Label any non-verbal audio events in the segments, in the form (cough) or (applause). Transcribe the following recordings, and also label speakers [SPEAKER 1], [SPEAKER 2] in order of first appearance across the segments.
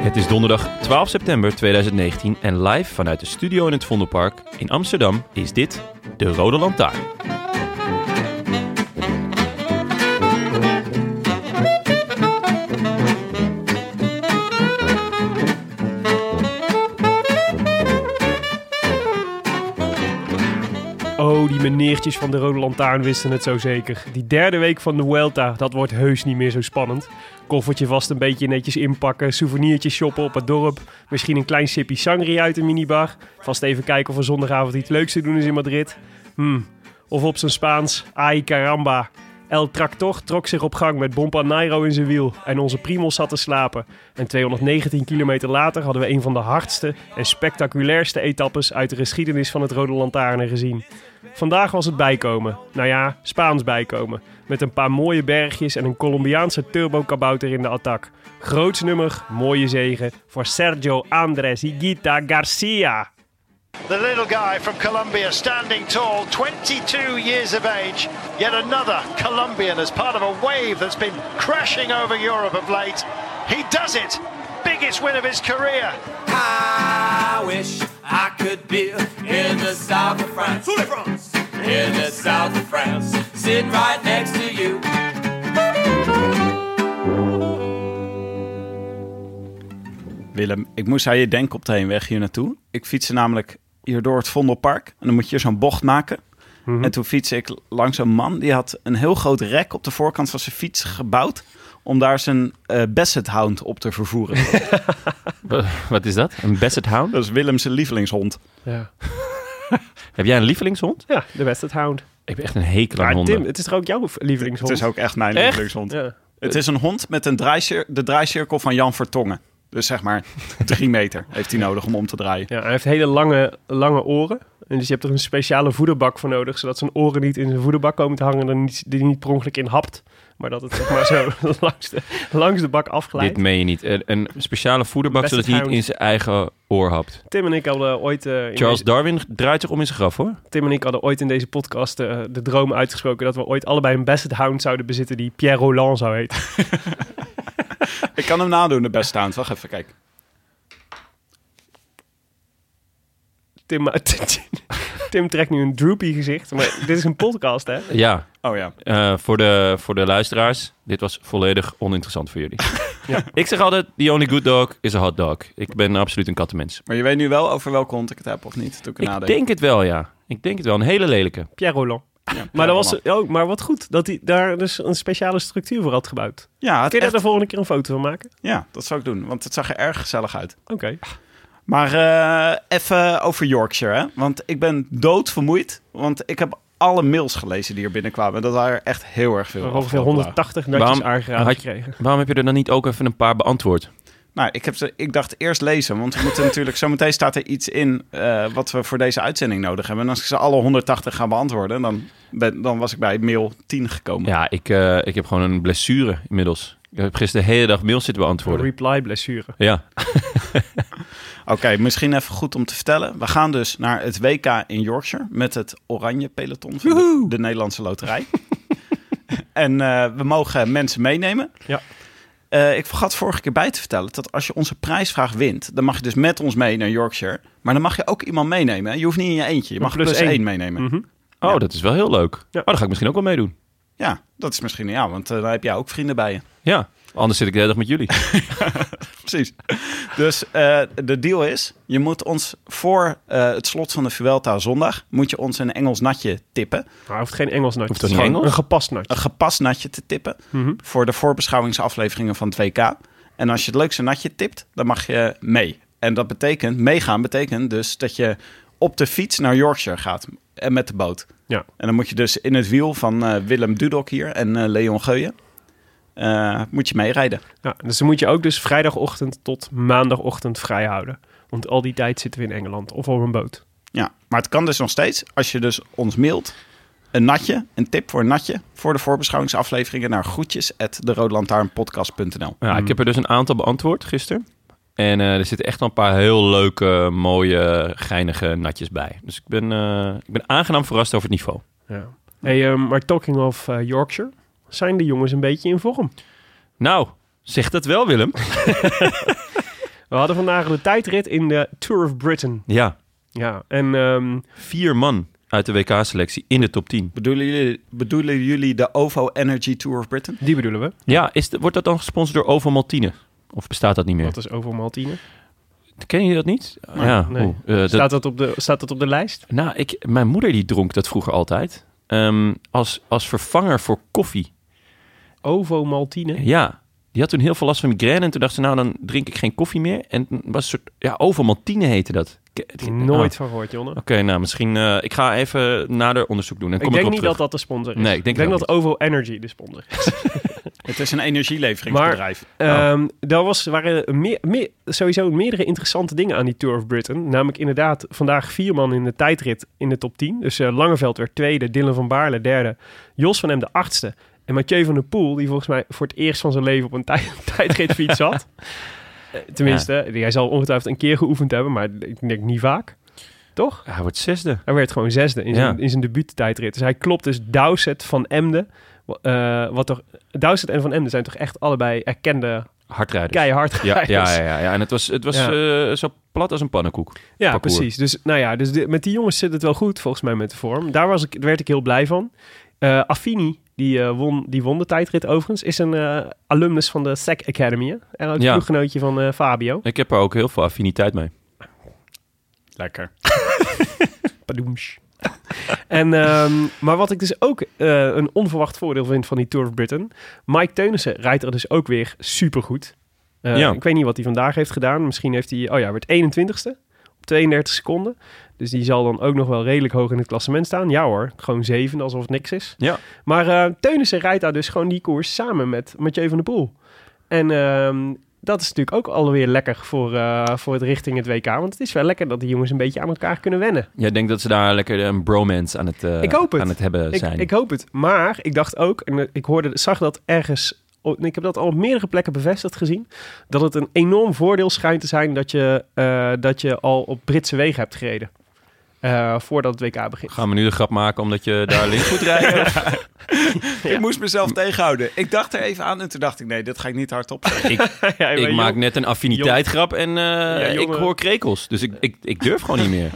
[SPEAKER 1] Het is donderdag 12 september 2019 en live vanuit de studio in het Vondelpark in Amsterdam is dit de Rode Lantaarn.
[SPEAKER 2] Oh, die meneertjes van de Rode Lantaarn wisten het zo zeker. Die derde week van de Vuelta, dat wordt heus niet meer zo spannend. Koffertje vast een beetje netjes inpakken, souveniertjes shoppen op het dorp. Misschien een klein sippie sangria uit de minibar. Vast even kijken of er zondagavond iets leuks te doen is in Madrid. Hmm. Of op zijn Spaans, ay caramba. El Tractor trok zich op gang met Bompa Nairo in zijn wiel en onze primos zat te slapen. En 219 kilometer later hadden we een van de hardste en spectaculairste etappes uit de geschiedenis van het Rode Lantaarne gezien. Vandaag was het bijkomen. Nou ja, Spaans bijkomen. Met een paar mooie bergjes en een Colombiaanse turbokabouter in de attack. Groots nummer, mooie zegen voor Sergio Andres Higuita Garcia.
[SPEAKER 3] The little guy from Colombia standing tall, 22 years of age, yet another Colombian as part of a wave that's been crashing over Europe of late. He does it! Biggest win of his career.
[SPEAKER 4] I wish I could be in the south of France. In the south of France, sitting right next to you.
[SPEAKER 5] Willem, ik moest aan je denken op de heenweg hier naartoe. Ik fietste namelijk hier door het Vondelpark. En dan moet je hier zo'n bocht maken.
[SPEAKER 2] Mhm.
[SPEAKER 5] En toen fietste ik langs een man. Die had een heel groot rek op de voorkant van zijn fiets gebouwd. Om daar zijn eh Basset Hound op te vervoeren.
[SPEAKER 2] (laughs)
[SPEAKER 1] Wa- Wat is dat? Een Basset Hound?
[SPEAKER 5] dat is Willem zijn lievelingshond.
[SPEAKER 2] Ja,
[SPEAKER 1] Heb jij een lievelingshond?
[SPEAKER 2] ja de Best Hound.
[SPEAKER 1] Ik heb echt een hekel aan
[SPEAKER 2] Maar Ah, Tim,
[SPEAKER 1] honden.
[SPEAKER 2] het is toch ook jouw
[SPEAKER 5] Het
[SPEAKER 2] lievelingshond?
[SPEAKER 5] is ook echt mijn
[SPEAKER 1] Echt?
[SPEAKER 5] lievelingshond.
[SPEAKER 2] Ja.
[SPEAKER 5] Het is een hond met een draaicir de draaicirkel van Jan Vertongen. Dus
[SPEAKER 2] (laughs)
[SPEAKER 5] zeg maar drie meter heeft hij nodig om om te draaien.
[SPEAKER 2] Ja, hij heeft hele lange, lange oren. En dus je hebt er een speciale voederbak voor nodig, zodat zijn oren niet in zijn voederbak komen te hangen en er niet, die niet per ongeluk in hapt. Maar dat het zeg maar zo (laughs) langs de, langs de bak afglijdt.
[SPEAKER 1] Dit meen je niet. Een, een speciale voederbak
[SPEAKER 2] Basset
[SPEAKER 1] zodat hij niet
[SPEAKER 2] Hound.
[SPEAKER 1] in zijn eigen oor hapt.
[SPEAKER 2] Tim en ik hadden ooit... eh, in
[SPEAKER 1] Charles
[SPEAKER 2] deze-
[SPEAKER 1] Darwin draait zich om in zijn graf hoor.
[SPEAKER 2] Tim en ik hadden ooit in deze podcast eh, de droom uitgesproken dat we ooit allebei een Basset Hound zouden bezitten die Pierre Roland zou heten. (laughs)
[SPEAKER 5] Ik kan hem nadoen, de beste hound. Wacht even, kijk.
[SPEAKER 2] Tim, Tim trekt nu een droopy gezicht, maar (laughs) dit is een podcast hè.
[SPEAKER 1] Ja,
[SPEAKER 5] Oh ja.
[SPEAKER 1] eh, voor, de, voor de luisteraars. Dit was volledig oninteressant voor (laughs) jullie. Ik zeg altijd, the only good dog is a hot dog. Ik ben absoluut een kattenmens.
[SPEAKER 5] Maar je weet nu wel over welke hond ik het heb of niet. Toen ik,
[SPEAKER 1] Ik denk het wel ja. Ik denk het wel. Een hele lelijke.
[SPEAKER 2] Pierre Roland. Maar, dat was, oh, maar wat goed dat hij daar dus een speciale structuur voor had gebouwd.
[SPEAKER 5] Ja, het
[SPEAKER 2] Kun je daar
[SPEAKER 5] echt-
[SPEAKER 2] de volgende keer een foto van maken?
[SPEAKER 5] ja, dat zou ik doen. Want het zag er erg gezellig uit.
[SPEAKER 2] Oké.
[SPEAKER 5] Maar eh, even over Yorkshire, hè? Want ik ben doodvermoeid. Want ik heb alle mails gelezen die er binnenkwamen. Dat waren er echt heel erg veel.
[SPEAKER 2] We hebben ongeveer
[SPEAKER 5] afgelopen dagen.
[SPEAKER 2] 180 natjes
[SPEAKER 1] Waarom
[SPEAKER 2] aangeraden
[SPEAKER 1] had je-
[SPEAKER 2] gekregen.
[SPEAKER 1] Waarom heb je er dan niet ook even een paar beantwoord?
[SPEAKER 5] Nou, ik, heb ze, ik dacht eerst lezen, want we moeten (laughs) natuurlijk... Zometeen staat er iets in eh, wat we voor deze uitzending nodig hebben. En als ik ze alle 180 ga beantwoorden, dan, ben, dan was ik bij mail 10 gekomen.
[SPEAKER 1] Ja, ik, eh, ik heb gewoon een blessure inmiddels. Ik heb gisteren de hele dag mails zitten beantwoorden.
[SPEAKER 2] Reply blessure.
[SPEAKER 1] Ja,
[SPEAKER 5] Oké, misschien even goed om te vertellen. We gaan dus naar het WK in Yorkshire met het oranje peloton van de, de Nederlandse Loterij. (laughs) en eh, we mogen mensen meenemen.
[SPEAKER 2] Ja.
[SPEAKER 5] Eh, ik vergat vorige keer bij te vertellen dat als je onze prijsvraag wint, dan mag je dus met ons mee naar Yorkshire. Maar dan mag je ook iemand meenemen. hè. Je hoeft niet in je eentje. Je mag
[SPEAKER 2] plus
[SPEAKER 5] plus één,
[SPEAKER 2] één. Mhm.
[SPEAKER 5] meenemen.
[SPEAKER 1] oh, dat is wel heel leuk.
[SPEAKER 2] Ja.
[SPEAKER 1] Oh, dan ga ik misschien ook wel meedoen.
[SPEAKER 5] Ja, dat is misschien ja, want eh, dan heb jij ook vrienden bij je.
[SPEAKER 1] Ja, Anders zit ik de hele dag met jullie.
[SPEAKER 5] Precies. Dus eh, de deal is, je moet ons voor eh, het slot van de Vuelta zondag, moet je ons een Engels natje tippen.
[SPEAKER 2] Hij hoeft geen Engels natje.
[SPEAKER 1] Hoeft
[SPEAKER 2] Het is
[SPEAKER 1] ook niet
[SPEAKER 2] gewoon
[SPEAKER 1] Engels?
[SPEAKER 2] Een gepast natje.
[SPEAKER 5] Een gepast natje te tippen
[SPEAKER 2] Mhm.
[SPEAKER 5] voor de voorbeschouwingsafleveringen van 2K. En als je het leukste natje tipt, dan mag je mee. En dat betekent, meegaan betekent dus dat je op de fiets naar Yorkshire gaat en met de boot.
[SPEAKER 2] Ja.
[SPEAKER 5] En dan moet je dus in het wiel van eh, Willem Dudok hier en eh, Leon Geuyen, eh, moet je meerijden.
[SPEAKER 2] Ja, dus dan moet je ook dus vrijdagochtend tot maandagochtend vrij houden. Want al die tijd zitten we in Engeland of op een boot.
[SPEAKER 5] Ja, maar het kan dus nog steeds, als je dus ons mailt, een natje, een tip voor een natje, voor de voorbeschouwingsafleveringen naar groetjes at
[SPEAKER 1] Ja, ik heb er dus een aantal beantwoord gisteren. En eh, er zitten echt wel een paar heel leuke, mooie, geinige natjes bij. Dus ik ben, eh, ik ben aangenaam verrast over het niveau.
[SPEAKER 2] Ja. Hey, eh, maar talking of eh, Yorkshire, zijn de jongens een beetje in vorm?
[SPEAKER 1] Nou, zeg dat wel, Willem.
[SPEAKER 2] We hadden vandaag de tijdrit in de Tour of Britain.
[SPEAKER 1] Ja,
[SPEAKER 2] Ja, en ehm,
[SPEAKER 1] vier man uit de WK-selectie in de top 10.
[SPEAKER 5] Bedoelen jullie, bedoelen jullie de OVO Energy Tour of Britain?
[SPEAKER 2] die bedoelen we.
[SPEAKER 1] Ja, is de- wordt dat dan gesponsord door Ovo Maltine? Of bestaat dat niet meer?
[SPEAKER 2] Dat is over Maltine.
[SPEAKER 1] Ken je dat niet? ja,
[SPEAKER 2] nee.
[SPEAKER 1] oeh, eh, dat-
[SPEAKER 2] Staat dat op de, staat dat op de lijst?
[SPEAKER 1] Nou, ik, mijn moeder die dronk dat vroeger altijd. Ehm, als, als vervanger voor koffie.
[SPEAKER 2] Ovo Maltine.
[SPEAKER 1] Ja, die had toen heel veel last van migraine. En toen dacht ze, nou, dan drink ik geen koffie meer. En toen was een soort, ja, overmaltine heette dat. Ik- ik-
[SPEAKER 2] Nooit
[SPEAKER 1] ah,
[SPEAKER 2] van gehoord, Jonne.
[SPEAKER 1] Oké, nou, misschien... eh, ik ga even nader onderzoek doen. Dan kom
[SPEAKER 2] Ik
[SPEAKER 1] ik, erop
[SPEAKER 2] denk niet
[SPEAKER 1] terug.
[SPEAKER 2] dat dat de sponsor is.
[SPEAKER 1] Nee, ik denk het ook
[SPEAKER 2] dat Ovo Energy de sponsor is.
[SPEAKER 5] Het is een energieleveringsbedrijf.
[SPEAKER 2] Ehm daar was, waren meer, meer, sowieso meerdere interessante dingen aan die Tour of Britain. Namelijk inderdaad vandaag vier man in de tijdrit in de top 10. Dus eh, Langeveld werd tweede, Dylan van Baarle derde, Jos van Hem de achtste. En Mathieu van der Poel, die volgens mij voor het eerst van zijn leven op een tij- (laughs) tijdritfiets zat. Eh, Tenminste, hij zal ongetwijfeld een keer geoefend hebben, maar ik denk niet vaak. Toch?
[SPEAKER 1] Hij wordt zesde.
[SPEAKER 2] Hij werd gewoon zesde in zijn,
[SPEAKER 1] Ja.
[SPEAKER 2] in zijn debuuttijdrit. Dus hij klopt dus Dowsett van Emden. wa- eh, wat toch, Dowsett en Van Emden zijn toch echt allebei erkende
[SPEAKER 1] Hardrijders.
[SPEAKER 2] keihard
[SPEAKER 1] ja,
[SPEAKER 2] rijders.
[SPEAKER 1] ja, ja, ja, ja. En het was, het was
[SPEAKER 2] Ja.
[SPEAKER 1] eh, zo plat als een pannenkoek.
[SPEAKER 2] Ja,
[SPEAKER 1] parcours.
[SPEAKER 2] precies. Dus, nou ja, dus di- met die jongens zit het wel goed, volgens mij, met de vorm. Daar was ik, werd ik heel blij van. Eh Affini, die, eh, won, die won de tijdrit overigens, is een eh, alumnus van de SEC Academy. hè? En ook een
[SPEAKER 1] Ja.
[SPEAKER 2] ploeggenootje van eh, Fabio.
[SPEAKER 1] Ik heb er ook heel veel affiniteit mee.
[SPEAKER 5] Lekker.
[SPEAKER 2] Padoemsch. (laughs) en, ehm, maar wat ik dus ook eh, een onverwacht voordeel vind van die Tour of Britain. Mike Teunissen rijdt er dus ook weer supergoed. Eh,
[SPEAKER 1] Ja.
[SPEAKER 2] Ik weet niet wat hij vandaag heeft gedaan. Misschien heeft hij, oh ja, hij werd 21ste op 32 seconden. Dus die zal dan ook nog wel redelijk hoog in het klassement staan. Ja hoor, gewoon zevende alsof het niks is.
[SPEAKER 1] Ja.
[SPEAKER 2] Maar eh Teunissen rijdt daar dus gewoon die koers samen met Mathieu van der Poel. En ehm, dat is natuurlijk ook alweer lekker voor, eh, voor het richting het WK. Want het is wel lekker dat die jongens een beetje aan elkaar kunnen wennen.
[SPEAKER 1] Jij denkt dat ze daar lekker een bromance aan het, eh,
[SPEAKER 2] Ik hoop het.
[SPEAKER 1] Aan het hebben
[SPEAKER 2] Ik,
[SPEAKER 1] zijn.
[SPEAKER 2] ik hoop het. Maar ik dacht ook, en eh, ik hoorde, zag dat ergens. oh, Ik heb dat al op meerdere plekken bevestigd gezien. Dat het een enorm voordeel schijnt te zijn dat je, eh, dat je al op Britse wegen hebt gereden. eh, voordat het
[SPEAKER 1] (laughs)
[SPEAKER 2] WK begint.
[SPEAKER 1] Gaan we nu de grap maken omdat je daar links
[SPEAKER 2] (laughs)
[SPEAKER 1] moet rijden?
[SPEAKER 5] Ik moest mezelf tegenhouden. Ik dacht er even aan en toen dacht ik, nee, dit ga ik niet hardop zeggen. (laughs)
[SPEAKER 2] Ja,
[SPEAKER 1] ik
[SPEAKER 2] maar
[SPEAKER 1] maak
[SPEAKER 2] joh,
[SPEAKER 1] net een affiniteitgrap en eh, ik
[SPEAKER 2] jongen.
[SPEAKER 1] hoor krekels. Dus ik, ik, ik durf gewoon niet meer.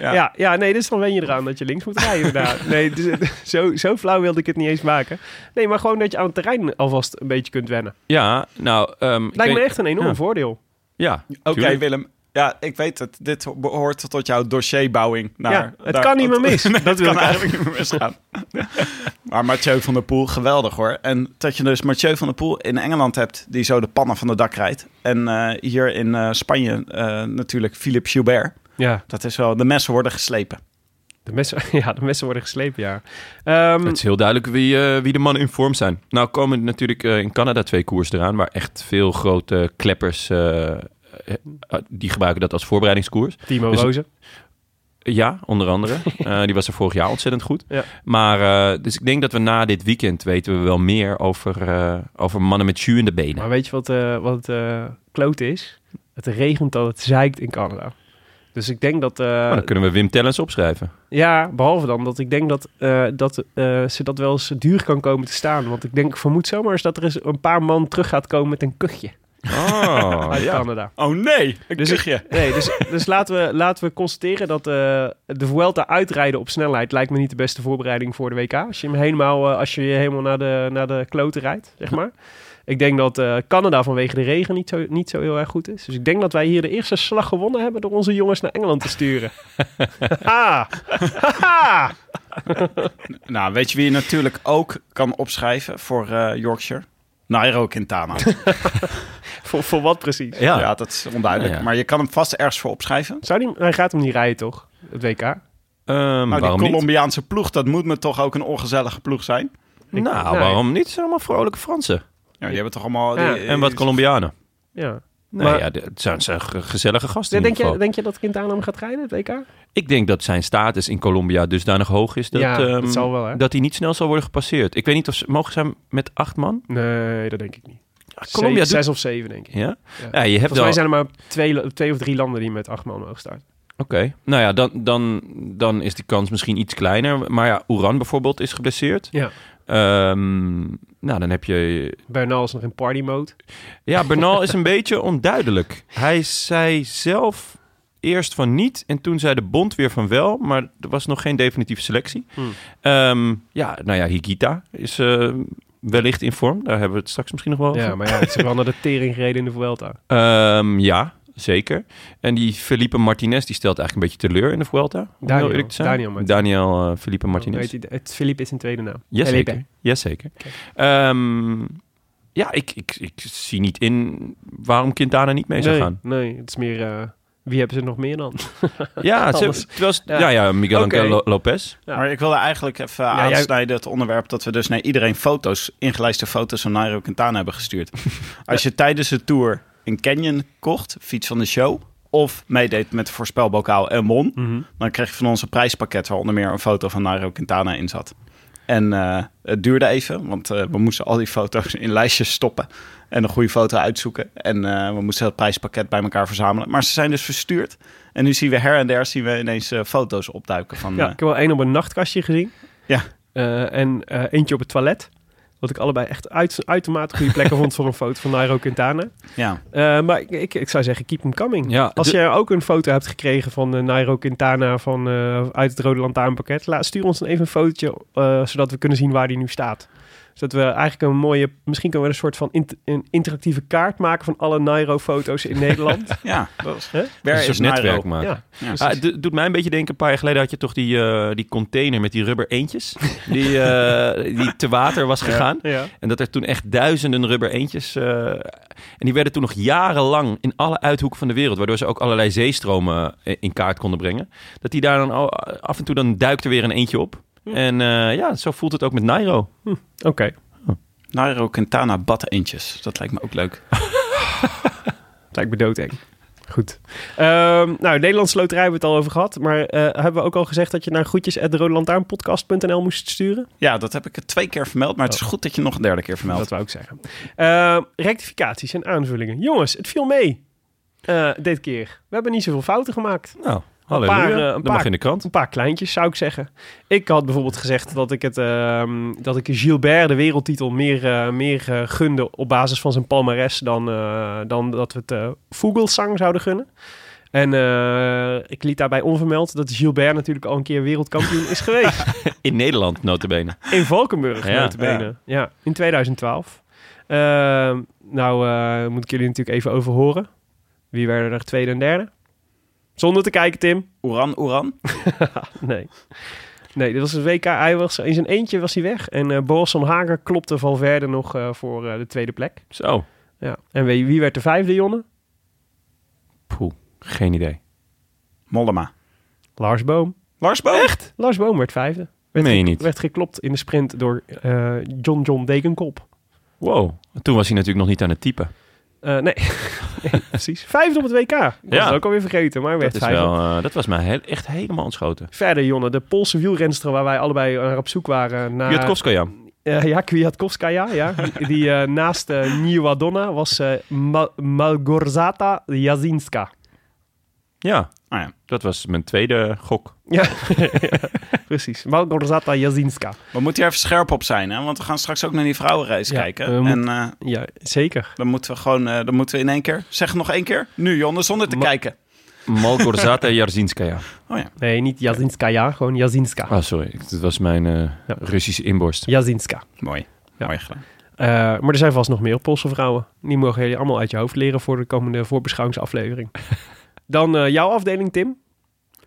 [SPEAKER 2] ja, ja, nee, dus dan wen je eraan dat je links moet
[SPEAKER 1] (laughs)
[SPEAKER 2] rijden. inderdaad. Nee, dus, zo, zo flauw wilde ik het niet eens maken. Nee, maar gewoon dat je aan het terrein alvast een beetje kunt wennen.
[SPEAKER 1] Ja, nou... ehm, ik
[SPEAKER 2] Lijkt me
[SPEAKER 1] weet-
[SPEAKER 2] echt een enorm
[SPEAKER 1] Ja.
[SPEAKER 2] voordeel.
[SPEAKER 1] Ja,
[SPEAKER 5] Oké,
[SPEAKER 1] tuurlijk.
[SPEAKER 5] Willem. Ja, ik weet het. Dit behoort tot jouw dossierbouwing. Naar,
[SPEAKER 2] ja, het
[SPEAKER 5] daar-
[SPEAKER 2] kan niet meer mis.
[SPEAKER 5] (laughs)
[SPEAKER 2] dat wil
[SPEAKER 5] kan
[SPEAKER 2] ik eigenlijk.
[SPEAKER 5] eigenlijk niet meer misgaan. (laughs) maar Mathieu van der Poel, geweldig hoor. En dat je dus Mathieu van der Poel in Engeland hebt, die zo de pannen van de dak rijdt. En eh, hier in eh, Spanje eh, natuurlijk Philippe Gilbert.
[SPEAKER 2] Ja,
[SPEAKER 5] Dat is wel, de messen worden geslepen.
[SPEAKER 2] de messen, (laughs) ja, de messen worden geslepen, ja. Ehm,
[SPEAKER 1] Het is heel duidelijk wie, eh, wie de mannen in vorm zijn. Nou komen er natuurlijk eh, in Canada twee koers eraan... waar echt veel grote kleppers... eh, eh, eh, die gebruiken dat als voorbereidingskoers.
[SPEAKER 2] Timo
[SPEAKER 1] Dus-
[SPEAKER 2] Rozen.
[SPEAKER 1] Ja, onder andere. Eh, die was er vorig jaar ontzettend goed.
[SPEAKER 2] Ja.
[SPEAKER 1] Maar, eh, dus ik denk dat we na dit weekend weten we wel meer over, eh, over mannen met jus in de benen.
[SPEAKER 2] Maar weet je wat, eh wat het eh, kloot is? Het regent dat het zeikt in Canada. Dus ik denk dat... eh,
[SPEAKER 1] Nou, dan kunnen we Wim Tellens opschrijven.
[SPEAKER 2] ja, behalve dan dat ik denk dat, eh, dat eh, ze dat wel eens duur kan komen te staan. Want ik denk, ik vermoed zomaar eens dat er eens een paar man terug gaat komen met een kuchje.
[SPEAKER 1] Oh, (laughs)
[SPEAKER 2] uit
[SPEAKER 1] ja.
[SPEAKER 2] Canada.
[SPEAKER 5] Oh nee, ik
[SPEAKER 2] Dus,
[SPEAKER 5] zeg je.
[SPEAKER 2] Nee, dus, dus laten, we, laten we constateren dat eh, de Vuelta uitrijden op snelheid lijkt me niet de beste voorbereiding voor de WK. Als je hem helemaal, eh, als je je helemaal naar de, naar de kloten rijdt, zeg maar. Ik denk dat eh, Canada vanwege de regen niet zo, niet zo heel erg goed is. Dus ik denk dat wij hier de eerste slag gewonnen hebben door onze jongens naar Engeland te sturen. Haha! Haha!
[SPEAKER 5] Nou, weet je wie je natuurlijk ook kan opschrijven voor eh, Yorkshire? Nairo Quintana.
[SPEAKER 2] voor, voor wat precies?
[SPEAKER 5] (laughs) ja. dat is onduidelijk.
[SPEAKER 1] Ja, ja.
[SPEAKER 5] Maar je kan hem vast ergens voor opschrijven.
[SPEAKER 2] Zou die, hij gaat hem niet rijden, toch? Het WK?
[SPEAKER 1] Ehm,
[SPEAKER 5] Nou, die
[SPEAKER 1] waarom niet?
[SPEAKER 5] Colombiaanse ploeg, dat moet me toch ook een ongezellige ploeg zijn?
[SPEAKER 1] Nou,
[SPEAKER 2] Nee.
[SPEAKER 1] waarom niet? Het zijn allemaal vrolijke Fransen.
[SPEAKER 5] Ja, die hebben toch allemaal...
[SPEAKER 2] Ja,
[SPEAKER 5] die-
[SPEAKER 1] En wat Colombianen.
[SPEAKER 2] Ja.
[SPEAKER 1] Nee,
[SPEAKER 2] Maar-
[SPEAKER 1] ja, de- het zijn, het zijn ge- gezellige gasten. in
[SPEAKER 2] Denk,
[SPEAKER 1] ieder
[SPEAKER 2] je,
[SPEAKER 1] geval.
[SPEAKER 2] denk je dat Quintana hem gaat rijden, het WK?
[SPEAKER 1] Ik denk dat zijn status in Colombia dusdanig hoog is dat,
[SPEAKER 2] Ja, dat
[SPEAKER 1] ehm,
[SPEAKER 2] zal wel, hè?
[SPEAKER 1] dat hij niet snel zal worden gepasseerd. Ik weet niet of ze mogen zijn met acht man.
[SPEAKER 2] Nee, dat denk ik niet.
[SPEAKER 1] Colombia
[SPEAKER 2] Zes,
[SPEAKER 1] doet-
[SPEAKER 2] zes of zeven, denk ik.
[SPEAKER 1] Ja,
[SPEAKER 2] Ja.
[SPEAKER 1] ja. je hebt
[SPEAKER 2] Volgens
[SPEAKER 1] wel.
[SPEAKER 2] mij zijn er maar twee, twee of drie landen die met acht man mogen starten.
[SPEAKER 1] Oké, nou ja, dan, dan, dan is die kans misschien iets kleiner. Maar ja, Oeran bijvoorbeeld is geblesseerd.
[SPEAKER 2] Ja.
[SPEAKER 1] Ehm, nou, dan heb je...
[SPEAKER 2] Bernal is nog in party mode.
[SPEAKER 1] Ja, Bernal is een beetje onduidelijk. Hij zei zelf eerst van niet en toen zei de bond weer van wel. Maar er was nog geen definitieve selectie.
[SPEAKER 2] Hmm.
[SPEAKER 1] Ehm, ja, nou ja, Higita is eh, wellicht in vorm. Daar hebben we het straks misschien nog wel over.
[SPEAKER 2] Ja, maar ja, het is wel naar de tering gereden in de Vuelta.
[SPEAKER 1] Ehm, ja, zeker. En die Felipe Martinez, die stelt eigenlijk een beetje teleur in de Vuelta. om heel
[SPEAKER 2] Daniel-
[SPEAKER 1] eerlijk te zijn.
[SPEAKER 2] Daniel Martinez.
[SPEAKER 1] Daniel, eh, Felipe (laughs) Martinez.
[SPEAKER 2] Weet je, het Philippe is zijn tweede naam.
[SPEAKER 1] Yes,
[SPEAKER 2] Felipe.
[SPEAKER 1] zeker. Yes, zeker. Ehm, ja, ik, ik, ik zie niet in waarom Quintana niet mee zou
[SPEAKER 2] Nee,
[SPEAKER 1] gaan.
[SPEAKER 2] nee, het is meer... eh, wie hebben ze nog meer (laughs) dan?
[SPEAKER 1] Ja, het
[SPEAKER 2] Alles.
[SPEAKER 1] is- het was,
[SPEAKER 2] Ja.
[SPEAKER 1] ja. ja, Miguel
[SPEAKER 2] Oké.
[SPEAKER 1] Angel Lo- Lopez.
[SPEAKER 2] Ja.
[SPEAKER 5] Maar ik wilde eigenlijk even
[SPEAKER 2] Ja, jij-
[SPEAKER 5] aansnijden het onderwerp dat we dus naar iedereen foto's, ingelijste foto's van Nairo Quintana hebben
[SPEAKER 1] (laughs)
[SPEAKER 5] gestuurd. Als je tijdens de tour een Canyon kocht, fiets van de show, of meedeed met de voorspelbokaal en won,
[SPEAKER 2] Mhm.
[SPEAKER 5] dan kreeg je van ons een prijspakket waar onder meer een foto van Nairo Quintana in zat. En eh, het duurde even, want eh, we moesten al die foto's in lijstjes stoppen en een goede foto uitzoeken. En eh, we moesten het prijspakket bij elkaar verzamelen. Maar ze zijn dus verstuurd. En nu zien we her en der zien we ineens eh, foto's opduiken van... eh,
[SPEAKER 2] Ja,
[SPEAKER 5] Ja,
[SPEAKER 2] ik heb wel één op een nachtkastje gezien.
[SPEAKER 5] ja.
[SPEAKER 2] Eh, en eh, eentje op het toilet. Wat ik allebei echt uit, uitermate
[SPEAKER 1] (laughs)
[SPEAKER 2] goede plekken vond voor een foto van Nairo Quintana.
[SPEAKER 5] ja.
[SPEAKER 2] Eh, maar ik, ik, ik zou zeggen, keep them coming.
[SPEAKER 1] Ja,
[SPEAKER 2] Als
[SPEAKER 1] de-
[SPEAKER 2] jij ook een foto hebt gekregen van eh, Nairo Quintana van, eh, uit het Rode Lantaarnpakket, laat, stuur ons dan even een fotootje, eh, zodat we kunnen zien waar die nu staat. Zodat we eigenlijk een mooie, misschien kunnen we een soort van int- een interactieve kaart maken van alle Nairo-foto's in
[SPEAKER 1] (laughs)
[SPEAKER 2] Nederland.
[SPEAKER 5] Ja, dat is,
[SPEAKER 2] Hè?
[SPEAKER 5] Waar
[SPEAKER 1] een soort
[SPEAKER 5] is Nairo?
[SPEAKER 1] netwerk maken.
[SPEAKER 2] ja, precies.
[SPEAKER 1] Ah, het do- doet mij een beetje denken, een paar jaar geleden had je toch die, eh, die container met die rubber eendjes. Die, eh, die te water was gegaan.
[SPEAKER 2] ja.
[SPEAKER 1] En dat er toen echt duizenden rubber eendjes... eh, en die werden toen nog jarenlang in alle uithoeken van de wereld... waardoor ze ook allerlei zeestromen eh, in kaart konden brengen. Dat die daar dan al- eh, af en toe dan duikt er weer een eentje op. En eh, ja, zo voelt het ook met Nairo.
[SPEAKER 2] Oké,
[SPEAKER 5] Nairo Quintana bad eentjes. Dat lijkt me ook leuk.
[SPEAKER 2] Het lijkt me doodeng. Goed. Ehm, nou, Nederlandse Loterij hebben we het al over gehad. Maar eh, hebben we ook al gezegd dat je naar groetjes.rodelantaarnpodcast.nl moest sturen?
[SPEAKER 5] Ja, dat heb ik het twee keer vermeld, maar het is goed dat je nog een derde keer
[SPEAKER 2] Oh. Dat
[SPEAKER 5] vermeldt.
[SPEAKER 2] wou ik zeggen. Ehm, rectificaties en aanvullingen. Jongens, het viel mee. Eh, dit keer. We hebben niet zoveel fouten gemaakt.
[SPEAKER 1] Nou, halleluja.
[SPEAKER 2] Een paar, eh, een
[SPEAKER 1] dat
[SPEAKER 2] paar-
[SPEAKER 1] mag in de krant.
[SPEAKER 2] Een paar kleintjes zou ik zeggen. Ik had bijvoorbeeld gezegd dat ik, het, ehm, dat ik Gilbert de wereldtitel meer, eh, meer eh, gunde op basis van zijn palmares dan, eh, dan dat we het eh Vogelsang zouden gunnen. En eh, ik liet daarbij onvermeld dat Gilbert natuurlijk al een keer wereldkampioen is geweest.
[SPEAKER 1] In Nederland, notabene.
[SPEAKER 2] In Valkenburg,
[SPEAKER 1] Ja.
[SPEAKER 2] ja, notabene. Ja. in 2012. Ehm, nou, eh, moet ik jullie natuurlijk even over horen. Wie werden er tweede en derde? Zonder te kijken, Tim.
[SPEAKER 5] Oeran, Oeran.
[SPEAKER 2] Nee. Nee, dit was het WK. Hij was, in zijn eentje was hij weg. En eh Boris van Hager klopte Valverde nog eh, voor eh, de tweede plek.
[SPEAKER 1] Zo.
[SPEAKER 2] Ja. En wie, wie werd de vijfde, Jonne?
[SPEAKER 1] Poeh, geen idee.
[SPEAKER 5] Mollema.
[SPEAKER 2] Lars Boom.
[SPEAKER 5] Lars Boom. Echt?
[SPEAKER 2] Lars Boom werd vijfde. Werd
[SPEAKER 1] Meen je
[SPEAKER 2] ge-
[SPEAKER 1] niet?
[SPEAKER 2] Werd geklopt in de sprint door eh, John John Dekenkop.
[SPEAKER 1] Wow. Toen was hij natuurlijk nog niet aan het typen.
[SPEAKER 2] Eh, nee. (laughs) nee, precies. Vijfde op het WK. Ik was
[SPEAKER 1] Ja.
[SPEAKER 2] het ook alweer vergeten, maar hij werd
[SPEAKER 1] Dat, is
[SPEAKER 2] vijfde.
[SPEAKER 1] wel, eh, dat was mij heel- echt helemaal ontschoten.
[SPEAKER 2] Verder, Jonne, de Poolse wielrenster waar wij allebei eh, naar op zoek waren. Naar,
[SPEAKER 1] Piotkowska, ja.
[SPEAKER 2] Eh, ja, Kwiatkowskaja, (laughs) ja. Die eh, naast eh Niwadonna was eh Ma- Malgorzata Jasinska.
[SPEAKER 1] Ja,
[SPEAKER 5] Nou ja.
[SPEAKER 1] dat was mijn tweede gok.
[SPEAKER 2] Ja, precies. Malgorzata Jazinska.
[SPEAKER 5] We moeten hier even scherp op zijn, hè? want we gaan straks ook naar die vrouwenreis
[SPEAKER 2] Ja,
[SPEAKER 5] kijken.
[SPEAKER 2] we moeten-
[SPEAKER 5] En eh,
[SPEAKER 2] Ja, zeker.
[SPEAKER 5] dan moeten we gewoon, eh, dan moeten we in één keer, zeg het nog één keer, nu Jonne, zonder te
[SPEAKER 2] Ma-
[SPEAKER 5] kijken.
[SPEAKER 1] (laughs) Malgorzata Jarzynskaya.
[SPEAKER 5] Oh ja,
[SPEAKER 2] Nee, niet Jazinska, ja. Gewoon Jazinska.
[SPEAKER 1] Ah, sorry. Dat was mijn eh, Russische inborst.
[SPEAKER 2] Jazinska.
[SPEAKER 5] mooi.
[SPEAKER 2] Ja.
[SPEAKER 5] Mooi gedaan.
[SPEAKER 2] Eh, maar er zijn vast nog meer Poolse vrouwen. Die mogen jullie allemaal uit je hoofd leren voor de komende (laughs) voorbeschouwingsaflevering. Dan eh, jouw afdeling, Tim.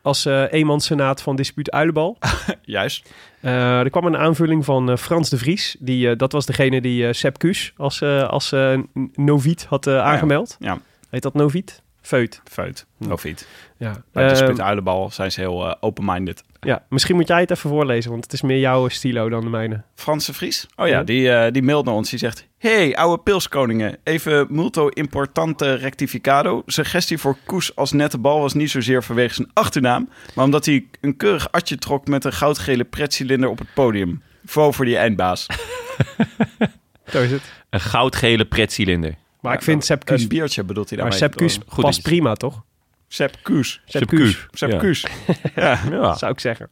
[SPEAKER 2] Als eh eenmanssenaat van Dispuut Uilenbal.
[SPEAKER 5] Juist.
[SPEAKER 2] Eh, er kwam een aanvulling van eh, Frans de Vries. Die, eh, dat was degene die eh Sepp Kuus als, eh als eh, n- noviet had eh, aangemeld.
[SPEAKER 5] Ja.
[SPEAKER 2] Heet dat noviet? Feut.
[SPEAKER 5] Feut. Of iets.
[SPEAKER 2] Ja.
[SPEAKER 5] Bij de
[SPEAKER 2] Ehm,
[SPEAKER 5] Spit Uilenbal zijn ze heel eh, open-minded.
[SPEAKER 2] ja. Misschien moet jij het even voorlezen, want het is meer jouw stilo dan de mijne.
[SPEAKER 5] Franse Vries? Oh ja,
[SPEAKER 2] Ja.
[SPEAKER 5] die, eh die mailt naar ons. Die zegt... Hey, oude pilskoningen. Even multo-importante rectificado. Suggestie voor Koes als nette bal was niet zozeer vanwege zijn achternaam... maar omdat hij een keurig atje trok met een goudgele pretcilinder op het podium. Vooral voor die eindbaas.
[SPEAKER 2] Zo is het.
[SPEAKER 1] Een goudgele pretcilinder.
[SPEAKER 2] Maar
[SPEAKER 5] Ja, nou, eh,
[SPEAKER 2] ik vind Sepp
[SPEAKER 5] Een
[SPEAKER 2] Kuus...
[SPEAKER 5] biertje bedoelt hij
[SPEAKER 2] Maar
[SPEAKER 5] daarmee.
[SPEAKER 2] Sepp Kuus
[SPEAKER 1] Goed
[SPEAKER 2] past
[SPEAKER 1] is-
[SPEAKER 2] prima, toch?
[SPEAKER 5] Sepp Kuus.
[SPEAKER 2] Sepp Kuus.
[SPEAKER 5] Sepp
[SPEAKER 1] Ja.
[SPEAKER 5] Kuus.
[SPEAKER 1] (laughs) Ja.
[SPEAKER 2] zou ik zeggen.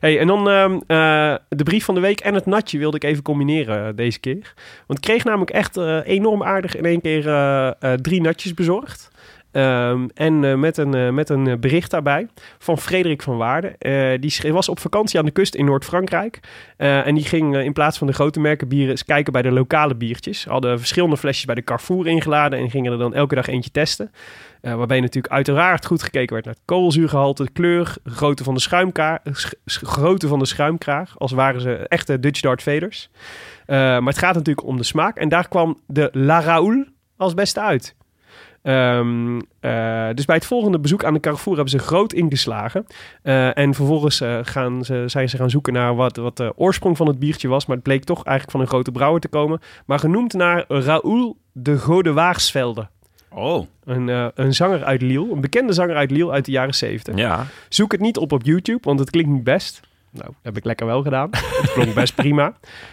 [SPEAKER 2] Hey, en dan ehm, eh, de brief van de week en het natje wilde ik even combineren eh, deze keer. Want ik kreeg namelijk echt eh, enorm aardig in één keer eh, eh, drie natjes bezorgd. Ehm, en eh, met, een, eh, met een eh, bericht daarbij van Frederik van Waarden. Eh, die schreef- was op vakantie aan de kust in Noord-Frankrijk. Eh, en die ging eh, in plaats van de grote merken bieren eens kijken bij de lokale biertjes. Hadden verschillende flesjes bij de Carrefour ingeladen en gingen er dan elke dag eentje testen. Eh, waarbij natuurlijk uiteraard goed gekeken werd naar het koolzuurgehalte, de kleur, grootte van de, schuimkaar, sch- sch- grootte van de schuimkraag. Als waren ze echte Dutch Dart Vaders. Eh, maar het gaat natuurlijk om de smaak. En daar kwam de La Raoul als beste uit. Ehm, eh, dus bij het volgende bezoek aan de Carrefour hebben ze groot ingeslagen. Eh, en vervolgens eh, gaan ze, zijn ze gaan zoeken naar wat, wat de oorsprong van het biertje was. Maar het bleek toch eigenlijk van een grote brouwer te komen. Maar genoemd naar Raoul de Godewaarsvelde.
[SPEAKER 5] Oh.
[SPEAKER 2] Een, eh, een zanger uit Liel, een bekende zanger uit Liel uit de jaren 70.
[SPEAKER 1] Ja.
[SPEAKER 2] Zoek het niet op op YouTube, want het klinkt niet best. Nou, heb ik lekker wel gedaan. Het
[SPEAKER 1] (laughs)
[SPEAKER 2] klonk best prima.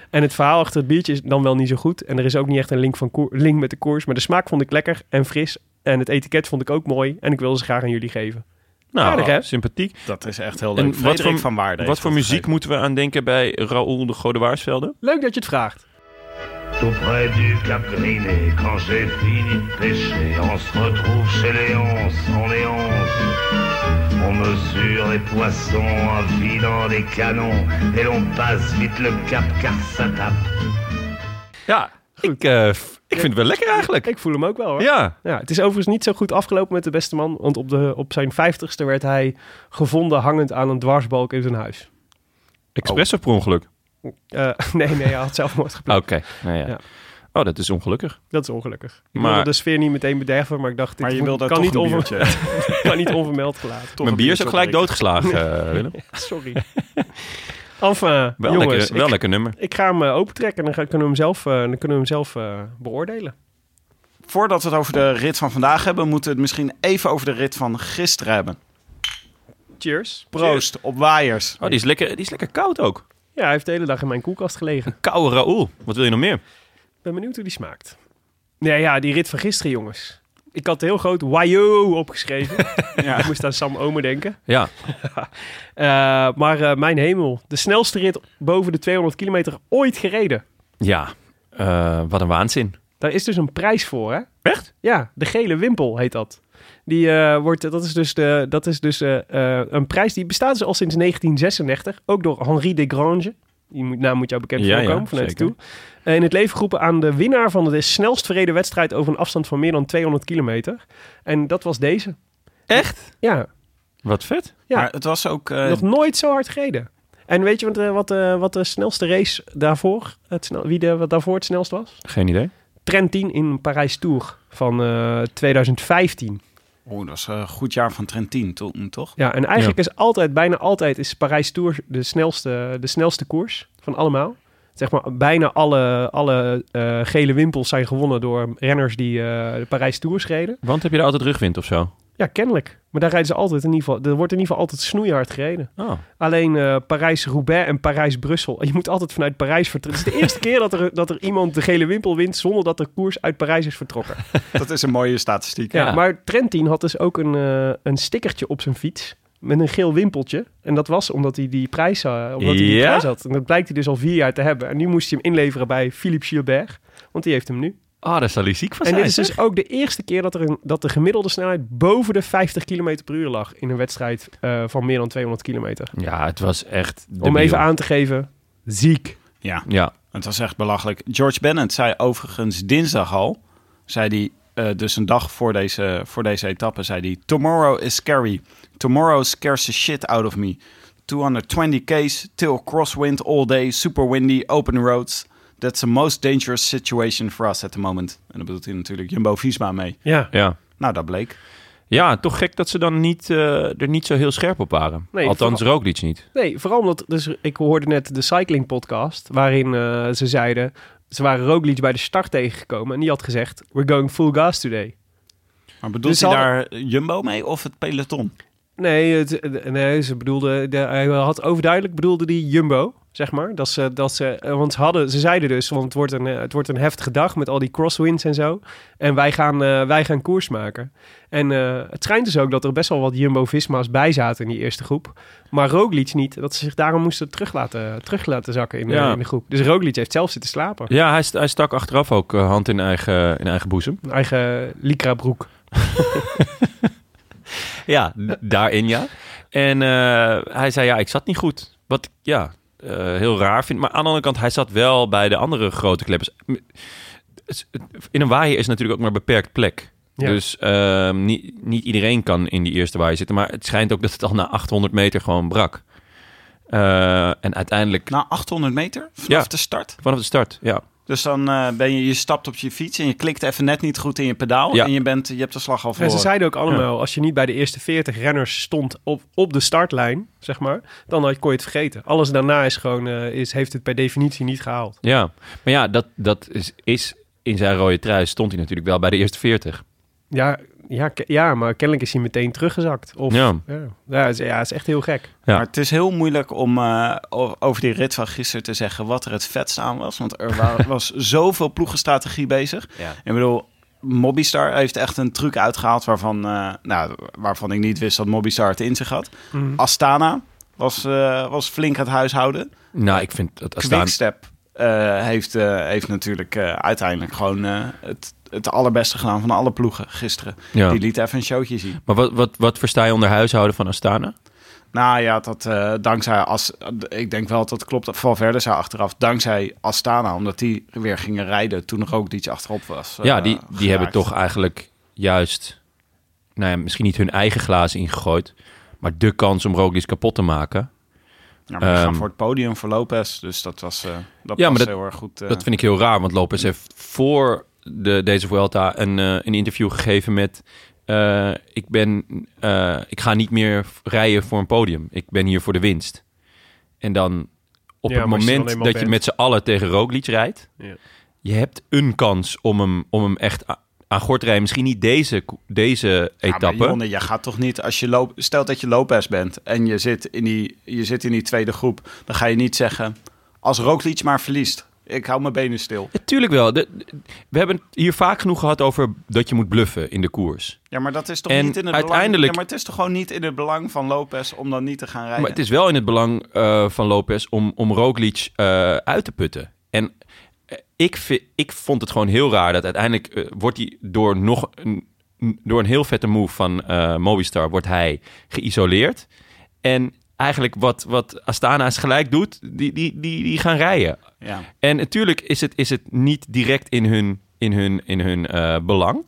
[SPEAKER 2] En het verhaal achter het biertje is dan wel niet zo goed. En er is ook niet echt een link, van koer- link met de koers. Maar de smaak vond ik lekker en fris. En het etiket vond ik ook mooi. En ik wilde ze graag aan jullie geven.
[SPEAKER 1] Nou,
[SPEAKER 2] Aardig, hè?
[SPEAKER 1] sympathiek.
[SPEAKER 5] Dat is echt heel
[SPEAKER 1] En
[SPEAKER 5] leuk.
[SPEAKER 1] wat
[SPEAKER 5] Frederik
[SPEAKER 1] voor-
[SPEAKER 5] van Waarden
[SPEAKER 1] Wat
[SPEAKER 5] heeft
[SPEAKER 1] voor
[SPEAKER 5] dat
[SPEAKER 1] muziek
[SPEAKER 5] gegeven.
[SPEAKER 1] moeten we aan denken bij Raoul de Gode Waarsvelde?
[SPEAKER 2] Leuk dat je het vraagt.
[SPEAKER 6] Tout près du Cap Griné, quand j'ai fini de pêcher, on se retrouve chez Léonce, en Léonce. On mesure les poissons en filant des canons, et l'on passe vite le cap car ça tape.
[SPEAKER 1] Ja, ik, eh, f- ik vind het wel lekker eigenlijk.
[SPEAKER 2] Ik voel hem ook wel hoor.
[SPEAKER 1] Ja,
[SPEAKER 2] Ja, het is overigens niet zo goed afgelopen met de beste man. Want op, de, op zijn vijftigste werd hij gevonden hangend aan een dwarsbalk in zijn huis.
[SPEAKER 1] expres of per ongeluk?
[SPEAKER 2] Eh, (laughs) nee, nee, hij had zelfmoord gepleegd.
[SPEAKER 1] Oké, nou ja.
[SPEAKER 2] Ja.
[SPEAKER 1] Oh, dat is ongelukkig.
[SPEAKER 2] Dat is ongelukkig. Ik
[SPEAKER 1] Maar-
[SPEAKER 2] wilde de sfeer niet meteen bederven, maar ik dacht, dit
[SPEAKER 5] Maar je
[SPEAKER 2] moet-
[SPEAKER 5] wil daar
[SPEAKER 2] kan,
[SPEAKER 5] toch
[SPEAKER 2] niet
[SPEAKER 5] een
[SPEAKER 2] onver-
[SPEAKER 5] biertje.
[SPEAKER 2] (laughs) kan niet onvermeld gelaten.
[SPEAKER 1] Mijn bier is ook gelijk doodgeslagen,
[SPEAKER 2] (laughs)
[SPEAKER 1] eh, Willem. (laughs)
[SPEAKER 2] Sorry. Enfin,
[SPEAKER 1] Wel,
[SPEAKER 2] jongens,
[SPEAKER 1] lekker, wel
[SPEAKER 2] ik,
[SPEAKER 1] lekker nummer.
[SPEAKER 2] ik ga hem eh, opentrekken en dan, ga, kunnen we hem zelf, eh, dan kunnen we hem zelf eh, beoordelen.
[SPEAKER 5] Voordat we het over de rit van vandaag hebben, moeten we het misschien even over de rit van gisteren hebben.
[SPEAKER 2] Cheers.
[SPEAKER 5] Proost op waaiers.
[SPEAKER 1] Oh, die is lekker, die is lekker koud ook.
[SPEAKER 2] Ja, hij heeft de hele dag in mijn koelkast gelegen.
[SPEAKER 1] (laughs) Koude Raoul. Wat wil je nog meer?
[SPEAKER 2] Ik ben benieuwd hoe die smaakt. Nee, ja, die rit van gisteren, jongens. Ik had heel groot wajo
[SPEAKER 1] (laughs)
[SPEAKER 2] opgeschreven.
[SPEAKER 5] Ja.
[SPEAKER 2] Ik moest aan Sam Omer denken.
[SPEAKER 1] Ja,
[SPEAKER 2] Eh, maar eh, mijn hemel, de snelste rit boven de 200 kilometer ooit gereden.
[SPEAKER 1] ja. Eh, wat een waanzin.
[SPEAKER 2] Daar is dus een prijs voor, hè?
[SPEAKER 1] Echt?
[SPEAKER 2] Ja, de gele wimpel heet dat. Die eh, wordt, dat is dus, de, dat is dus eh, eh, een prijs die bestaat dus al sinds 1936. Ook door Henri de Grange. Die moet- naam moet jou bekend
[SPEAKER 1] Ja, ja,
[SPEAKER 2] voorkomen vanuit
[SPEAKER 1] zeker.
[SPEAKER 2] toe. Eh, in het leven geroepen aan de winnaar van de snelst verreden wedstrijd over een afstand van meer dan 200 kilometer. En dat was deze.
[SPEAKER 1] Echt?
[SPEAKER 2] Ja,
[SPEAKER 1] Wat vet.
[SPEAKER 2] Ja.
[SPEAKER 5] Maar het was ook... eh,
[SPEAKER 2] nog nooit zo hard gereden. En weet je wat, eh, wat, eh, wat de snelste race daarvoor, het snel, wie de, wat daarvoor het snelst was?
[SPEAKER 1] Geen idee.
[SPEAKER 2] Trentin in Parijs Tour van eh, 2015.
[SPEAKER 5] Oeh, dat is een goed jaar van Trentin, toen, toch?
[SPEAKER 2] Ja, en eigenlijk is altijd, bijna altijd, is Parijs Tour de snelste, de snelste koers van allemaal. Zeg maar, bijna alle, alle eh, gele wimpels zijn gewonnen door renners die eh, de Parijs Tours reden.
[SPEAKER 1] Want heb je daar altijd rugwind of zo?
[SPEAKER 2] Ja, kennelijk. Maar daar rijden ze altijd in ieder geval. Er wordt in ieder geval altijd snoeihard gereden.
[SPEAKER 1] Oh.
[SPEAKER 2] Alleen eh, Parijs-Roubaix en Parijs-Brussel. En Je moet altijd vanuit Parijs vertrekken. Het is de eerste keer dat er, dat er iemand de gele wimpel wint zonder dat de koers uit Parijs is vertrokken.
[SPEAKER 5] Dat is een mooie statistiek.
[SPEAKER 2] Ja,
[SPEAKER 1] Ja.
[SPEAKER 2] Maar Trentin had dus ook een, eh, een stickertje op zijn fiets. Met een geel wimpeltje. En dat was omdat hij die prijs, eh, omdat hij die
[SPEAKER 1] Ja?
[SPEAKER 2] prijs had. En dat blijkt hij dus al vier jaar te hebben. En nu moest hij hem inleveren bij Philippe Gilbert. Want die heeft hem nu.
[SPEAKER 1] Ah, daar zal hij ziek van
[SPEAKER 2] En
[SPEAKER 1] zijn.
[SPEAKER 2] dit is
[SPEAKER 1] zeg.
[SPEAKER 2] dus ook de eerste keer dat, er een, dat de gemiddelde snelheid boven de 50 km per uur lag. In een wedstrijd eh, van meer dan 200 kilometer.
[SPEAKER 1] Ja, het was echt...
[SPEAKER 2] dus- Om
[SPEAKER 1] debiel.
[SPEAKER 2] even aan te geven, ziek.
[SPEAKER 5] Ja,
[SPEAKER 1] Ja,
[SPEAKER 5] het was echt belachelijk. George Bennett zei overigens dinsdag al, zei die, eh, dus een dag voor deze, voor deze etappe, zei die: Tomorrow is scary. Tomorrow scares the shit out of me. 220 k's, till crosswind all day, super windy, open roads. That's the most dangerous situation for us at the moment. En daar bedoelt hij natuurlijk Jumbo-Visma mee.
[SPEAKER 2] Ja.
[SPEAKER 1] ja.
[SPEAKER 5] Nou, dat bleek.
[SPEAKER 1] Ja, toch gek dat ze dan niet, eh, er niet zo heel scherp op waren.
[SPEAKER 2] Nee,
[SPEAKER 1] Althans, Roglic niet.
[SPEAKER 2] Nee, vooral omdat... Dus ik hoorde net de cycling podcast, waarin eh, ze zeiden... Ze waren Roglic bij de start tegengekomen en die had gezegd... We're going full gas today.
[SPEAKER 5] Maar bedoelt
[SPEAKER 2] Dus
[SPEAKER 5] hij
[SPEAKER 2] ze
[SPEAKER 5] daar Jumbo mee of het peloton?
[SPEAKER 2] Nee, het, eh, nee ze bedoelde... De, hij had overduidelijk bedoelde die Jumbo, zeg maar. Dat ze, dat ze, eh, want ze, hadden, ze zeiden dus, want het wordt, een, eh, het wordt een heftige dag met al die crosswinds en zo. En wij gaan, eh, wij gaan koers maken. En eh, het schijnt dus ook dat er best wel wat Jumbo-Visma's bij zaten in die eerste groep. Maar Roglic niet. Dat ze zich daarom moesten terug laten, terug laten zakken in, de-
[SPEAKER 1] Ja.
[SPEAKER 2] in de groep. Dus Roglic heeft zelf zitten slapen.
[SPEAKER 1] Ja, hij, st- hij stak achteraf ook eh, hand in eigen, in eigen boezem.
[SPEAKER 2] Een eigen lycra broek.
[SPEAKER 1] Ja, d- daarin ja. En eh, hij zei, ja, ik zat niet goed. Wat ik, ja, eh, heel raar vind. Maar aan de andere kant, hij zat wel bij de andere grote kleppers. M- het- het- In een waaier is natuurlijk ook maar beperkt plek.
[SPEAKER 2] Ja.
[SPEAKER 1] Dus ehm, niet, niet iedereen kan in die eerste waaier zitten. Maar het schijnt ook dat het al na 800 meter gewoon brak. Eh, en uiteindelijk,
[SPEAKER 5] Na 800 meter vanaf
[SPEAKER 1] Ja.
[SPEAKER 5] de start?
[SPEAKER 1] vanaf de start, ja.
[SPEAKER 5] Dus dan eh, ben je, je stapt op je fiets en je klikt even net niet goed in je pedaal.
[SPEAKER 1] Ja.
[SPEAKER 5] En je, bent, je hebt de slag al
[SPEAKER 2] En ze
[SPEAKER 5] verloren.
[SPEAKER 2] zeiden ook allemaal, als je niet bij de eerste 40 renners stond op, op de startlijn, zeg maar, dan had, kon je het vergeten. Alles daarna is gewoon, eh, is, heeft het per definitie niet gehaald.
[SPEAKER 1] Ja, maar ja, dat, dat is, is in zijn rode trui stond hij natuurlijk wel bij de eerste 40.
[SPEAKER 2] Ja, ja, ke- ja maar kennelijk is hij meteen teruggezakt. Of, ja.
[SPEAKER 1] Ja.
[SPEAKER 2] Ja, het is, ja, het is echt heel gek.
[SPEAKER 1] Ja.
[SPEAKER 5] Maar het is heel moeilijk om eh, o- over die rit van gisteren te zeggen wat er het vetst aan was. Want er wa-
[SPEAKER 1] (laughs)
[SPEAKER 5] was zoveel ploegenstrategie bezig.
[SPEAKER 1] Ja.
[SPEAKER 5] Ik bedoel, Mobistar heeft echt een truc uitgehaald waarvan, eh, nou, waarvan ik niet wist dat Mobistar het in zich had. Astana was, eh, was flink aan het huishouden.
[SPEAKER 1] Nou, ik vind dat Astana,
[SPEAKER 5] Quickstep eh, heeft, eh, heeft natuurlijk eh, uiteindelijk gewoon eh, het, het allerbeste gedaan van alle ploegen gisteren.
[SPEAKER 1] Ja.
[SPEAKER 5] Die liet even een showtje zien.
[SPEAKER 1] Maar wat, wat, wat versta je onder huishouden van Astana?
[SPEAKER 5] Nou ja, dat eh, dankzij als ik denk wel dat het klopt. Valverde zei achteraf dankzij Astana, omdat die weer gingen rijden toen er ook iets achterop was. eh,
[SPEAKER 1] ja, die, die
[SPEAKER 5] geraakt.
[SPEAKER 1] hebben toch eigenlijk juist, nou ja, misschien niet hun eigen glazen ingegooid, maar de kans om Roglic kapot te maken.
[SPEAKER 5] Ja, maar die gaan
[SPEAKER 1] ehm,
[SPEAKER 5] voor het podium voor Lopez, dus dat was eh, dat
[SPEAKER 1] Ja,
[SPEAKER 5] was
[SPEAKER 1] maar dat-
[SPEAKER 5] heel erg goed. eh,
[SPEAKER 1] Dat vind ik heel raar, want Lopez heeft voor de, deze Vuelta een, eh, een interview gegeven met... eh, ik, ben, eh, ik ga niet meer v- rijden voor een podium. Ik ben hier voor de winst. En dan op
[SPEAKER 2] Ja,
[SPEAKER 1] het
[SPEAKER 2] maar als je dan
[SPEAKER 1] moment dat
[SPEAKER 2] eenmaal
[SPEAKER 1] je
[SPEAKER 2] bent.
[SPEAKER 1] met z'n allen tegen Roglic rijdt...
[SPEAKER 2] Ja.
[SPEAKER 1] je hebt een kans om hem, om hem echt a- aan gort te rijden. Misschien niet deze, ko- deze
[SPEAKER 5] ja, maar
[SPEAKER 1] etappe.
[SPEAKER 5] Jonne, je gaat toch niet als je loopt. Stel dat je Lopez bent en je zit in die je zit in die tweede groep, dan ga je niet zeggen als Roglic maar verliest. Ik hou mijn benen stil.
[SPEAKER 1] Ja, tuurlijk wel. De- de- we hebben het hier vaak genoeg gehad over dat je moet bluffen in de koers.
[SPEAKER 5] Ja, maar dat is toch
[SPEAKER 1] En
[SPEAKER 5] niet in het belang.
[SPEAKER 1] uiteindelijk-
[SPEAKER 5] Ja, maar het is toch gewoon niet in het belang van Lopez om dan niet te gaan rijden.
[SPEAKER 1] Maar het is wel in het belang eh, van Lopez om, om Roglic eh, uit te putten. En eh, ik, vi- ik vond het gewoon heel raar dat uiteindelijk eh, wordt hij door nog een, door een heel vette move van eh Movistar wordt hij geïsoleerd. En eigenlijk wat, wat Astana's gelijk doet, die, die, die, die gaan rijden.
[SPEAKER 5] Ja.
[SPEAKER 1] En natuurlijk is het, is het niet direct in hun, in hun, in hun eh, belang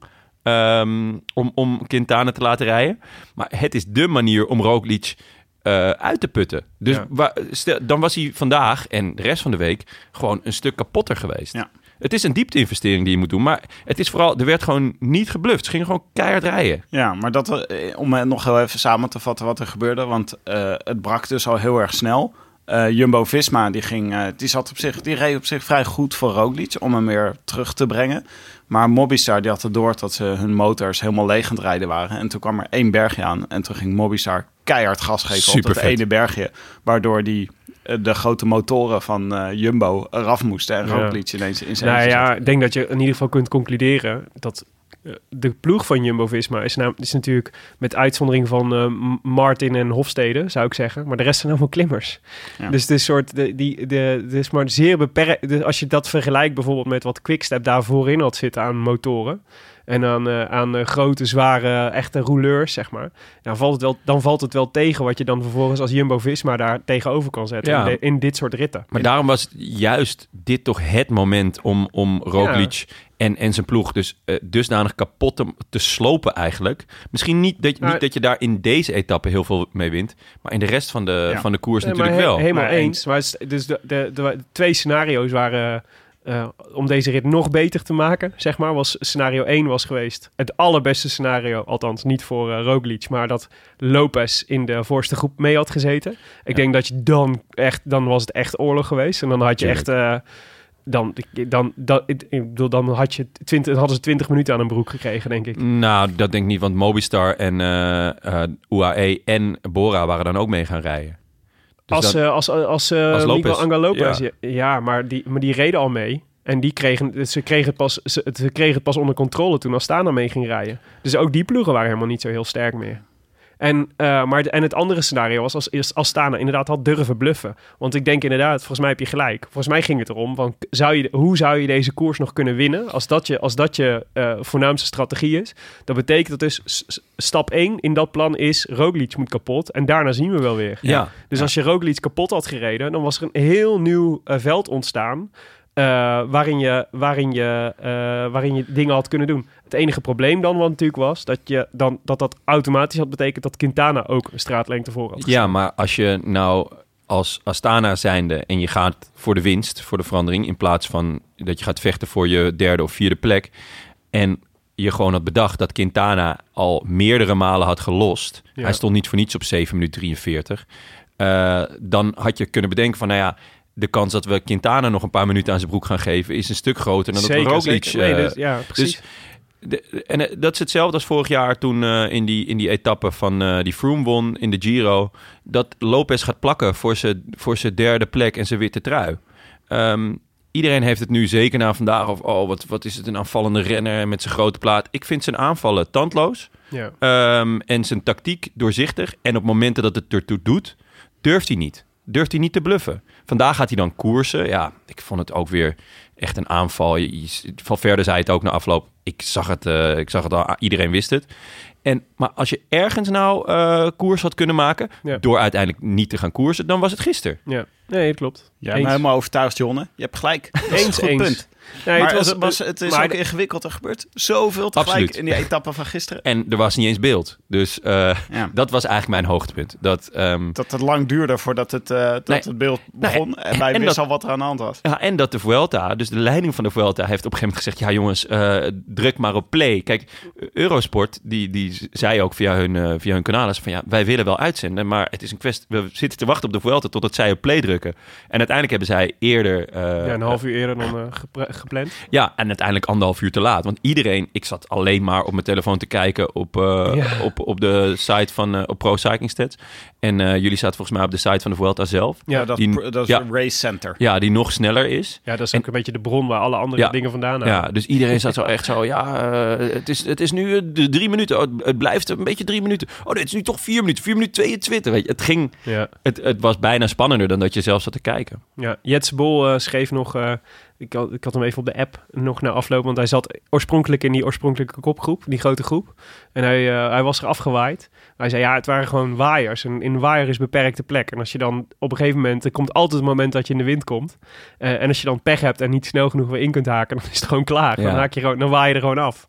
[SPEAKER 1] ehm, om, om Quintana te laten rijden. Maar het is dé manier om Roglic eh, uit te putten. Dus wa- stel- dan was hij vandaag en de rest van de week gewoon een stuk kapotter geweest.
[SPEAKER 5] Ja.
[SPEAKER 1] Het is een diepte-investering die je moet doen. Maar het is vooral, er werd gewoon niet gebluft. Ze gingen gewoon keihard rijden.
[SPEAKER 5] Ja, maar dat, eh, om eh, nog heel even samen te vatten wat er gebeurde. Want eh, het brak dus al heel erg snel. eh, Jumbo-Visma, die, ging, eh, die, zat op zich, die reed op zich vrij goed voor Roglic om hem weer terug te brengen. Maar Mobistar die had het door dat ze hun motors helemaal leeg aan het rijden waren. En toen kwam er één bergje aan en toen ging Mobistar keihard gas geven op dat
[SPEAKER 1] Supervet.
[SPEAKER 5] ene bergje. Waardoor die eh, de grote motoren van eh, Jumbo eraf moesten en
[SPEAKER 2] Ja.
[SPEAKER 5] Roglic ineens in zijn
[SPEAKER 2] Nou
[SPEAKER 5] eentje
[SPEAKER 2] ja,
[SPEAKER 5] zat.
[SPEAKER 2] ik denk dat je in ieder geval kunt concluderen dat eh, de ploeg van Jumbo-Visma is, naam- is natuurlijk met uitzondering van eh, M- Martin en Hofstede, zou ik zeggen. Maar de rest zijn allemaal klimmers.
[SPEAKER 5] Ja.
[SPEAKER 2] Dus het is, soort, de, die, de, het is maar zeer beperkt. Dus als je dat vergelijkt bijvoorbeeld met wat Quickstep daar voorin had zitten aan motoren... En aan, eh, aan eh, grote, zware, echte rouleurs, zeg maar. Dan valt, het wel, dan valt het wel tegen wat je dan vervolgens als Jumbo-Visma daar tegenover kan zetten.
[SPEAKER 1] Ja.
[SPEAKER 2] In, de- in dit soort ritten.
[SPEAKER 1] Maar daarom was juist dit toch het moment om, om Roglic en, en zijn ploeg dus eh, dusdanig kapot te, te slopen eigenlijk. Misschien niet dat, je-
[SPEAKER 2] Maar-
[SPEAKER 1] niet dat je daar in deze etappe heel veel mee wint, maar in de rest van de,
[SPEAKER 5] Ja.
[SPEAKER 1] van de koers
[SPEAKER 2] Nee, maar
[SPEAKER 1] natuurlijk
[SPEAKER 2] he-
[SPEAKER 1] wel.
[SPEAKER 2] Helemaal
[SPEAKER 5] Maar
[SPEAKER 2] eens.
[SPEAKER 5] eens.
[SPEAKER 2] Maar het is- dus de, de, de, de twee scenario's waren eh, om deze rit nog beter te maken, zeg maar, was scenario 1 was geweest. Het allerbeste scenario, althans niet voor eh, Roglic, maar dat Lopez in de voorste groep mee had gezeten. Ik denk dat je dan echt, dan was het echt oorlog geweest. En dan had je echt. eh, dan, dan, dan, ik bedoel, dan had je 20, hadden ze 20 minuten aan een broek gekregen, denk ik.
[SPEAKER 1] Nou, dat denk ik niet, want Mobistar en eh, eh, UAE en Bora waren dan ook mee gaan rijden. Dus
[SPEAKER 2] als,
[SPEAKER 1] dat-
[SPEAKER 2] eh, als, als, als, eh,
[SPEAKER 1] Als Lopez.
[SPEAKER 2] Miguel Angel Lopez. Ja,
[SPEAKER 1] Ja.
[SPEAKER 2] maar, die, maar die reden al mee. En die kregen, ze, kregen het pas, ze, het- ze kregen het pas onder controle toen Astana mee ging rijden. Dus ook die ploegen waren helemaal niet zo heel sterk meer. En, eh, maar, de- en het andere scenario was als, als Astana inderdaad had durven bluffen. Want ik denk inderdaad, volgens mij heb je gelijk. Volgens mij ging het erom, van, k- zou je, hoe zou je deze koers nog kunnen winnen? Als dat je, als dat je eh, voornaamste strategie is. Dat betekent dat dus s- s- stap 1 in dat plan is, Roglic moet kapot. En daarna zien we wel weer.
[SPEAKER 1] ja.
[SPEAKER 2] Dus als je Roglic kapot had gereden, dan was er een heel nieuw eh, veld ontstaan. eh, waarin, je, waarin, je, eh, waarin je dingen had kunnen doen. Het enige probleem dan wat natuurlijk was, dat, je dan, dat dat automatisch had betekend dat Quintana ook een straatlengte voor had.
[SPEAKER 1] Ja, maar als je nou als Astana zijnde en je gaat voor de winst, voor de verandering, in plaats van dat je gaat vechten voor je derde of vierde plek. En je gewoon had bedacht dat Quintana al meerdere malen had gelost.
[SPEAKER 2] Ja.
[SPEAKER 1] Hij stond niet voor niets op 7 minuten 43. eh, dan had je kunnen bedenken van, nou ja, de kans dat we Quintana nog een paar minuten aan zijn broek gaan geven is een stuk groter dan dat we Roglic...
[SPEAKER 2] Nee,
[SPEAKER 1] eh,
[SPEAKER 2] dus- ja, precies.
[SPEAKER 1] dus de- en eh, dat is hetzelfde als vorig jaar toen eh, in, die, in die etappe van eh, die Froome won in de Giro. Dat Lopez gaat plakken voor zijn, voor zijn derde plek en zijn witte trui. Ehm, iedereen heeft het nu zeker na vandaag of oh, wat, wat is het een aanvallende renner met zijn grote plaat. Ik vind zijn aanvallen tandloos
[SPEAKER 2] ja.
[SPEAKER 1] ehm, en zijn tactiek doorzichtig. En op momenten dat het ertoe doet, durft hij niet. Durft hij niet te bluffen. Vandaag gaat hij dan koersen. Ja, ik vond het ook weer echt een aanval. Je, je, Valverde zei het ook na afloop. Ik zag het, eh, ik zag het al, iedereen wist het. En, maar als je ergens nou eh, koers had kunnen maken...
[SPEAKER 2] Ja.
[SPEAKER 1] door uiteindelijk niet te gaan koersen, dan was het gisteren.
[SPEAKER 2] ja, nee, dat klopt.
[SPEAKER 5] Ja,
[SPEAKER 2] Eens.
[SPEAKER 5] maar helemaal overtuigd, Jonne. Je hebt gelijk. Dat is een
[SPEAKER 2] Eens,
[SPEAKER 5] goed
[SPEAKER 2] eens.
[SPEAKER 5] punt.
[SPEAKER 2] Nee,
[SPEAKER 5] maar het, was, het is
[SPEAKER 2] maar-
[SPEAKER 5] ook ingewikkeld. Er gebeurt zoveel tegelijk
[SPEAKER 1] Absoluut.
[SPEAKER 5] in die etappe van gisteren.
[SPEAKER 1] En er was niet eens beeld. Dus eh, (laughs)
[SPEAKER 5] Ja.
[SPEAKER 1] dat was eigenlijk mijn hoogtepunt. Dat, ehm,
[SPEAKER 5] Dat het lang duurde voordat het, eh, dat
[SPEAKER 1] Nee.
[SPEAKER 5] het beeld
[SPEAKER 1] Nee.
[SPEAKER 5] begon. En wij
[SPEAKER 1] En
[SPEAKER 5] wisten
[SPEAKER 1] dat-
[SPEAKER 5] al wat er aan de hand was.
[SPEAKER 1] Ja, en dat de Vuelta, dus de leiding van de Vuelta, heeft op een gegeven moment gezegd: ja, jongens, eh, druk maar op play. Kijk, Eurosport, die, die zei ook via hun, eh, via hun kanalen: van ja, wij willen wel uitzenden, maar het is een kwestie. We zitten te wachten op de Vuelta totdat zij op play drukken. En uiteindelijk hebben zij eerder. eh,
[SPEAKER 2] ja, nou. een half uur eerder dan eh, gepra- gepland.
[SPEAKER 1] ja, en uiteindelijk anderhalf uur te laat. Want iedereen, ik zat alleen maar op mijn telefoon te kijken op, eh,
[SPEAKER 2] Ja.
[SPEAKER 1] op, op de site van eh, op Pro Cycling Stats. En eh, jullie zaten volgens mij op de site van de Vuelta zelf.
[SPEAKER 2] Ja,
[SPEAKER 5] Ja, dat,
[SPEAKER 1] die-
[SPEAKER 5] pr- dat is
[SPEAKER 1] ja.
[SPEAKER 5] een race center.
[SPEAKER 1] Ja, die nog sneller is.
[SPEAKER 2] Ja, dat is
[SPEAKER 1] En-
[SPEAKER 2] ook een beetje de bron waar alle andere
[SPEAKER 1] Ja.
[SPEAKER 2] dingen vandaan
[SPEAKER 1] Ja,
[SPEAKER 2] halen.
[SPEAKER 1] dus iedereen staat zo echt zo, ja, eh, het, is, het is nu eh, de drie minuten. Oh, het- het blijft een beetje drie minuten. Oh nee, het is nu toch vier minuten. Vier minuten 22. Weet je, het, ging,
[SPEAKER 2] Ja.
[SPEAKER 1] het, het was bijna spannender dan dat je zelf zat te kijken.
[SPEAKER 2] Ja, Jets Bol eh, schreef nog, eh, ik, had, ik had hem even op de app nog na afloop, want hij zat oorspronkelijk in die oorspronkelijke kopgroep, die grote groep. En hij, eh, hij was er afgewaaid. Hij zei, ja, het waren gewoon waaiers. En in een waaier is beperkte plek. En als je dan op een gegeven moment, er komt altijd het moment dat je in de wind komt. Eh, en als je dan pech hebt en niet snel genoeg weer in kunt haken, (laughs) dan is het gewoon klaar. Dan,
[SPEAKER 1] Ja.
[SPEAKER 2] haak je gewoon, dan waai je er gewoon af.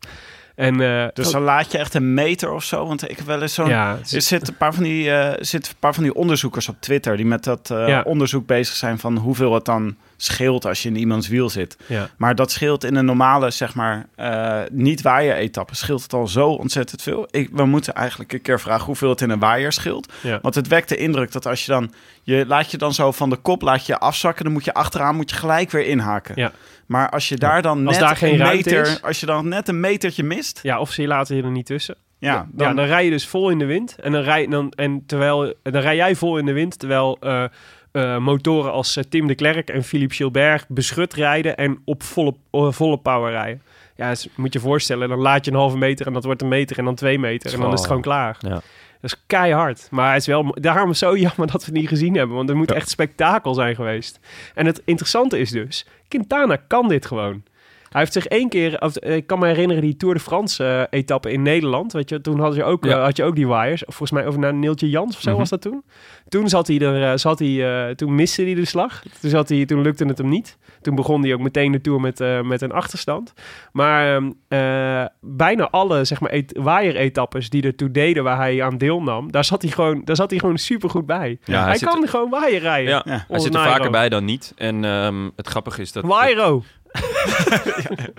[SPEAKER 2] En, eh,
[SPEAKER 5] Dus
[SPEAKER 2] dat-
[SPEAKER 5] dan laat je echt een meter of zo. Want ik heb wel eens zo'n...
[SPEAKER 2] ja,
[SPEAKER 5] Er zitten een, paar van die, eh, zitten een paar van die onderzoekers op Twitter... die met dat eh,
[SPEAKER 2] Ja.
[SPEAKER 5] onderzoek bezig zijn van hoeveel het dan scheelt als je in iemands wiel zit.
[SPEAKER 2] Ja.
[SPEAKER 5] Maar dat scheelt in een normale, zeg maar, eh niet waaien etappe scheelt het al zo ontzettend veel. Ik, we moeten eigenlijk een keer vragen hoeveel het in een waaier scheelt.
[SPEAKER 2] Ja.
[SPEAKER 5] Want het wekt de indruk dat als je dan... Je laat je dan zo van de kop laat je afzakken, dan moet je achteraan moet je gelijk weer inhaken.
[SPEAKER 2] Ja.
[SPEAKER 5] Maar als je daar dan
[SPEAKER 2] Als
[SPEAKER 5] net
[SPEAKER 2] daar geen
[SPEAKER 5] een
[SPEAKER 2] ruimte
[SPEAKER 5] meter...
[SPEAKER 2] is.
[SPEAKER 5] Als je dan net een metertje mist...
[SPEAKER 2] Ja, of ze laten je er niet tussen.
[SPEAKER 5] Ja, dan,
[SPEAKER 2] ja, dan rij je dus vol in de wind. En dan rij, dan, en terwijl, en dan rij jij vol in de wind, terwijl eh, eh, motoren als eh, Tim de Klerk en Philippe Gilbert beschut rijden en op volle, eh, volle power rijden. Ja, dus moet je voorstellen, dan laat je een halve meter en dat wordt een meter en dan twee meter. En dan is het gewoon klaar.
[SPEAKER 1] Ja.
[SPEAKER 2] Dat is keihard. Maar het is wel, daarom zo jammer dat we het niet gezien hebben. Want er moet echt spektakel zijn geweest. En het interessante is dus, Quintana kan dit gewoon. Hij heeft zich één keer, of, eh, ik kan me herinneren die Tour de France eh, etappe in Nederland. Weet je, toen had je ook,
[SPEAKER 1] Ja. Mhm.
[SPEAKER 2] eh, had je ook die wires. Of Volgens mij over naar Neeltje Jans of zo was dat toen. Toen zat hij er, eh, zat hij, eh, toen miste hij de slag. Toen, zat hij, toen lukte het hem niet. Toen begon hij ook meteen de Tour met, eh, met een achterstand. Maar ehm, eh, bijna alle, zeg maar, et- waaier-etappes die er toe deden waar hij aan deelnam, daar zat hij gewoon, daar zat hij gewoon supergoed bij.
[SPEAKER 1] Ja, hij
[SPEAKER 2] hij
[SPEAKER 1] zit-
[SPEAKER 2] kan gewoon waaier rijden.
[SPEAKER 1] Ja,
[SPEAKER 5] Ja.
[SPEAKER 1] hij
[SPEAKER 2] Onze
[SPEAKER 1] zit er
[SPEAKER 2] Nairo.
[SPEAKER 1] vaker bij dan niet. En ehm, het grappige is dat,
[SPEAKER 2] Wairo.
[SPEAKER 1] dat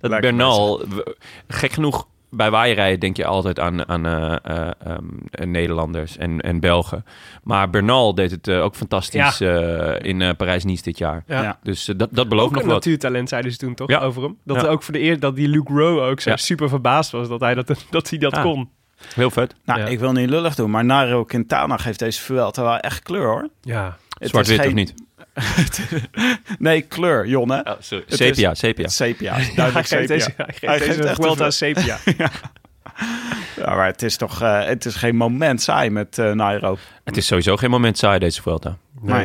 [SPEAKER 5] Lijkt me
[SPEAKER 1] Bernal... we- Gek genoeg, bij waaierrijden denk je altijd aan, aan eh, eh, ehm, eh, Nederlanders en, en Belgen. Maar Bernal deed het eh, ook fantastisch eh, in eh, Parijs-Nice dit jaar.
[SPEAKER 2] Ja.
[SPEAKER 5] Ja.
[SPEAKER 1] Dus eh, dat, dat belooft
[SPEAKER 2] ook
[SPEAKER 1] nog
[SPEAKER 2] een
[SPEAKER 1] wat.
[SPEAKER 2] natuurtalent, zeiden ze toen toch
[SPEAKER 1] Ja.
[SPEAKER 2] over hem. Dat
[SPEAKER 1] Ja.
[SPEAKER 2] ook voor de eer dat die Luke Rowe ook zo
[SPEAKER 1] Ja.
[SPEAKER 2] super verbaasd was dat hij dat, dat, hij dat
[SPEAKER 1] Ja.
[SPEAKER 2] kon.
[SPEAKER 1] Heel vet.
[SPEAKER 5] nou,
[SPEAKER 2] ja.
[SPEAKER 5] ik wil niet lullig doen, maar Nairo Quintana geeft deze Vuelta wel echt kleur, hoor.
[SPEAKER 2] Ja.
[SPEAKER 5] Het
[SPEAKER 1] Zwart-wit
[SPEAKER 5] is
[SPEAKER 1] of
[SPEAKER 5] geen-
[SPEAKER 1] niet?
[SPEAKER 5] Nee, kleur, Jonne.
[SPEAKER 1] Oh,
[SPEAKER 5] Het is-
[SPEAKER 1] Sepia, sepia.
[SPEAKER 2] (laughs)
[SPEAKER 5] Sepia,
[SPEAKER 2] Oh, Hij
[SPEAKER 5] duidelijk
[SPEAKER 2] geeft
[SPEAKER 5] sepia.
[SPEAKER 2] deze, hij geeft
[SPEAKER 5] Hij geeft
[SPEAKER 2] deze
[SPEAKER 5] echt
[SPEAKER 2] Vuelta
[SPEAKER 5] een-
[SPEAKER 2] sepia.
[SPEAKER 5] Ja, maar het is toch eh, het is geen moment saai met eh, Nairo.
[SPEAKER 1] Het is sowieso geen moment saai deze Vuelta.
[SPEAKER 5] Nee.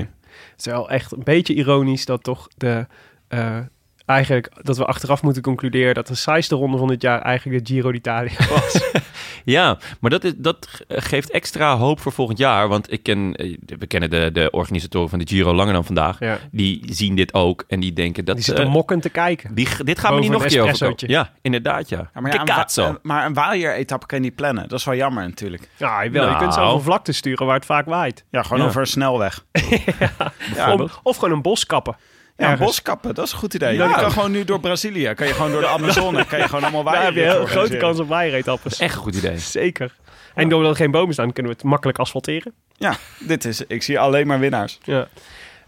[SPEAKER 2] Het is wel echt een beetje ironisch dat toch de... eh, eigenlijk dat we achteraf moeten concluderen dat de saaiste ronde van dit jaar eigenlijk de Giro d'Italia was.
[SPEAKER 1] Ja, maar dat, is, dat ge- geeft extra hoop voor volgend jaar. Want ik ken, eh, we kennen de, de organisatoren van de Giro langer dan vandaag.
[SPEAKER 2] Ja.
[SPEAKER 1] Die zien dit ook en die denken dat...
[SPEAKER 2] Die zitten
[SPEAKER 1] eh,
[SPEAKER 2] mokkend te kijken.
[SPEAKER 1] die, g- dit gaat me
[SPEAKER 2] boven
[SPEAKER 1] niet nog
[SPEAKER 2] een
[SPEAKER 1] een keer overkomen.
[SPEAKER 2] espressootje.
[SPEAKER 1] Ja, inderdaad ja.
[SPEAKER 5] Ja, maar, ja, een wa-
[SPEAKER 1] Kikatso.
[SPEAKER 5] een- maar een waaier-etappe kan je niet plannen. Dat is wel jammer natuurlijk.
[SPEAKER 2] Ja, jawel, je kunt ze
[SPEAKER 1] Nou.
[SPEAKER 2] over vlakte sturen waar het vaak waait.
[SPEAKER 5] Ja, gewoon
[SPEAKER 1] Ja.
[SPEAKER 5] over een snelweg.
[SPEAKER 2] Om- of gewoon een bos kappen.
[SPEAKER 5] Ja,
[SPEAKER 2] Ergens.
[SPEAKER 5] boskappen, dat is een goed idee. Je kan gewoon nu door Brazilië, kan je gewoon door de Amazone, kan je gewoon allemaal
[SPEAKER 2] Daar heb je
[SPEAKER 5] waaien.
[SPEAKER 2] heel grote kans op waaieretappers.
[SPEAKER 1] Echt een goed idee.
[SPEAKER 2] Zeker. En doordat er geen bomen staan, kunnen we het makkelijk asfalteren.
[SPEAKER 5] Ja, dit is, ik zie alleen maar winnaars.
[SPEAKER 2] Ja.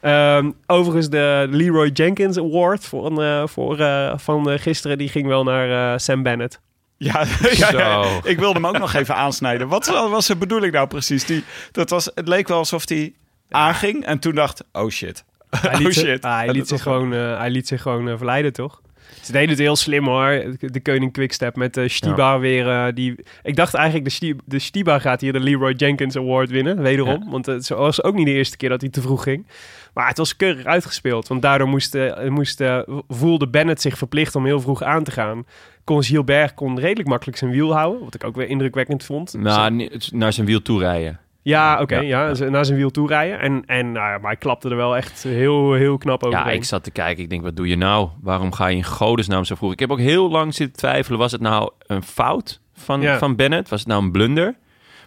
[SPEAKER 2] Ehm, overigens, de Leroy Jenkins Award voor, eh, voor, eh, van eh, gisteren, die ging wel naar eh, Sam Bennett.
[SPEAKER 5] Ja, (laughs) ja, ja.
[SPEAKER 1] Zo.
[SPEAKER 5] ik wilde hem ook nog even aansnijden. Wat was zijn bedoeling nou precies? Die, dat was, het leek wel alsof hij aanging en toen dacht, oh shit.
[SPEAKER 2] Hij
[SPEAKER 5] Oh
[SPEAKER 2] liet, zich-
[SPEAKER 5] shit.
[SPEAKER 2] ah, hij
[SPEAKER 5] Ja,
[SPEAKER 2] liet
[SPEAKER 5] dat
[SPEAKER 2] zich
[SPEAKER 5] was wel-
[SPEAKER 2] gewoon, eh, hij liet zich gewoon eh, verleiden, toch? Ze deden het heel slim hoor. De koning Quickstep met eh Stiba weer. eh, die... Ik dacht eigenlijk, de, Sti- de Stiba gaat hier de Leroy Jenkins Award winnen. Wederom. Want eh, het was ook niet de eerste keer dat hij te vroeg ging. Maar het was keurig uitgespeeld. Want daardoor moest, eh, moest, eh, voelde Bennett zich verplicht om heel vroeg aan te gaan. Kon Gilbert kon redelijk makkelijk zijn wiel houden. Wat ik ook weer indrukwekkend vond.
[SPEAKER 1] Nou, ni- het- naar zijn wiel toe rijden.
[SPEAKER 2] ja, oké.
[SPEAKER 1] Ja.
[SPEAKER 2] ja, ze- naar zijn wiel toe rijden. En, en, nou ja, maar hij klapte er wel echt heel, heel knap over.
[SPEAKER 1] Ja, ik zat te kijken. Ik denk, wat doe je nou? Waarom ga je in godesnaam zo vroeg? Ik heb ook heel lang zitten twijfelen. Was het nou een fout van,
[SPEAKER 2] Ja.
[SPEAKER 1] van Bennett? Was het nou een blunder?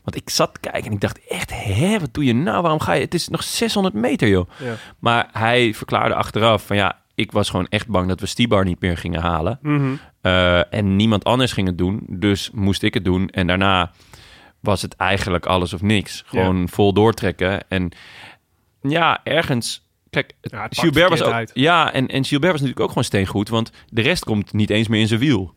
[SPEAKER 1] Want ik zat te kijken en ik dacht echt, hè, wat doe je nou? Waarom ga je? Het is nog 600 meter, joh.
[SPEAKER 2] Ja.
[SPEAKER 1] Maar hij verklaarde achteraf van ja, ik was gewoon echt bang dat we Stibar niet meer gingen halen.
[SPEAKER 2] Mhm.
[SPEAKER 1] Eh, en niemand anders ging het doen, dus moest ik het doen. En daarna was het eigenlijk alles of niks. Gewoon vol doortrekken. En ja, ergens... Kijk, het-
[SPEAKER 2] Ja, het pakt
[SPEAKER 1] Gilbert was ook...
[SPEAKER 2] verkeerd uit.
[SPEAKER 1] Ja, en, en Gilbert was natuurlijk ook gewoon steengoed, want de rest komt niet eens meer in zijn wiel.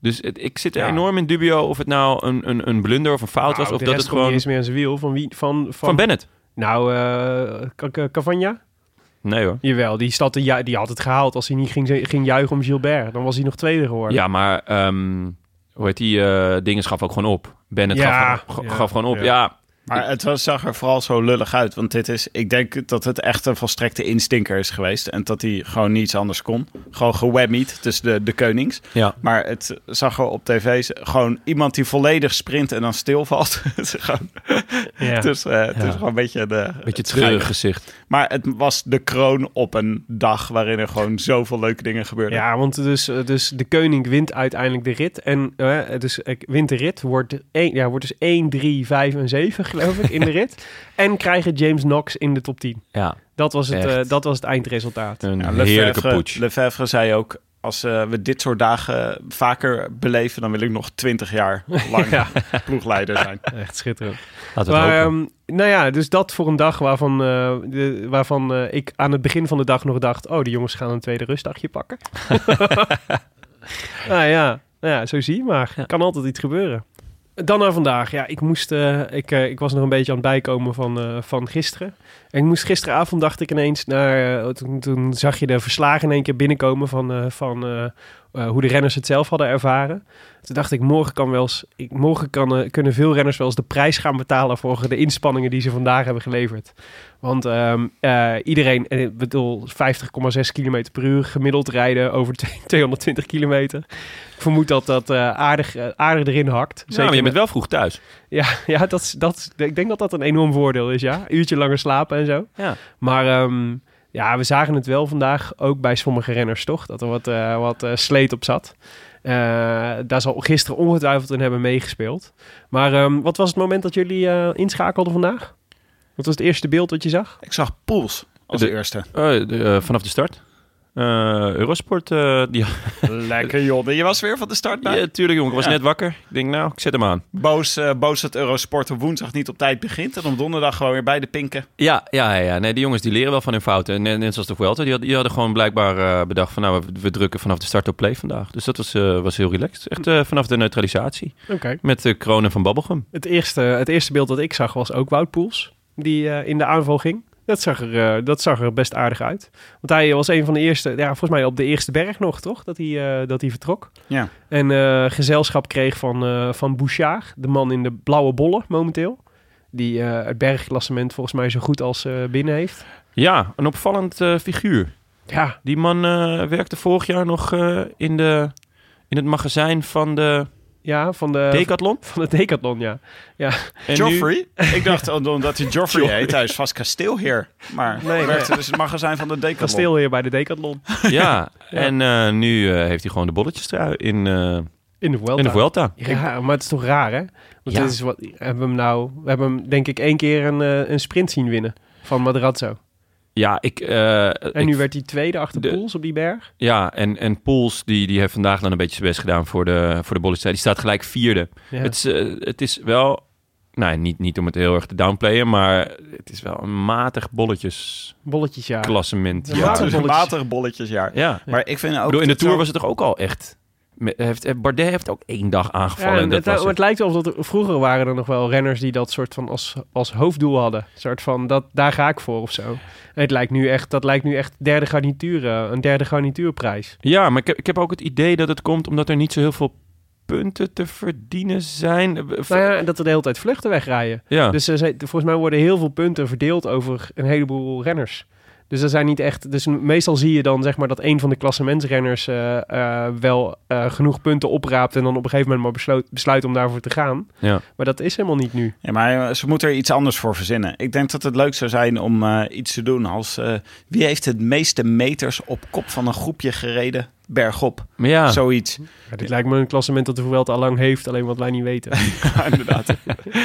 [SPEAKER 1] Dus het- ik zit er
[SPEAKER 5] Ja.
[SPEAKER 1] enorm in dubio of het nou een, een, een blunder of een fout was.
[SPEAKER 2] Nou,
[SPEAKER 1] Of
[SPEAKER 2] de
[SPEAKER 1] dat
[SPEAKER 2] rest
[SPEAKER 1] het
[SPEAKER 2] komt
[SPEAKER 1] gewoon...
[SPEAKER 2] niet eens meer aan zijn wiel. Van wie? Van, van,
[SPEAKER 1] Van Bennett?
[SPEAKER 2] Nou, eh, Ca- Ca- Cavagna?
[SPEAKER 1] Nee hoor.
[SPEAKER 2] Jawel, die, stad, die, die had het gehaald. Als hij niet ging, ze- ging juichen om Gilbert, dan was hij nog tweede geworden.
[SPEAKER 1] Ja, maar ehm hoe heet die? eh dingen gaf ook gewoon op. Bennett
[SPEAKER 2] Ja,
[SPEAKER 1] gaf, gewoon-
[SPEAKER 2] ja,
[SPEAKER 1] gaf gewoon op.
[SPEAKER 2] ja.
[SPEAKER 1] Ja.
[SPEAKER 5] Maar het was, zag er vooral zo lullig uit. Want dit is, ik denk dat het echt een volstrekte instinker is geweest. En dat hij gewoon niets anders kon. Gewoon gewammied tussen de, de konings.
[SPEAKER 1] Ja.
[SPEAKER 5] Maar het zag er op tv's gewoon iemand die volledig sprint en dan stilvalt. (laughs) het is gewoon,
[SPEAKER 2] Ja.
[SPEAKER 5] het is, eh, het is gewoon een beetje... De,
[SPEAKER 1] beetje treurig gezicht.
[SPEAKER 5] Maar het was de kroon op een dag waarin er gewoon zoveel leuke dingen gebeurden.
[SPEAKER 2] Ja, want dus, dus de koning wint uiteindelijk de rit. En eh, dus eh, wint de rit, wordt, één, ja, wordt dus 1, 3, 5 en 7 geloof ik, in de
[SPEAKER 1] (laughs)
[SPEAKER 2] rit. En krijgen James Knox in de top 10.
[SPEAKER 1] Ja,
[SPEAKER 2] Dat was het,
[SPEAKER 1] Echt.
[SPEAKER 2] eh, dat was het eindresultaat.
[SPEAKER 1] een
[SPEAKER 5] Ja,
[SPEAKER 1] heerlijke poets.
[SPEAKER 5] Lefevre Nou, zei ook, als eh, we dit soort dagen vaker beleven, dan wil ik nog twintig jaar
[SPEAKER 1] (laughs)
[SPEAKER 5] lang
[SPEAKER 2] Ja.
[SPEAKER 5] ploegleider zijn.
[SPEAKER 2] Echt schitterend.
[SPEAKER 1] Laten we het
[SPEAKER 2] Maar,
[SPEAKER 1] hopen.
[SPEAKER 2] ehm, nou ja, dus dat voor een dag waarvan, eh, de, waarvan eh, ik aan het begin van de dag nog dacht... oh, die jongens gaan een tweede rustdagje
[SPEAKER 1] (laughs)
[SPEAKER 2] pakken. nou ja, nou ja, zo zie je maar. Kan altijd iets gebeuren. Dan naar vandaag. Ja, ik, moest, eh, ik, eh, ik was nog een beetje aan het bijkomen van, eh, van gisteren. En ik moest gisteravond, dacht ik ineens, naar, eh, toen, toen zag je de verslagen in één keer binnenkomen van, eh, van eh, eh, hoe de renners het zelf hadden ervaren. Toen dacht ik, morgen, kan wel eens, ik, morgen kan, eh, kunnen veel renners wel eens de prijs gaan betalen voor de inspanningen die ze vandaag hebben geleverd. Want ehm, eh, iedereen, eh, ik bedoel, 50,6 km per uur gemiddeld rijden over (laughs) 220 kilometer. Ik vermoed dat dat eh, aardig, eh, aardig erin hakt.
[SPEAKER 1] Nou, maar je
[SPEAKER 2] met-
[SPEAKER 1] bent wel vroeg thuis.
[SPEAKER 2] ja, (laughs) ja dat, is- dat, is- ik denk dat dat een enorm voordeel is, ja. Uurtje langer slapen en zo.
[SPEAKER 1] Ja.
[SPEAKER 2] Maar ehm, ja, we zagen het wel vandaag ook bij sommige renners, toch? Dat er wat, eh, wat eh, sleet op zat. Eh, daar zal gisteren ongetwijfeld in hebben meegespeeld. Maar ehm, wat was het moment dat jullie eh, inschakelden vandaag? Wat was het eerste beeld wat je zag?
[SPEAKER 5] Ik zag Poels als
[SPEAKER 1] De-
[SPEAKER 5] eerste.
[SPEAKER 1] Eh, de, eh, vanaf de start. Eh, Eurosport, eh, (laughs) die,
[SPEAKER 5] Lekker joh. Je was weer van de start bij.
[SPEAKER 1] ja, tuurlijk jongen, ik was
[SPEAKER 5] Ja.
[SPEAKER 1] net wakker. Ik denk, nou, ik zet hem aan.
[SPEAKER 5] Boos, eh, boos dat Eurosport op woensdag niet op tijd begint. En op donderdag gewoon weer bij de pinken.
[SPEAKER 1] Ja, ja, ja, ja. Nee, die jongens die leren wel van hun fouten. Net, net zoals de Vuelta. Die, had- die hadden gewoon blijkbaar eh, bedacht van... nou, we, we drukken vanaf de start op play vandaag. Dus dat was, eh, was heel relaxed. Echt eh, vanaf de neutralisatie.
[SPEAKER 2] Oké.
[SPEAKER 1] Met de kronen van Babbelgum.
[SPEAKER 2] Het eerste, het eerste beeld dat ik zag was ook Wout Poels, die eh, in de aanval ging. Dat zag, er, eh, dat zag er best aardig uit. Want hij was een van de eerste, ja, volgens mij op de eerste berg nog, toch? Dat hij, eh, dat hij vertrok.
[SPEAKER 5] Ja.
[SPEAKER 2] En eh, gezelschap kreeg van, eh, van Bouchard, de man in de blauwe bollen momenteel. Die eh, het bergklassement volgens mij zo goed als eh, binnen heeft.
[SPEAKER 1] Ja, een opvallend eh, figuur.
[SPEAKER 2] Ja,
[SPEAKER 1] Die man eh, werkte vorig jaar nog eh, in, de, in het magazijn van de
[SPEAKER 2] ja van, de,
[SPEAKER 1] Decathlon.
[SPEAKER 2] van de Decathlon, ja.
[SPEAKER 1] En
[SPEAKER 5] Joffrey? Ik dacht omdat hij Joffrey heet. Hij is vast kasteelheer. Maar
[SPEAKER 2] Nee,
[SPEAKER 5] werkte dus het magazijn van de Decathlon.
[SPEAKER 2] Kasteel hier bij de Decathlon. (laughs)
[SPEAKER 1] Nu, (laughs) ja, en eh, nu eh, heeft hij gewoon de bolletjes in, eh,
[SPEAKER 2] In de Vuelta.
[SPEAKER 1] in de Vuelta.
[SPEAKER 2] Ja, maar het is toch raar, hè? Want
[SPEAKER 1] Ja.
[SPEAKER 2] dit is wat, hebben we hem nou... We hebben hem, denk ik, één keer een, eh, een sprint zien winnen van Madrazo.
[SPEAKER 1] Ja, ik... eh,
[SPEAKER 2] En
[SPEAKER 1] ik
[SPEAKER 2] nu werd hij tweede achter
[SPEAKER 1] de-
[SPEAKER 2] Poels op die berg.
[SPEAKER 1] Ja, en, en Pools die, die heeft vandaag dan een beetje zijn best gedaan voor de, voor de bolletjes. Die staat gelijk vierde.
[SPEAKER 2] Ja.
[SPEAKER 1] Het, is, eh, het is wel, nou niet, niet om het heel erg te downplayen, maar het is wel een matig bolletjes
[SPEAKER 2] Bolletjes, ja.
[SPEAKER 1] klassement.
[SPEAKER 2] Ja.
[SPEAKER 1] Ja, ja.
[SPEAKER 5] Ja,
[SPEAKER 2] Waterbolletjes.
[SPEAKER 5] waterbolletjes, ja. Maar ik vind ook...
[SPEAKER 1] Ik bedoel, in de
[SPEAKER 5] dat
[SPEAKER 1] Tour
[SPEAKER 5] zo-
[SPEAKER 1] was het toch ook al echt... me- Heeft, eh, Bardet heeft ook één dag
[SPEAKER 2] Ja,
[SPEAKER 1] aangevallen. en
[SPEAKER 2] en
[SPEAKER 1] dat
[SPEAKER 2] het,
[SPEAKER 1] was
[SPEAKER 2] maar
[SPEAKER 1] het.
[SPEAKER 2] het lijkt wel of dat er- vroeger waren er nog wel renners die dat soort van als, als hoofddoel hadden. Een soort van, dat, daar ga ik voor of zo. En het lijkt nu echt, dat lijkt nu echt derde garnituur, eh, een derde garnituurprijs.
[SPEAKER 1] Ja, maar ik heb, ik heb ook het idee dat het komt omdat er niet zo heel veel punten te verdienen zijn. Eh, v-
[SPEAKER 2] Nou ja, en dat er de hele tijd vluchten wegrijden.
[SPEAKER 1] ja.
[SPEAKER 2] Dus er zijn, volgens mij worden heel veel punten verdeeld over een heleboel renners. Dus er zijn niet echt. Dus meestal zie je dan zeg maar dat een van de klassementsrenners eh, eh, wel eh, genoeg punten opraapt. En dan op een gegeven moment maar besloot, besluit om daarvoor te gaan.
[SPEAKER 1] Ja.
[SPEAKER 2] Maar dat is helemaal niet nu.
[SPEAKER 5] Ja, maar eh, ze moeten er iets anders voor verzinnen. Ik denk dat het leuk zou zijn om eh, iets te doen als... eh, wie heeft het meeste meters op kop van een groepje gereden bergop?
[SPEAKER 1] Maar ja, (laughs)
[SPEAKER 5] Zoiets.
[SPEAKER 2] Ja, dit lijkt me een klassement dat de Vuelta al lang heeft, alleen wat wij niet weten.
[SPEAKER 1] (laughs)
[SPEAKER 5] Ja, inderdaad.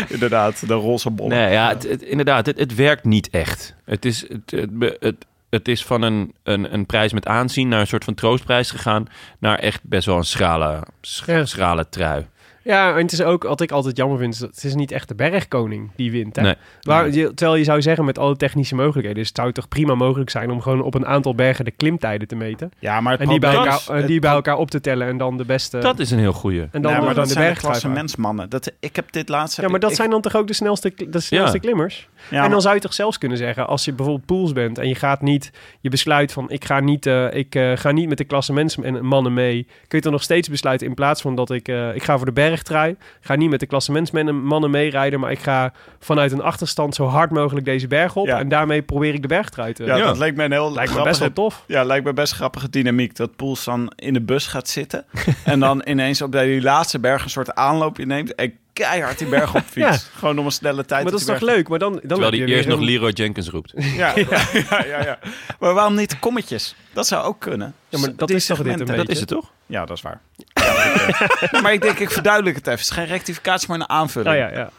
[SPEAKER 5] inderdaad, de roze bol.
[SPEAKER 1] Nee, ja, het, het- inderdaad, het, het werkt niet echt. Het is, het, het, be- het, het is van een, een, een prijs met aanzien naar een soort van troostprijs gegaan... naar echt best wel een schrale, sch-
[SPEAKER 2] Ja.
[SPEAKER 1] schrale trui.
[SPEAKER 2] Ja, en het is ook wat ik altijd jammer vind. Is dat het is niet echt de bergkoning die wint. Hè?
[SPEAKER 1] Nee.
[SPEAKER 2] Waar, je- terwijl je zou zeggen met alle technische mogelijkheden. Dus het zou toch prima mogelijk zijn om gewoon op een aantal bergen de klimtijden te meten.
[SPEAKER 5] Ja, maar het
[SPEAKER 2] En die, bij
[SPEAKER 5] probleem-
[SPEAKER 2] elkaar, en
[SPEAKER 5] het
[SPEAKER 2] die bij elkaar op te tellen en dan de beste.
[SPEAKER 1] Dat is een heel goeie.
[SPEAKER 2] En dan
[SPEAKER 5] nee, maar
[SPEAKER 2] dan
[SPEAKER 5] dat
[SPEAKER 2] de
[SPEAKER 5] zijn de
[SPEAKER 2] bergtrui gaan.
[SPEAKER 5] klassementsmannen. Dat, ik heb dit laatste...
[SPEAKER 2] Ja, maar dat
[SPEAKER 5] ik-
[SPEAKER 2] zijn dan toch ook de snelste, de snelste
[SPEAKER 1] Ja.
[SPEAKER 2] klimmers?
[SPEAKER 5] Ja,
[SPEAKER 2] en dan zou je toch zelfs kunnen zeggen, als je bijvoorbeeld pools bent en je gaat niet, je besluit van ik ga niet, eh, ik, eh, ga niet met de klassementsmannen mee, kun je dan nog steeds besluiten in plaats van dat ik, eh, ik ga voor de bergtrui, ga niet met de klassementsmannen meerijden, maar ik ga vanuit een achterstand zo hard mogelijk deze berg op
[SPEAKER 5] Ja.
[SPEAKER 2] en daarmee probeer ik de bergtrui te...
[SPEAKER 5] Ja,
[SPEAKER 1] Ja.
[SPEAKER 5] dat lijkt me een heel
[SPEAKER 2] Lijkt me
[SPEAKER 5] grappige-
[SPEAKER 2] best wel tof.
[SPEAKER 5] Ja, lijkt me best grappige dynamiek. Dat Poels dan in de bus gaat
[SPEAKER 2] (laughs)
[SPEAKER 5] zitten. en dan ineens op die laatste berg een soort aanloopje neemt. En keihard die
[SPEAKER 2] (laughs)
[SPEAKER 5] berg op fietst. Gewoon om een snelle tijd.
[SPEAKER 2] Maar dat
[SPEAKER 5] op
[SPEAKER 2] is
[SPEAKER 5] die
[SPEAKER 2] toch
[SPEAKER 5] berg-
[SPEAKER 2] leuk? Maar dan, dan
[SPEAKER 1] Terwijl
[SPEAKER 2] heb je
[SPEAKER 1] hij
[SPEAKER 2] weer
[SPEAKER 1] eerst nog
[SPEAKER 2] een-
[SPEAKER 1] Leroy Jenkins roept.
[SPEAKER 2] (laughs)
[SPEAKER 5] Ja, (laughs) ja, ja, ja. Maar waarom niet kommetjes? Dat zou ook kunnen.
[SPEAKER 2] Ja, maar dat
[SPEAKER 5] Die
[SPEAKER 2] is toch dit een
[SPEAKER 5] segmenten.
[SPEAKER 2] beetje?
[SPEAKER 1] Dat is het toch?
[SPEAKER 5] Ja, dat is waar.
[SPEAKER 2] Oh,
[SPEAKER 5] Ja, maar ik denk, ik verduidelijk het even. Het is geen rectificatie, maar een aanvulling.
[SPEAKER 2] Ah, ja, ja.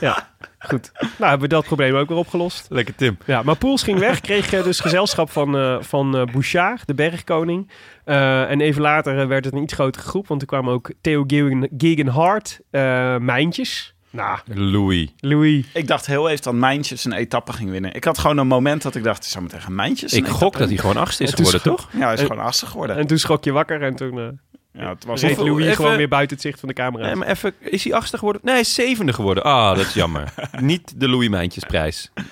[SPEAKER 2] ja. Goed. Nou, hebben we dat probleem ook weer opgelost.
[SPEAKER 1] (laughs) Lekker Tim.
[SPEAKER 2] Ja, maar Poels ging weg, kreeg eh, dus gezelschap van, eh, van eh, Bouchard, de bergkoning. Eh, en even later eh, werd het een iets grotere groep, want er kwamen ook Theo Gegen- Gegenhardt, eh Mijntjes. Nou,
[SPEAKER 1] Louis.
[SPEAKER 2] Louis.
[SPEAKER 5] Ik dacht heel even dat Mijntjes een etappe ging winnen. Ik had gewoon een moment dat ik dacht, zo meteen gaan Mijntjes een
[SPEAKER 1] Ik gok dat hij gewoon achtste is
[SPEAKER 2] Het is
[SPEAKER 1] geworden,
[SPEAKER 2] goed.
[SPEAKER 1] toch?
[SPEAKER 5] etappe- Ja, hij is
[SPEAKER 2] Eh,
[SPEAKER 5] gewoon lastig geworden.
[SPEAKER 2] En toen schrok je wakker en toen eh
[SPEAKER 5] ja, het was
[SPEAKER 2] reed
[SPEAKER 5] heel-
[SPEAKER 2] Louis
[SPEAKER 1] even-
[SPEAKER 2] gewoon weer buiten het zicht van de camera.
[SPEAKER 1] Nee, maar even, is hij achtste geworden? Nee, hij is zevende geworden. Ah, dat is jammer.
[SPEAKER 2] (laughs)
[SPEAKER 1] Niet de Louis Mijntjesprijs. Het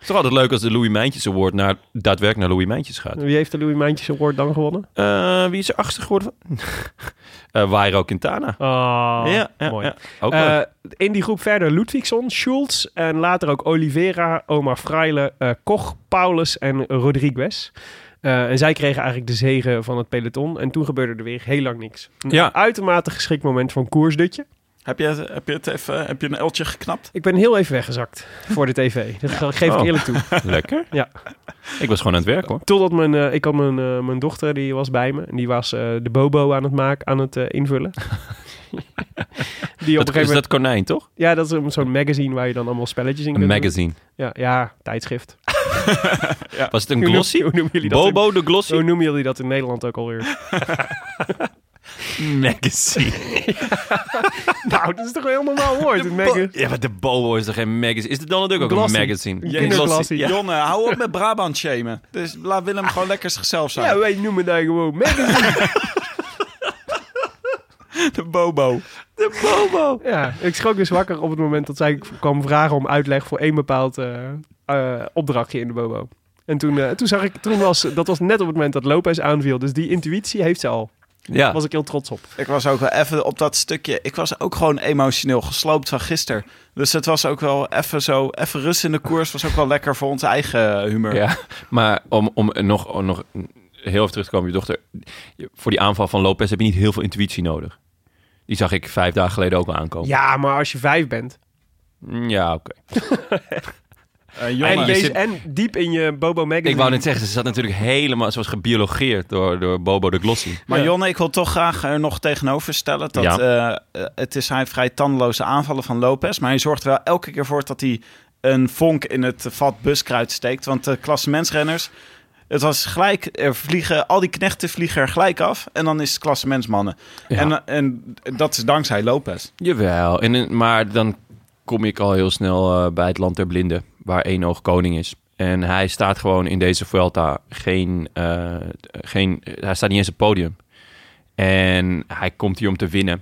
[SPEAKER 1] is toch altijd leuk als de Louis Mijntjes Award naar, daadwerkelijk naar Louis Mijntjes gaat.
[SPEAKER 2] Wie heeft de Louis Mijntjes Award dan gewonnen?
[SPEAKER 1] Eh, wie is er achtste geworden? (laughs) van? Eh Wairo Quintana.
[SPEAKER 2] Ah,
[SPEAKER 1] ja, ja,
[SPEAKER 2] mooi.
[SPEAKER 1] ja. Ook leuk.
[SPEAKER 2] Eh, in die groep verder Ludwigsson, Schulz en later ook Oliveira, Omar Fraile, eh, Koch, Paulus en Rodriguez. Eh, en zij kregen eigenlijk de zegen van het peloton. En toen gebeurde er weer heel lang niks. Een
[SPEAKER 1] Ja.
[SPEAKER 2] uitermate geschikt moment van koersdutje.
[SPEAKER 5] Heb, je, het- heb, je het even, heb je een eltje geknapt?
[SPEAKER 2] Ik ben heel even weggezakt voor de tv. (laughs) Dat ge- geef
[SPEAKER 1] Oh.
[SPEAKER 2] ik eerlijk toe.
[SPEAKER 1] (laughs) Lekker.
[SPEAKER 2] Ja.
[SPEAKER 1] Ik was gewoon aan het werk, hoor.
[SPEAKER 2] Totdat mijn, eh, ik had mijn, eh, mijn dochter, die was bij me. En die was eh, de bobo aan het maken, aan het eh,
[SPEAKER 1] (laughs)
[SPEAKER 2] invullen. die op
[SPEAKER 1] Dat
[SPEAKER 2] een
[SPEAKER 1] is
[SPEAKER 2] gegeven moment...
[SPEAKER 1] dat konijn, toch?
[SPEAKER 2] Ja, dat is zo'n magazine waar je dan allemaal spelletjes in
[SPEAKER 1] Een
[SPEAKER 2] kunt doen.
[SPEAKER 1] magazine.
[SPEAKER 2] Ja, ja, tijdschrift.
[SPEAKER 1] Was het een
[SPEAKER 2] Hoe noem-
[SPEAKER 1] glossy?
[SPEAKER 2] Hoe noemen jullie dat?
[SPEAKER 1] Bobo de
[SPEAKER 2] in, hoe
[SPEAKER 1] glossy?
[SPEAKER 2] noemen jullie dat in Nederland ook alweer?
[SPEAKER 1] Magazine.
[SPEAKER 2] (laughs) nou, dat is toch wel heel normaal woord. Een mega-
[SPEAKER 1] Ja, maar de Bobo is toch geen magazine? Is de Donald Duck ook
[SPEAKER 2] Glossy.
[SPEAKER 1] een magazine?
[SPEAKER 2] Ja, kinderglassie.
[SPEAKER 1] Ja.
[SPEAKER 5] Jonne, hou op met Brabant shamen. Dus laat Willem gewoon lekker zichzelf zijn.
[SPEAKER 2] Ja, wij noemen daar gewoon magazine.
[SPEAKER 5] de bobo.
[SPEAKER 1] De Bobo.
[SPEAKER 2] (laughs) ja, ik schrok dus wakker op het moment dat zij kwam vragen om uitleg voor één bepaald eh, eh, opdrachtje in de Bobo. En toen, eh, toen zag ik, toen was, dat was net op het moment dat Lopez aanviel. Dus die intuïtie heeft ze al.
[SPEAKER 1] Ja.
[SPEAKER 2] Daar was ik heel trots op.
[SPEAKER 5] Ik was ook wel even op dat stukje. Ik was ook gewoon emotioneel gesloopt van gisteren. Dus het was ook wel even zo. Even rust in de koers was ook wel lekker voor ons eigen humor.
[SPEAKER 1] Ja, maar om, om nog, nog heel even terug te komen, je dochter. je- Voor die aanval van Lopez heb je niet heel veel intuïtie nodig. Die zag ik vijf dagen geleden ook al aankomen.
[SPEAKER 2] Ja, maar als je vijf bent.
[SPEAKER 1] Mm, Ja, oké.
[SPEAKER 5] Eh,
[SPEAKER 2] En,
[SPEAKER 5] Jonne,
[SPEAKER 2] deze,
[SPEAKER 1] zit-
[SPEAKER 2] en diep in je Bobo magazine.
[SPEAKER 1] Ik wou net zeggen, ze zat natuurlijk helemaal, ze was gebiologeerd door, door Bobo de Glossy.
[SPEAKER 5] maar
[SPEAKER 2] Ja.
[SPEAKER 5] Jonne, ik wil toch graag er nog tegenover stellen. Dat,
[SPEAKER 1] Ja.
[SPEAKER 5] eh, eh, het is zijn vrij tandeloze aanvallen van Lopez. Maar hij zorgt er wel elke keer voor dat hij een vonk in het vat buskruid steekt. Want de klassementsrenners. Het was gelijk, er vliegen, al die knechten vliegen er gelijk af. En dan is het klassementsmannen.
[SPEAKER 1] Ja.
[SPEAKER 5] En, eh, en dat is dankzij Lopez.
[SPEAKER 1] Jawel, en, eh, maar dan kom ik al heel snel eh, bij het land der blinden, waar één oog koning is. En hij staat gewoon in deze Vuelta geen, eh, geen hij staat niet eens op het podium. En hij komt hier om te winnen.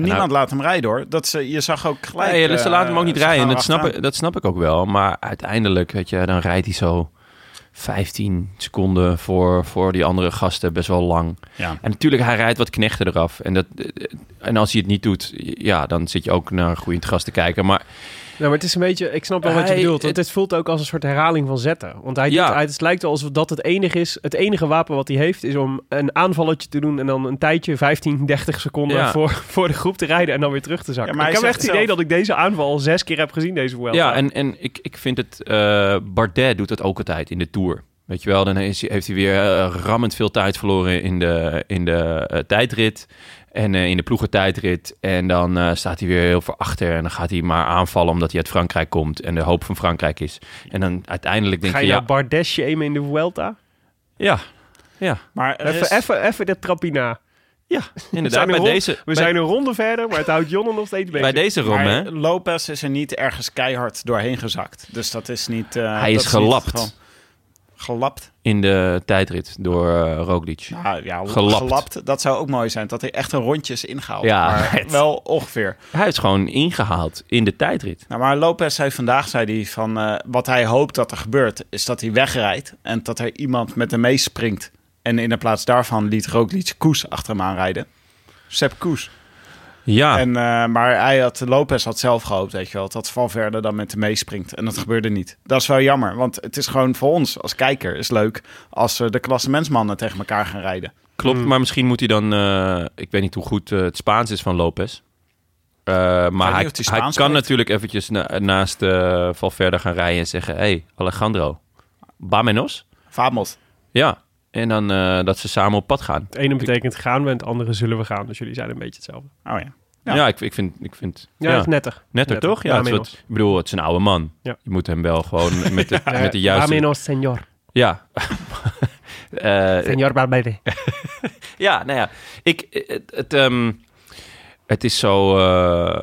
[SPEAKER 1] En nou-
[SPEAKER 5] niemand laat hem rijden hoor. Dat ze, je zag ook gelijk.
[SPEAKER 1] Nee, ja, ze
[SPEAKER 5] eh,
[SPEAKER 1] laten hem ook niet
[SPEAKER 5] ze gaan
[SPEAKER 1] rijden. Dat
[SPEAKER 5] erachteraan.
[SPEAKER 1] snap, ik, dat snap ik ook wel. Maar uiteindelijk, weet je, dan rijdt hij zo 15 seconden voor, voor die andere gasten best wel lang.
[SPEAKER 5] Ja.
[SPEAKER 1] En natuurlijk, hij rijdt wat knechten eraf. En, dat, en als hij het niet doet, ja, dan zit je ook naar een goede gast te kijken. Maar
[SPEAKER 2] Ja, maar het is een beetje... Ik snap wel wat je
[SPEAKER 1] Hij-
[SPEAKER 2] bedoelt. Want
[SPEAKER 1] het-
[SPEAKER 2] het voelt ook als een soort herhaling van zetten. Want hij
[SPEAKER 1] Ja.
[SPEAKER 2] doet, hij, het lijkt wel alsof dat het enige is. Het enige wapen wat hij heeft is om een aanvalletje te doen... en dan een tijdje, 15, 30 seconden
[SPEAKER 1] Ja.
[SPEAKER 2] voor, (laughs) voor de groep te rijden... en dan weer terug te zakken.
[SPEAKER 5] Ja, maar
[SPEAKER 2] ik
[SPEAKER 5] hij
[SPEAKER 2] heb echt
[SPEAKER 5] zegt
[SPEAKER 2] het idee
[SPEAKER 5] zelf-
[SPEAKER 2] dat ik deze aanval al zes keer heb gezien, deze Vuelta.
[SPEAKER 1] ja, en, en ik, ik vind het... eh, Bardet doet dat ook altijd in de Tour. Weet je wel, dan is, hij- heeft hij weer eh, rammend veel tijd verloren in de, in de eh, tijdrit. En eh, in de ploegentijdrit. En dan eh, staat hij weer heel ver achter. En dan gaat hij maar aanvallen omdat hij uit Frankrijk komt. En de hoop van Frankrijk is. En dan uiteindelijk denk
[SPEAKER 2] Ga
[SPEAKER 1] je,
[SPEAKER 2] je
[SPEAKER 1] ja,
[SPEAKER 2] nou Bardet shamen in de Vuelta?
[SPEAKER 1] ja, ja,
[SPEAKER 5] Maar er is-
[SPEAKER 2] Even, even, even dit trapje na.
[SPEAKER 1] inderdaad.
[SPEAKER 2] zijn er
[SPEAKER 1] Bij
[SPEAKER 2] rond.
[SPEAKER 1] deze,
[SPEAKER 2] We
[SPEAKER 1] bij,
[SPEAKER 2] zijn een ronde verder, maar het houdt Jonne nog steeds bezig.
[SPEAKER 1] bij deze rom,
[SPEAKER 5] maar
[SPEAKER 1] hè.
[SPEAKER 5] Lopez is er niet ergens keihard doorheen gezakt. Dus dat is niet. eh,
[SPEAKER 1] Hij
[SPEAKER 5] dat
[SPEAKER 1] is
[SPEAKER 5] niet
[SPEAKER 1] gelapt.
[SPEAKER 5] het geval. Gelapt.
[SPEAKER 1] In de tijdrit door eh, Roglic.
[SPEAKER 5] Nou, ja,
[SPEAKER 1] Gelapt.
[SPEAKER 5] gelapt. Dat zou ook mooi zijn. Dat hij echt een rondje is ingehaald.
[SPEAKER 1] Ja, (laughs)
[SPEAKER 5] maar
[SPEAKER 1] het-
[SPEAKER 5] wel ongeveer.
[SPEAKER 1] Hij is gewoon ingehaald in de tijdrit.
[SPEAKER 5] Nou, maar Lopez zei vandaag: zei hij van, eh, wat hij hoopt dat er gebeurt. Is dat hij wegrijdt. En dat er iemand met hem meespringt. En in de plaats daarvan liet Roglic Koes achter hem aanrijden. Sepp Koes.
[SPEAKER 1] Ja.
[SPEAKER 5] En, eh, maar hij had, Lopez had zelf gehoopt, weet je wel, dat Valverde dan met hem meespringt. En dat gebeurde niet. Dat is wel jammer, want het is gewoon voor ons als kijker is leuk als eh, de klassementsmannen tegen elkaar gaan rijden.
[SPEAKER 1] Klopt, maar misschien moet hij dan... eh, ik weet niet hoe goed eh, het Spaans is van Lopez. Eh, maar
[SPEAKER 5] niet
[SPEAKER 1] hij,
[SPEAKER 5] of hij
[SPEAKER 1] hij kan
[SPEAKER 5] Spaans spreekt.
[SPEAKER 1] natuurlijk eventjes na- naast eh, Valverde gaan rijden en zeggen... hey, Alejandro, vamenos?
[SPEAKER 5] Vamos.
[SPEAKER 1] Ja. En dan eh, dat ze samen op pad gaan.
[SPEAKER 2] Het ene betekent gaan we en het andere zullen we gaan. Dus jullie zijn een beetje hetzelfde.
[SPEAKER 5] Oh ja.
[SPEAKER 1] Ja,
[SPEAKER 5] Ja.
[SPEAKER 1] ik, ik vind... Ik vind
[SPEAKER 2] Ja, echt netter.
[SPEAKER 1] Netter,
[SPEAKER 2] Netter.
[SPEAKER 1] toch? Ja, het is wat-
[SPEAKER 2] Daarmee
[SPEAKER 1] ik bedoel, het is een oude man.
[SPEAKER 2] Ja.
[SPEAKER 1] Je moet hem wel gewoon
[SPEAKER 2] (laughs)
[SPEAKER 1] met de, met de
[SPEAKER 2] Daarmee
[SPEAKER 1] juiste...
[SPEAKER 2] nog, Eh, senor.
[SPEAKER 1] Ja. (laughs) Eh,
[SPEAKER 2] Senor Barberi.
[SPEAKER 1] ja, nou ja. Ik, het, het, ehm, het is zo eh,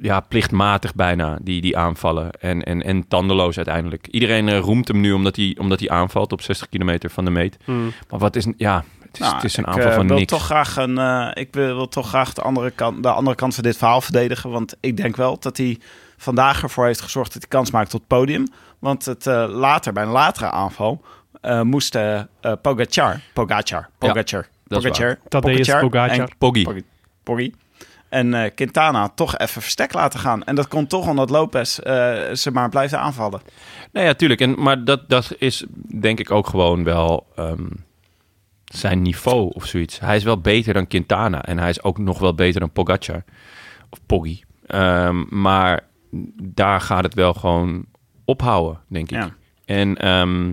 [SPEAKER 1] ja, plichtmatig bijna, die, die aanvallen. En, en, en tandeloos uiteindelijk. Iedereen eh, roemt hem nu omdat hij, omdat hij aanvalt op 60 kilometer van de meet. Maar wat is... Ja, het is,
[SPEAKER 5] Hmm. Nou,
[SPEAKER 1] het is een
[SPEAKER 5] ik,
[SPEAKER 1] aanval
[SPEAKER 5] eh,
[SPEAKER 1] van
[SPEAKER 5] wil
[SPEAKER 1] niks.
[SPEAKER 5] Toch graag een, eh, ik wil, wil toch graag de andere, kant, de andere kant van dit verhaal verdedigen. Want ik denk wel dat hij vandaag ervoor heeft gezorgd dat hij kans maakt tot het podium. Want het, eh, later, bij een latere aanval, eh, moest eh eh, Pogacar... Pogacar. Pogacar.
[SPEAKER 1] dat is
[SPEAKER 5] Pogacar.
[SPEAKER 2] Dat deed je Pogacar.
[SPEAKER 5] en
[SPEAKER 1] Poggi.
[SPEAKER 5] Poggi. Poggi. En eh, Quintana toch even verstek laten gaan. En dat komt toch omdat Lopez eh, ze maar blijft aanvallen.
[SPEAKER 1] Nou ja, tuurlijk. En, maar dat, dat is denk ik ook gewoon wel ehm, zijn niveau of zoiets. Hij is wel beter dan Quintana. En hij is ook nog wel beter dan Pogacar. Of Poggi. Ehm, maar daar gaat het wel gewoon ophouden, denk ik.
[SPEAKER 5] Ja.
[SPEAKER 1] En, ehm,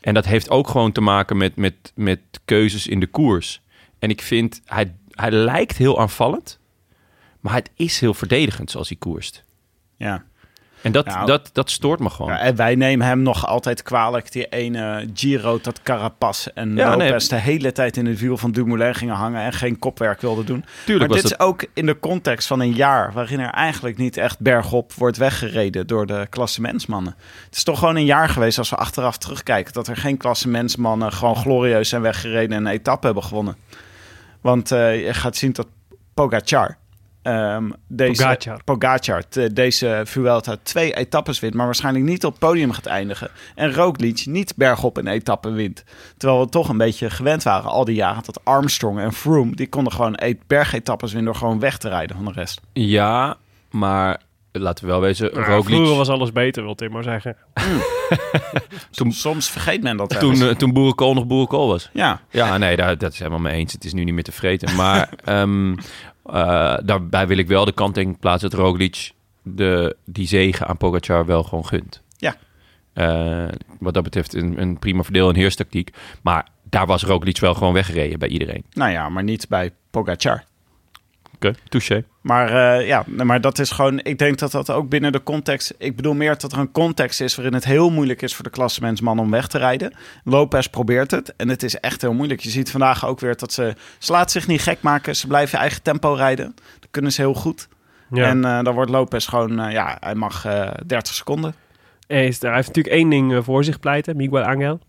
[SPEAKER 1] en dat heeft ook gewoon te maken met, met, met keuzes in de koers. En ik vind, hij, hij lijkt heel aanvallend. Maar het is heel verdedigend zoals hij koerst.
[SPEAKER 5] Ja.
[SPEAKER 1] En dat,
[SPEAKER 5] Nou,
[SPEAKER 1] dat, dat stoort me gewoon.
[SPEAKER 5] Ja, en wij nemen hem nog altijd kwalijk. Die ene Giro, dat Carapaz en
[SPEAKER 1] Ja, nee.
[SPEAKER 5] Lopez de hele tijd in het wiel van Dumoulin gingen hangen en geen kopwerk wilden doen.
[SPEAKER 1] Tuurlijk
[SPEAKER 5] maar
[SPEAKER 1] was
[SPEAKER 5] dit is ook in de context van een jaar waarin er eigenlijk niet echt bergop wordt weggereden door de klassementsmannen. Het is toch gewoon een jaar geweest als we achteraf terugkijken dat er geen klassementsmannen gewoon glorieus zijn weggereden en een etappe hebben gewonnen. Want eh, je gaat zien dat Pogacar... ehm, deze,
[SPEAKER 2] Pogacar.
[SPEAKER 5] Pogacar te- deze Vuelta twee etappes wint, maar waarschijnlijk niet op het podium gaat eindigen. En Roglic niet bergop een etappe wint. Terwijl we toch een beetje gewend waren al die jaren dat Armstrong en Froome, die konden gewoon e- bergetappes winnen door gewoon weg te rijden van de rest.
[SPEAKER 1] Ja, maar laten we wel wezen,
[SPEAKER 2] Nou,
[SPEAKER 1] Roglic...
[SPEAKER 2] Vroeger was alles beter, wil Tim maar zeggen.
[SPEAKER 1] Toen-
[SPEAKER 5] Soms vergeet men dat wel
[SPEAKER 1] Toen,
[SPEAKER 5] eens.
[SPEAKER 1] eh, toen Boerenkool nog Boerenkool was.
[SPEAKER 5] ja,
[SPEAKER 1] Ja, nee, daar, dat is helemaal mee eens. Het is nu niet meer te vreten. Maar ehm, eh, daarbij wil ik wel de kanttekening plaatsen dat Roglic de, die zegen aan Pogacar wel gewoon gunt.
[SPEAKER 5] Ja.
[SPEAKER 1] Eh, wat dat betreft een, een prima verdeel- en heerstactiek. Maar daar was Roglic wel gewoon weggereden bij iedereen.
[SPEAKER 5] nou ja, maar niet bij Pogacar.
[SPEAKER 1] Oké, touché.
[SPEAKER 5] Maar eh, ja, nee, maar dat is gewoon. Ik denk dat dat ook binnen de context. Ik bedoel meer dat er een context is waarin het heel moeilijk is voor de klassementsman om weg te rijden. Lopez probeert het en het is echt heel moeilijk. Je ziet vandaag ook weer dat ze. Ze laat zich niet gek maken. Ze blijven eigen tempo rijden. Dat kunnen ze heel goed.
[SPEAKER 2] Ja.
[SPEAKER 5] En eh, dan wordt Lopez gewoon. eh, ja, hij mag eh 30 seconden.
[SPEAKER 2] Hij, is, hij heeft natuurlijk één ding eh, voor zich pleiten, Miguel Angel.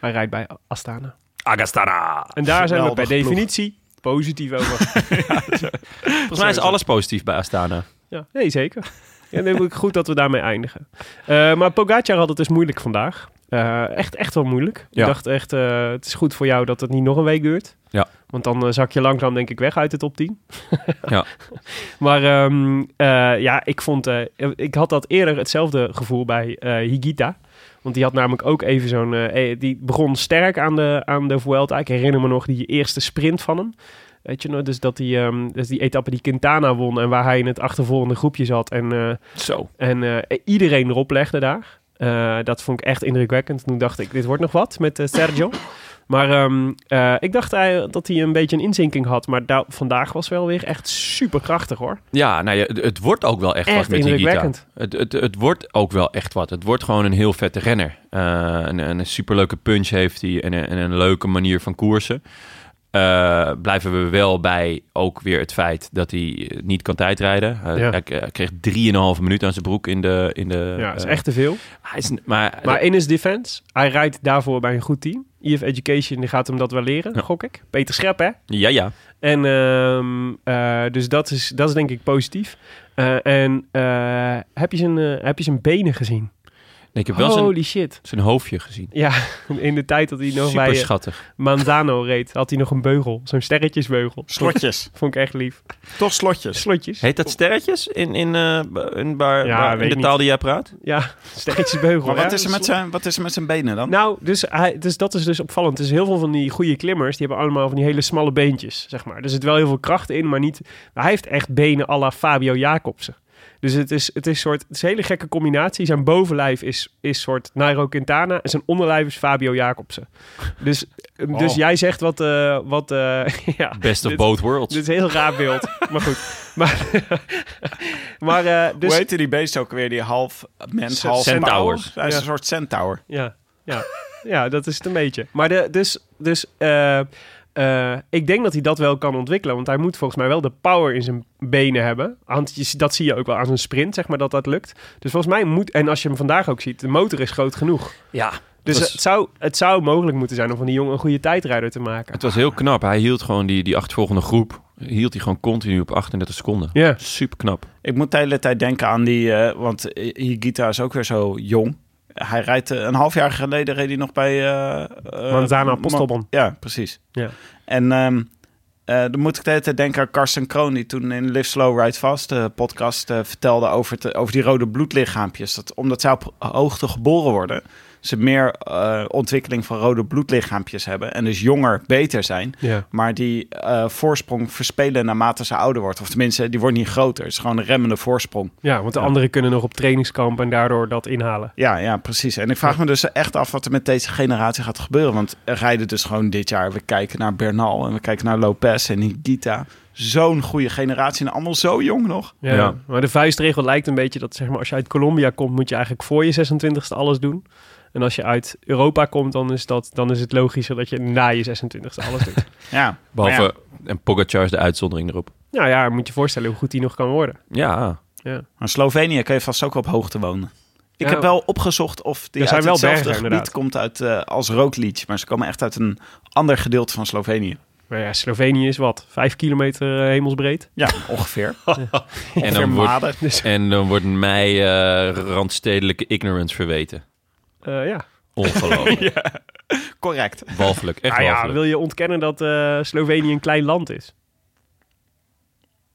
[SPEAKER 2] Hij rijdt bij Astana.
[SPEAKER 1] Agastana!
[SPEAKER 2] En daar zijn we per
[SPEAKER 5] Geweldig ploeg.
[SPEAKER 2] definitie positief
[SPEAKER 5] (laughs)
[SPEAKER 2] over. (laughs)
[SPEAKER 1] Volgens mij is alles positief bij Astana.
[SPEAKER 2] ja, nee, zeker. En dan ik goed dat we daarmee eindigen. Eh, maar Pogacar had het dus moeilijk vandaag. Eh, echt, echt wel moeilijk.
[SPEAKER 1] Ja.
[SPEAKER 2] Ik dacht echt, eh, het is goed voor jou dat het niet nog een week duurt.
[SPEAKER 1] Ja.
[SPEAKER 2] Want dan eh, zak je langzaam denk ik weg uit de top 10.
[SPEAKER 1] (laughs) Ja.
[SPEAKER 2] (laughs) Maar ehm, eh, ja, ik vond. eh, ik had dat eerder hetzelfde gevoel bij eh, Higita. Want die had namelijk ook even zo'n. eh, eh, die begon sterk aan de, aan de Vuelta. Ik herinner me nog die eerste sprint van hem. Weet je nog? Dus dat die, ehm, dus die etappe die Quintana won. En waar hij in het achtervolgende groepje zat. En, eh,
[SPEAKER 1] Zo.
[SPEAKER 2] en eh, iedereen erop legde daar. Eh, dat vond ik echt indrukwekkend. Toen dacht ik, dit wordt nog wat met eh, Sergio. Maar ehm, eh, ik dacht eh, dat hij een beetje een inzinking had. Maar daar- vandaag was wel weer echt super krachtig hoor.
[SPEAKER 1] Ja, nou ja, het, het wordt ook wel echt,
[SPEAKER 2] Echt
[SPEAKER 1] wat met die Higita.
[SPEAKER 2] indrukwekkend.
[SPEAKER 1] Het, het, het wordt ook wel echt wat. Het wordt gewoon een heel vette renner. Eh, een, een superleuke punch heeft hij en, een- en een leuke manier van koersen. Eh, blijven we wel bij ook weer het feit dat hij niet kan tijdrijden. Hij,
[SPEAKER 2] Ja.
[SPEAKER 1] hij k- hij kreeg 3,5 minuten aan zijn broek in de... In de
[SPEAKER 2] Ja, dat is
[SPEAKER 1] eh,
[SPEAKER 2] echt te veel.
[SPEAKER 1] Hij is, maar,
[SPEAKER 2] Maar in his defense, hij rijdt daarvoor bij een goed team. IF Education die gaat hem dat wel leren,
[SPEAKER 1] Ja.
[SPEAKER 2] gok ik. Peter Schep, hè?
[SPEAKER 1] ja, ja.
[SPEAKER 2] En ehm, eh, dus dat is, dat is denk ik positief. Eh, en eh, heb, je zijn, eh, heb je zijn benen gezien?
[SPEAKER 1] Nee, ik heb wel zijn,
[SPEAKER 2] Holy shit.
[SPEAKER 1] zijn hoofdje gezien.
[SPEAKER 2] Ja, in de tijd dat hij nog
[SPEAKER 1] Super
[SPEAKER 2] bij eh,
[SPEAKER 1] schattig.
[SPEAKER 2] Manzano reed, had hij nog een beugel. Zo'n sterretjesbeugel. (laughs)
[SPEAKER 5] Slotjes.
[SPEAKER 2] Vond ik echt lief.
[SPEAKER 5] Toch slotjes.
[SPEAKER 2] Slotjes.
[SPEAKER 1] Heet dat sterretjes in, in, eh, in, waar-
[SPEAKER 2] Ja,
[SPEAKER 1] waar- in
[SPEAKER 2] weet
[SPEAKER 1] de
[SPEAKER 2] niet.
[SPEAKER 1] taal die jij praat?
[SPEAKER 2] Ja, sterretjesbeugel.
[SPEAKER 5] Maar wat
[SPEAKER 2] hè?
[SPEAKER 5] is, er met zijn, wat is er met zijn benen
[SPEAKER 1] Oh.
[SPEAKER 5] dan?
[SPEAKER 2] Nou, dus, hij, dus dat is dus opvallend. Dus heel veel van die goede klimmers, die hebben allemaal van die hele Dus smalle beentjes, zeg maar. Er zit wel heel veel kracht in, maar niet... Maar hij heeft echt benen à la Fabio Jacobsen. Dus het is, het is, soort, het is een hele gekke combinatie. Zijn bovenlijf is, is soort Nairo Quintana en zijn onderlijf is Fabio Jacobsen. Dus, dus
[SPEAKER 1] Oh.
[SPEAKER 2] jij zegt wat... eh, wat eh, (laughs) ja,
[SPEAKER 1] Best of
[SPEAKER 2] dit-
[SPEAKER 1] both worlds.
[SPEAKER 2] Dit is een heel raar beeld, maar goed. Maar, (laughs) maar eh, dus...
[SPEAKER 5] Hoe heette die beest ook weer? Die half mens, half
[SPEAKER 1] centaur.
[SPEAKER 5] paard? Hij is
[SPEAKER 2] Ja.
[SPEAKER 5] een soort centaur.
[SPEAKER 2] Ja, ja. ja dat is het een beetje. Maar de, dus, dus eh, eh, ik denk dat hij dat wel kan ontwikkelen. Want hij moet volgens mij wel de power in zijn benen hebben. Want je- dat zie je ook wel aan zijn sprint, zeg maar, dat dat lukt. Dus volgens mij moet... En als je hem vandaag ook ziet, de motor is groot genoeg.
[SPEAKER 1] Ja.
[SPEAKER 2] Dus
[SPEAKER 1] Het was-
[SPEAKER 2] het, zou, het zou mogelijk moeten zijn om van die jongen een goede tijdrijder te maken.
[SPEAKER 1] Het was heel knap. Hij hield gewoon die, die achtervolgende groep. Hield hij gewoon continu op 38 seconden.
[SPEAKER 2] Ja.
[SPEAKER 1] Super knap.
[SPEAKER 5] Ik moet de hele tijd denken aan die... eh, want Higita is ook weer zo jong. Hij rijdt... eh, een half jaar geleden reed hij nog bij... eh, eh,
[SPEAKER 2] Manzana
[SPEAKER 5] Ma-
[SPEAKER 2] Postobon.
[SPEAKER 5] Ja, precies.
[SPEAKER 2] Ja.
[SPEAKER 5] En ehm, eh, dan moet ik de hele tijd denken aan Karsten Kroon... die toen in Live Slow Ride Fast, de podcast, eh, vertelde over, het- over die rode bloedlichaampjes. Dat, omdat zij op hoogte geboren worden... ze meer eh, ontwikkeling van rode bloedlichaampjes hebben... en dus jonger beter zijn...
[SPEAKER 2] Ja.
[SPEAKER 5] Maar die eh, voorsprong verspelen naarmate ze ouder wordt. Of tenminste, die wordt niet groter. Het is gewoon een remmende voorsprong.
[SPEAKER 2] ja, want de anderen kunnen nog op trainingskamp en daardoor dat inhalen.
[SPEAKER 5] Ja, ja, precies. En ik vraag me dus echt af wat er met deze generatie gaat gebeuren. Want er rijden dus gewoon dit jaar. We kijken naar Bernal en we kijken naar Lopez en Nikita. Zo'n goede generatie en allemaal zo jong nog.
[SPEAKER 2] Ja,
[SPEAKER 1] Ja.
[SPEAKER 2] maar de vuistregel lijkt een beetje dat zeg maar, als je uit Colombia komt, moet je eigenlijk voor je 26e alles doen. En als je uit Europa komt, dan is, dat, dan is het logischer dat je na je 26e
[SPEAKER 1] (laughs)
[SPEAKER 2] alles doet.
[SPEAKER 5] Ja,
[SPEAKER 1] Behalve,
[SPEAKER 5] Maar,
[SPEAKER 1] en Pogacar is de uitzondering erop.
[SPEAKER 2] nou ja, moet je voorstellen hoe goed die nog kan worden.
[SPEAKER 1] Ja.
[SPEAKER 5] ja, maar Slovenië kan je vast ook op hoogte wonen. Ik
[SPEAKER 2] Ja.
[SPEAKER 5] heb wel opgezocht of die
[SPEAKER 2] Er
[SPEAKER 5] uit
[SPEAKER 2] zijn wel
[SPEAKER 5] hetzelfde
[SPEAKER 2] bergen,
[SPEAKER 5] gebied
[SPEAKER 2] inderdaad.
[SPEAKER 5] komt uit, eh, als Roglic. Maar ze komen echt uit een ander gedeelte van Slovenië.
[SPEAKER 2] Maar ja, Slovenië is wat? Vijf kilometer eh, hemelsbreed?
[SPEAKER 5] Ja,
[SPEAKER 2] (laughs)
[SPEAKER 5] ongeveer.
[SPEAKER 1] En dan, wordt,
[SPEAKER 5] Maden.
[SPEAKER 2] dus,
[SPEAKER 1] en dan wordt mij eh, randstedelijke ignorance verweten.
[SPEAKER 2] Eh, ja. (laughs)
[SPEAKER 1] Ongelooflijk.
[SPEAKER 5] (laughs) Correct.
[SPEAKER 1] Walfelijk. Echt
[SPEAKER 2] Nou ja,
[SPEAKER 1] walfelijk.
[SPEAKER 2] wil je ontkennen dat eh, Slovenië een klein land is?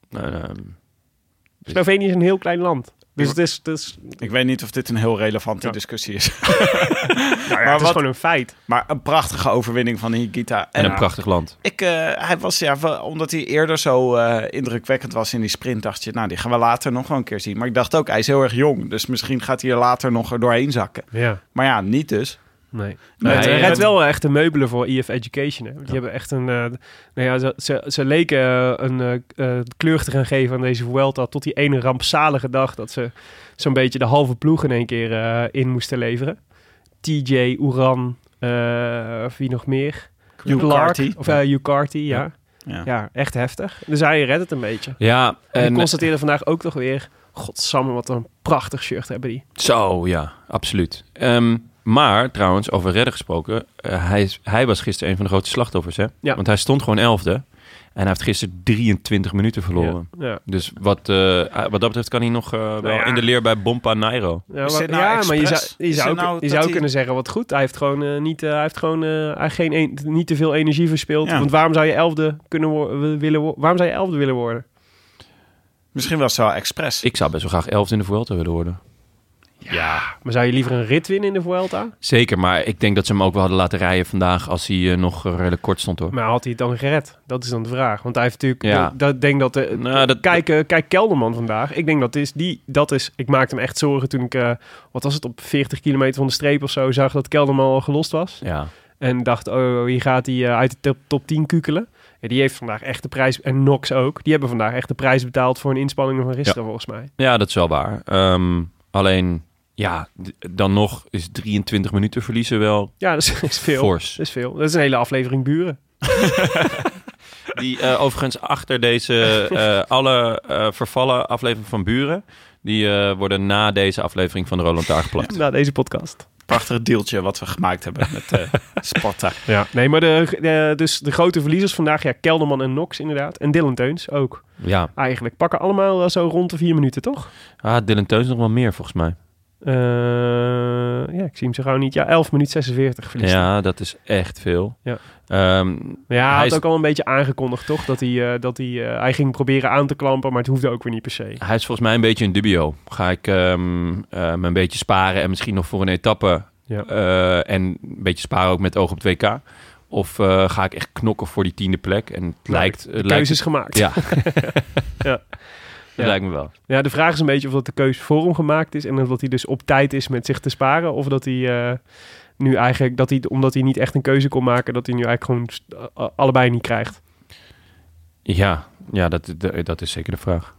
[SPEAKER 1] Nou, nou, Dus-
[SPEAKER 2] Slovenië is een heel klein land. Dus het is, het is,
[SPEAKER 5] Ik weet niet of dit een heel relevante
[SPEAKER 2] Ja.
[SPEAKER 5] discussie is. (laughs)
[SPEAKER 2] maar
[SPEAKER 5] maar,
[SPEAKER 2] het is
[SPEAKER 5] wat,
[SPEAKER 2] gewoon een feit.
[SPEAKER 5] maar een prachtige overwinning van Higita.
[SPEAKER 1] en
[SPEAKER 5] En
[SPEAKER 1] een prachtig land.
[SPEAKER 5] ik, eh, hij was, ja, wel- omdat hij eerder zo eh, indrukwekkend was in die sprint, dacht je, nou, die gaan we later nog wel een keer zien. Maar ik dacht ook, hij is heel erg jong, dus misschien gaat hij er later nog er doorheen zakken.
[SPEAKER 2] Ja,
[SPEAKER 5] Maar ja, niet dus.
[SPEAKER 2] nee.
[SPEAKER 1] Nee,
[SPEAKER 2] Maar
[SPEAKER 1] eh,
[SPEAKER 2] het redt wel echt de meubelen voor EF Education. Hè? Die hebben echt een... eh, nou ja, ze, ze, ze leken eh, een eh, eh, kleur te gaan geven aan deze Vuelta... tot die ene rampzalige dag dat ze zo'n beetje de halve ploeg in één keer eh, in moesten leveren. TJ, Uran, eh, wie nog meer?
[SPEAKER 5] Hugh
[SPEAKER 2] Clark,
[SPEAKER 5] Carty.
[SPEAKER 2] Of eh Ucarty, ja.
[SPEAKER 5] Ja.
[SPEAKER 2] Ja. echt heftig. Dus hij redt het een beetje.
[SPEAKER 1] Ja,
[SPEAKER 2] En,
[SPEAKER 1] en
[SPEAKER 2] ik constateerde vandaag ook nog weer... Godsamme, wat een prachtig shirt hebben die.
[SPEAKER 1] zo, ja, absoluut. Ehm, maar trouwens, over redden gesproken, eh, hij, is- hij was gisteren een van de grote slachtoffers. Hè?
[SPEAKER 2] Ja.
[SPEAKER 1] Want hij stond gewoon elfde en hij heeft gisteren 23 minuten verloren.
[SPEAKER 2] Ja. Ja.
[SPEAKER 1] Dus wat, eh, wat dat betreft kan hij nog eh, wel
[SPEAKER 2] Nou ja.
[SPEAKER 1] in de leer bij Bompa Nairo.
[SPEAKER 2] Ja,
[SPEAKER 5] Is
[SPEAKER 2] maar,
[SPEAKER 5] dit nou
[SPEAKER 2] ja, maar je zou,
[SPEAKER 5] expres?
[SPEAKER 2] je
[SPEAKER 5] Is
[SPEAKER 2] zou,
[SPEAKER 5] dit
[SPEAKER 2] ook-
[SPEAKER 5] nou
[SPEAKER 2] je
[SPEAKER 5] dat
[SPEAKER 2] zou
[SPEAKER 5] hij-
[SPEAKER 2] kunnen zeggen, wat goed. Hij heeft gewoon, eh, niet, eh, hij heeft gewoon eh, hij geen een- niet te veel energie verspild.
[SPEAKER 5] Ja.
[SPEAKER 2] Want waarom zou je elfde kunnen wo- wil- willen wo- Waarom zou je elfde willen worden?
[SPEAKER 5] Misschien was het wel expres.
[SPEAKER 1] Ik zou best wel graag elfde in de Vuelta willen worden.
[SPEAKER 2] Maar zou je liever een rit winnen in de Vuelta?
[SPEAKER 1] Zeker, maar ik denk dat ze hem ook wel hadden laten rijden vandaag als hij eh, nog eh, redelijk kort stond hoor.
[SPEAKER 2] Maar had hij het dan gered? Dat is dan de vraag. Want hij heeft natuurlijk...
[SPEAKER 1] Ja.
[SPEAKER 2] de- dat denk dat... De,
[SPEAKER 1] Nou, dat-
[SPEAKER 2] kijk, eh, kijk Kelderman vandaag. Ik denk dat is die... Dat is... Ik maakte hem echt zorgen toen ik... eh, wat was het? Op 40 kilometer van de streep of zo... zag dat Kelderman al gelost was.
[SPEAKER 1] Ja.
[SPEAKER 2] En dacht, oh, hier gaat hij eh, uit de top, top 10 kukelen. Ja, die heeft vandaag echt de prijs, en Nox ook, die hebben vandaag echt de prijs betaald voor hun inspanningen van gisteren, volgens mij.
[SPEAKER 1] ja, dat is wel waar. Ehm, alleen, ja, d- dan nog is 23 minuten verliezen wel
[SPEAKER 2] Ja, dat is, (laughs) is veel.
[SPEAKER 1] Fors.
[SPEAKER 2] Dat is veel. Dat is een hele aflevering buren.
[SPEAKER 1] Die eh, overigens achter deze
[SPEAKER 2] (laughs)
[SPEAKER 1] eh, alle eh, vervallen aflevering van Buren... die eh, worden na deze aflevering van de Roland Taar geplakt.
[SPEAKER 2] Na deze podcast.
[SPEAKER 5] Prachtig deeltje wat we gemaakt hebben met eh (laughs) Sparta.
[SPEAKER 2] Ja. Nee, maar de, de- dus de grote verliezers vandaag, ja, Kelderman en Nox inderdaad. En Dylan Teuns ook.
[SPEAKER 1] Ja.
[SPEAKER 2] Eigenlijk pakken allemaal wel zo rond de vier minuten, toch?
[SPEAKER 1] Ah, Dylan Teuns nog wel meer volgens mij.
[SPEAKER 2] Eh, ja, ik zie hem zo gauw niet. Ja, 11 minuten 46 verliest hij.
[SPEAKER 1] Ja, dat is echt veel.
[SPEAKER 2] Ja.
[SPEAKER 1] Ehm,
[SPEAKER 2] Ja, hij
[SPEAKER 1] Hij
[SPEAKER 2] had
[SPEAKER 1] is-
[SPEAKER 2] ook al een beetje aangekondigd, toch? Dat hij, eh, dat hij, eh, hij ging proberen aan te klampen, maar het hoefde ook weer niet per se.
[SPEAKER 1] hij is volgens mij een beetje een dubio. Ga ik ehm, eh, me een beetje sparen en misschien nog voor een etappe...
[SPEAKER 2] Ja.
[SPEAKER 1] eh, en een beetje sparen ook met oog op 2K... Of eh, ga Nou, ik echt knokken voor die tiende plek? En het lijkt... Het
[SPEAKER 2] Keuzes
[SPEAKER 1] lijkt
[SPEAKER 2] gemaakt.
[SPEAKER 1] ja, Dat
[SPEAKER 2] Ja.
[SPEAKER 1] lijkt me wel.
[SPEAKER 2] Ja, de vraag is een beetje of dat de keuze voor hem gemaakt is. En of dat hij dus op tijd is met zich te sparen. Of dat hij eh, nu eigenlijk, dat hij, omdat hij niet echt een keuze kon maken, dat hij nu eigenlijk gewoon st- a- a- allebei niet krijgt.
[SPEAKER 1] Ja, ja dat, dat- dat is zeker de vraag.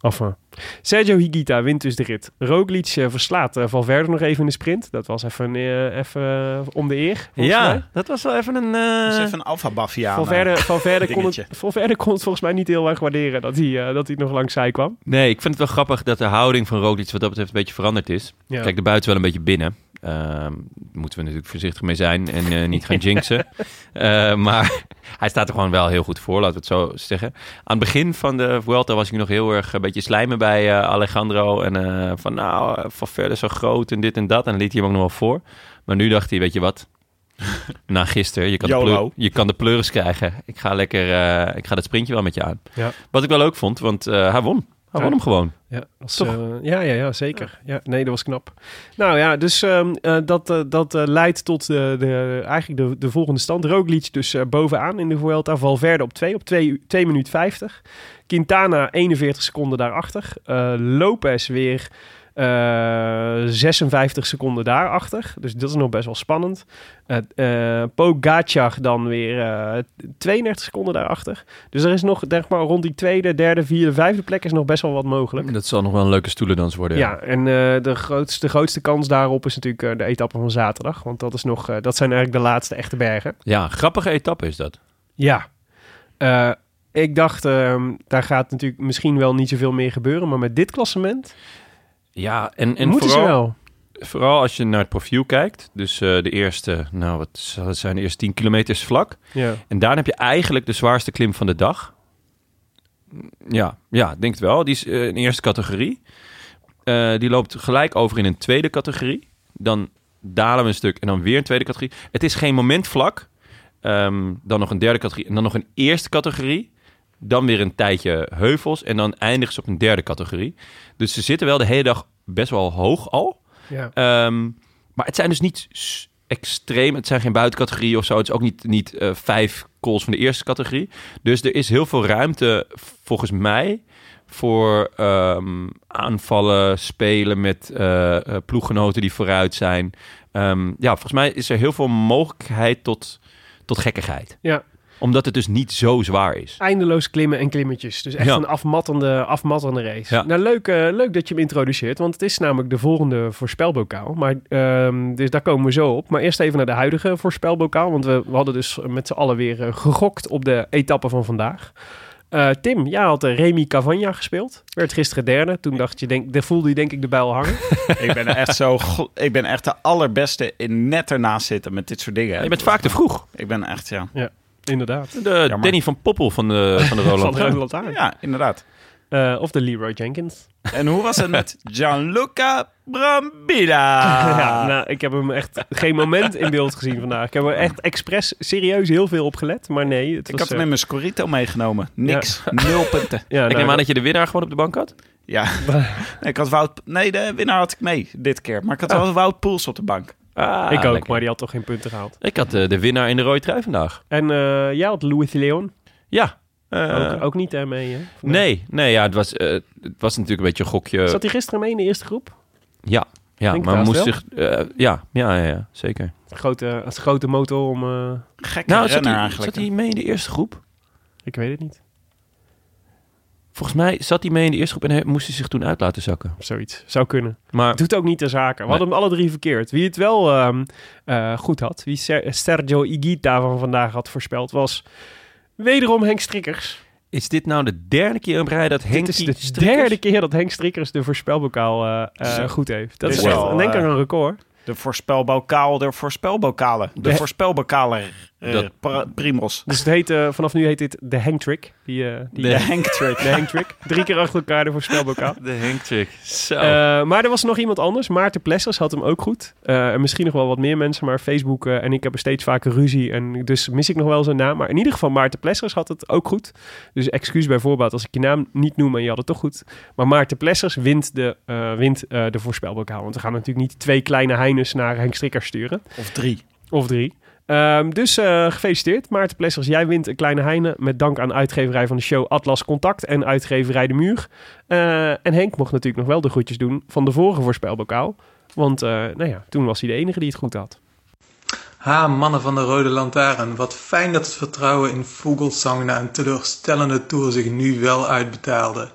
[SPEAKER 2] Enfin. Sergio Higuita wint dus de rit. Roglic eh, verslaat eh, Valverde nog even in de sprint. Dat was even, eh, even eh, om de eer. volgens
[SPEAKER 1] ja,
[SPEAKER 2] mij.
[SPEAKER 1] dat was wel even een...
[SPEAKER 5] Dat
[SPEAKER 1] eh,
[SPEAKER 5] is even een alfa bafiaan. (laughs)
[SPEAKER 2] Valverde, Valverde, kon het,
[SPEAKER 5] dingetje.
[SPEAKER 2] Valverde kon het volgens mij niet heel erg waarderen dat hij, eh, dat hij nog langs zij kwam.
[SPEAKER 1] Nee, ik vind het wel grappig dat de houding van Roglic wat dat betreft een beetje veranderd is.
[SPEAKER 2] Ja.
[SPEAKER 1] Kijk, de buiten wel een beetje binnen. Ehm, daar moeten we natuurlijk voorzichtig mee zijn en eh, niet
[SPEAKER 2] (laughs)
[SPEAKER 1] gaan jinxen. Eh, maar (laughs) hij staat er gewoon wel heel goed voor, laten we het zo zeggen. Aan het begin van de Vuelta was ik nog heel erg een beetje slijmen bij eh, Alejandro. En eh, van nou, eh, van verder zo groot en dit en dat. En dan liet hij hem ook nog wel voor. Maar nu dacht hij, weet je wat? (laughs) Na gisteren, je kan, de,
[SPEAKER 5] YOLO.
[SPEAKER 1] pleur- je kan de pleuris krijgen. Ik ga lekker, eh, ik ga dat sprintje wel met je aan.
[SPEAKER 2] Ja.
[SPEAKER 1] Wat ik wel leuk vond, want eh, hij won. Hij
[SPEAKER 2] Ja.
[SPEAKER 1] won hem gewoon.
[SPEAKER 2] Ja, als,
[SPEAKER 1] Toch?
[SPEAKER 2] eh, ja, ja, ja, zeker. Ja. nee, dat was knap. Nou ja, dus ehm, eh, dat, eh, dat eh, leidt tot de, de, eigenlijk de, de volgende stand. Roglic dus eh, bovenaan in de Vuelta. Valverde op 2, op 2, 2 minuut 50. Quintana 41 seconden daarachter. Eh Lopez weer eh, 56 seconden daarachter. Dus dat is nog best wel spannend. Eh eh Pogacar dan weer eh 32 seconden daarachter. Dus er is nog, zeg maar, rond die tweede, derde, vierde, vijfde plek is nog best wel wat mogelijk.
[SPEAKER 1] Dat zal nog wel een leuke stoelendans worden.
[SPEAKER 2] Ja, en eh, de, grootste, de grootste kans daarop is natuurlijk eh, de etappe van zaterdag. Want dat, is nog, eh, dat zijn eigenlijk de laatste echte bergen.
[SPEAKER 1] ja, grappige etappe is dat.
[SPEAKER 2] Ja. Eh, ik dacht, ehm, daar gaat natuurlijk misschien wel niet zoveel meer gebeuren. Maar met dit klassement
[SPEAKER 1] Ja, en, en
[SPEAKER 2] moeten
[SPEAKER 1] vooral,
[SPEAKER 2] ze wel.
[SPEAKER 1] vooral als je naar het profiel kijkt. Dus eh, de eerste, nou wat zal het zijn, de eerste 10 kilometer is vlak.
[SPEAKER 2] Ja.
[SPEAKER 1] En daarna heb je eigenlijk de zwaarste klim van de dag. Ja, ja, ik denk het wel. Die is eh, een eerste categorie. Eh, die loopt gelijk over in een tweede categorie. Dan dalen we een stuk en dan weer een tweede categorie. Het is geen momentvlak. Ehm, dan nog een derde categorie en dan nog een eerste categorie. Dan weer een tijdje heuvels en dan eindigen ze op een derde categorie. Dus ze zitten wel de hele dag best wel hoog al.
[SPEAKER 2] Ja.
[SPEAKER 1] Ehm, maar het zijn dus niet s- extreem. Het zijn geen buitencategorieën of zo. Het is ook niet, niet eh, vijf calls van de eerste categorie. Dus er is heel veel ruimte, volgens mij, voor ehm, aanvallen, spelen met eh, eh, ploeggenoten die vooruit zijn. Ehm, ja, volgens mij is er heel veel mogelijkheid tot, tot gekkigheid.
[SPEAKER 2] Ja.
[SPEAKER 1] Omdat het dus niet zo zwaar is.
[SPEAKER 2] Eindeloos klimmen en klimmetjes. Dus echt
[SPEAKER 1] Ja.
[SPEAKER 2] een afmattende, afmattende race.
[SPEAKER 1] Ja.
[SPEAKER 2] Nou, leuk, eh, leuk dat je hem introduceert. Want het is namelijk de volgende voorspelbokaal. Maar, ehm, dus daar komen we zo op. Maar eerst even naar de huidige voorspelbokaal. Want we, we hadden dus met z'n allen weer eh, gegokt op de etappe van vandaag. Eh, Tim, jij had eh, Remy Cavagna gespeeld. Werd gisteren derde. Toen dacht je, denk, daar voelde je denk ik de bijl hangen.
[SPEAKER 5] ik ben er echt zo. go- Ik ben echt de allerbeste in net ernaast zitten met dit soort dingen.
[SPEAKER 1] Je bent vaak te vroeg.
[SPEAKER 5] Ik ben echt, ja.
[SPEAKER 2] Inderdaad.
[SPEAKER 1] De Danny van Poppel van de,
[SPEAKER 2] (laughs)
[SPEAKER 1] van de Roland.
[SPEAKER 2] Van de
[SPEAKER 1] Garros.
[SPEAKER 2] Rode Lantaarn.
[SPEAKER 5] Ja, inderdaad.
[SPEAKER 2] Eh, of de Leroy Jenkins.
[SPEAKER 5] En hoe was het (laughs) met Gianluca Brambilla?
[SPEAKER 2] (laughs) Ja, nou, ik heb hem echt geen moment in beeld gezien vandaag. Ik heb er echt expres serieus heel veel op gelet. Maar nee, het
[SPEAKER 5] ik
[SPEAKER 2] was...
[SPEAKER 5] had hem
[SPEAKER 2] eh,
[SPEAKER 5] in mijn Scorito meegenomen. (laughs) Niks. Nul punten.
[SPEAKER 2] ja,
[SPEAKER 1] Ik
[SPEAKER 2] nou,
[SPEAKER 1] neem aan dat je de winnaar gewoon op de bank had.
[SPEAKER 5] (laughs) Ja. Nee, ik had Wout... Nee, de winnaar had ik mee dit keer. Maar ik had wel Wout Poels op de bank.
[SPEAKER 1] Ah,
[SPEAKER 2] ik ook,
[SPEAKER 1] lekker.
[SPEAKER 2] maar die had toch geen punten gehaald.
[SPEAKER 1] Ik had eh, de winnaar in de rode trui vandaag.
[SPEAKER 2] En eh, jij had Louis Leon.
[SPEAKER 1] Ja. eh,
[SPEAKER 2] ook, ook niet ermee, hè? Voor mij.
[SPEAKER 1] nee, nee ja, het, was, eh, het was natuurlijk een beetje een gokje.
[SPEAKER 2] Zat hij gisteren mee in de eerste groep?
[SPEAKER 1] Ja, ja
[SPEAKER 2] Denk
[SPEAKER 1] maar
[SPEAKER 2] het
[SPEAKER 1] moest
[SPEAKER 2] haast
[SPEAKER 1] zich... eh, ja, ja, ja, ja, zeker.
[SPEAKER 2] Grote, het grote motor om... eh,
[SPEAKER 5] Gekke
[SPEAKER 1] Nou, zat
[SPEAKER 5] renner
[SPEAKER 1] hij,
[SPEAKER 5] eigenlijk.
[SPEAKER 1] zat hij mee in de eerste groep?
[SPEAKER 2] ik weet het niet.
[SPEAKER 1] Volgens mij zat hij mee in de eerste groep en hij- moest hij zich toen uit laten zakken.
[SPEAKER 2] Of zoiets. Zou kunnen.
[SPEAKER 1] Maar
[SPEAKER 2] Het doet ook niet ter zake. We hadden hem alle drie verkeerd. Wie het wel ehm, eh, goed had, wie Ser- Sergio Iguita van vandaag had voorspeld, was wederom Henk Strikkers.
[SPEAKER 1] is dit nou de derde keer op rij dat Henk...
[SPEAKER 2] Dit is de derde keer dat Henk Strikkers de voorspelbokaal eh, eh,
[SPEAKER 5] Zo.
[SPEAKER 2] goed heeft. Dat
[SPEAKER 5] Dit
[SPEAKER 2] is
[SPEAKER 5] is
[SPEAKER 2] echt,
[SPEAKER 5] wel,
[SPEAKER 2] denk ik,
[SPEAKER 5] eh,
[SPEAKER 2] een record.
[SPEAKER 5] De voorspelbokaal, de voorspelbokalen. De
[SPEAKER 2] De-
[SPEAKER 5] voorspelbokalen. eh,
[SPEAKER 1] Dat-
[SPEAKER 5] pra- primos.
[SPEAKER 2] Dus het heet, eh, vanaf nu heet dit de Henk Trick. Die, eh, die,
[SPEAKER 5] De Henk
[SPEAKER 1] (laughs)
[SPEAKER 5] Trick.
[SPEAKER 2] de Henk Trick. Drie keer achter elkaar de voorspelbokaal.
[SPEAKER 1] De Henk-trick. Zo.
[SPEAKER 2] Eh, maar er was nog iemand anders. Maarten Plessers had hem ook goed. Eh, en misschien nog wel wat meer mensen, maar Facebook eh, en ik hebben steeds vaker ruzie. En dus mis ik nog wel zijn naam. Maar in ieder geval, Maarten Plessers had het ook goed. Dus excuus bij voorbaat als ik je naam niet noem en je had het toch goed. Maar Maarten Plessers wint de, eh wint, eh, de voorspelbokaal. Want we gaan natuurlijk niet twee kleine heines naar Henk Strikker sturen.
[SPEAKER 5] Of drie.
[SPEAKER 2] Of drie. Eh, Ehm, dus eh, gefeliciteerd Maarten Plessers. Jij wint een kleine heine met dank aan uitgeverij van de show Atlas Contact en uitgeverij De Muur. Eh, en Henk mocht natuurlijk nog wel de groetjes doen van de vorige voorspelbokaal. Want eh, nou ja, toen was hij de enige die het goed had.
[SPEAKER 7] Ha, mannen van de Rode Lantaarn, wat fijn dat het vertrouwen in Vogelsang na een teleurstellende tour zich nu wel uitbetaalde.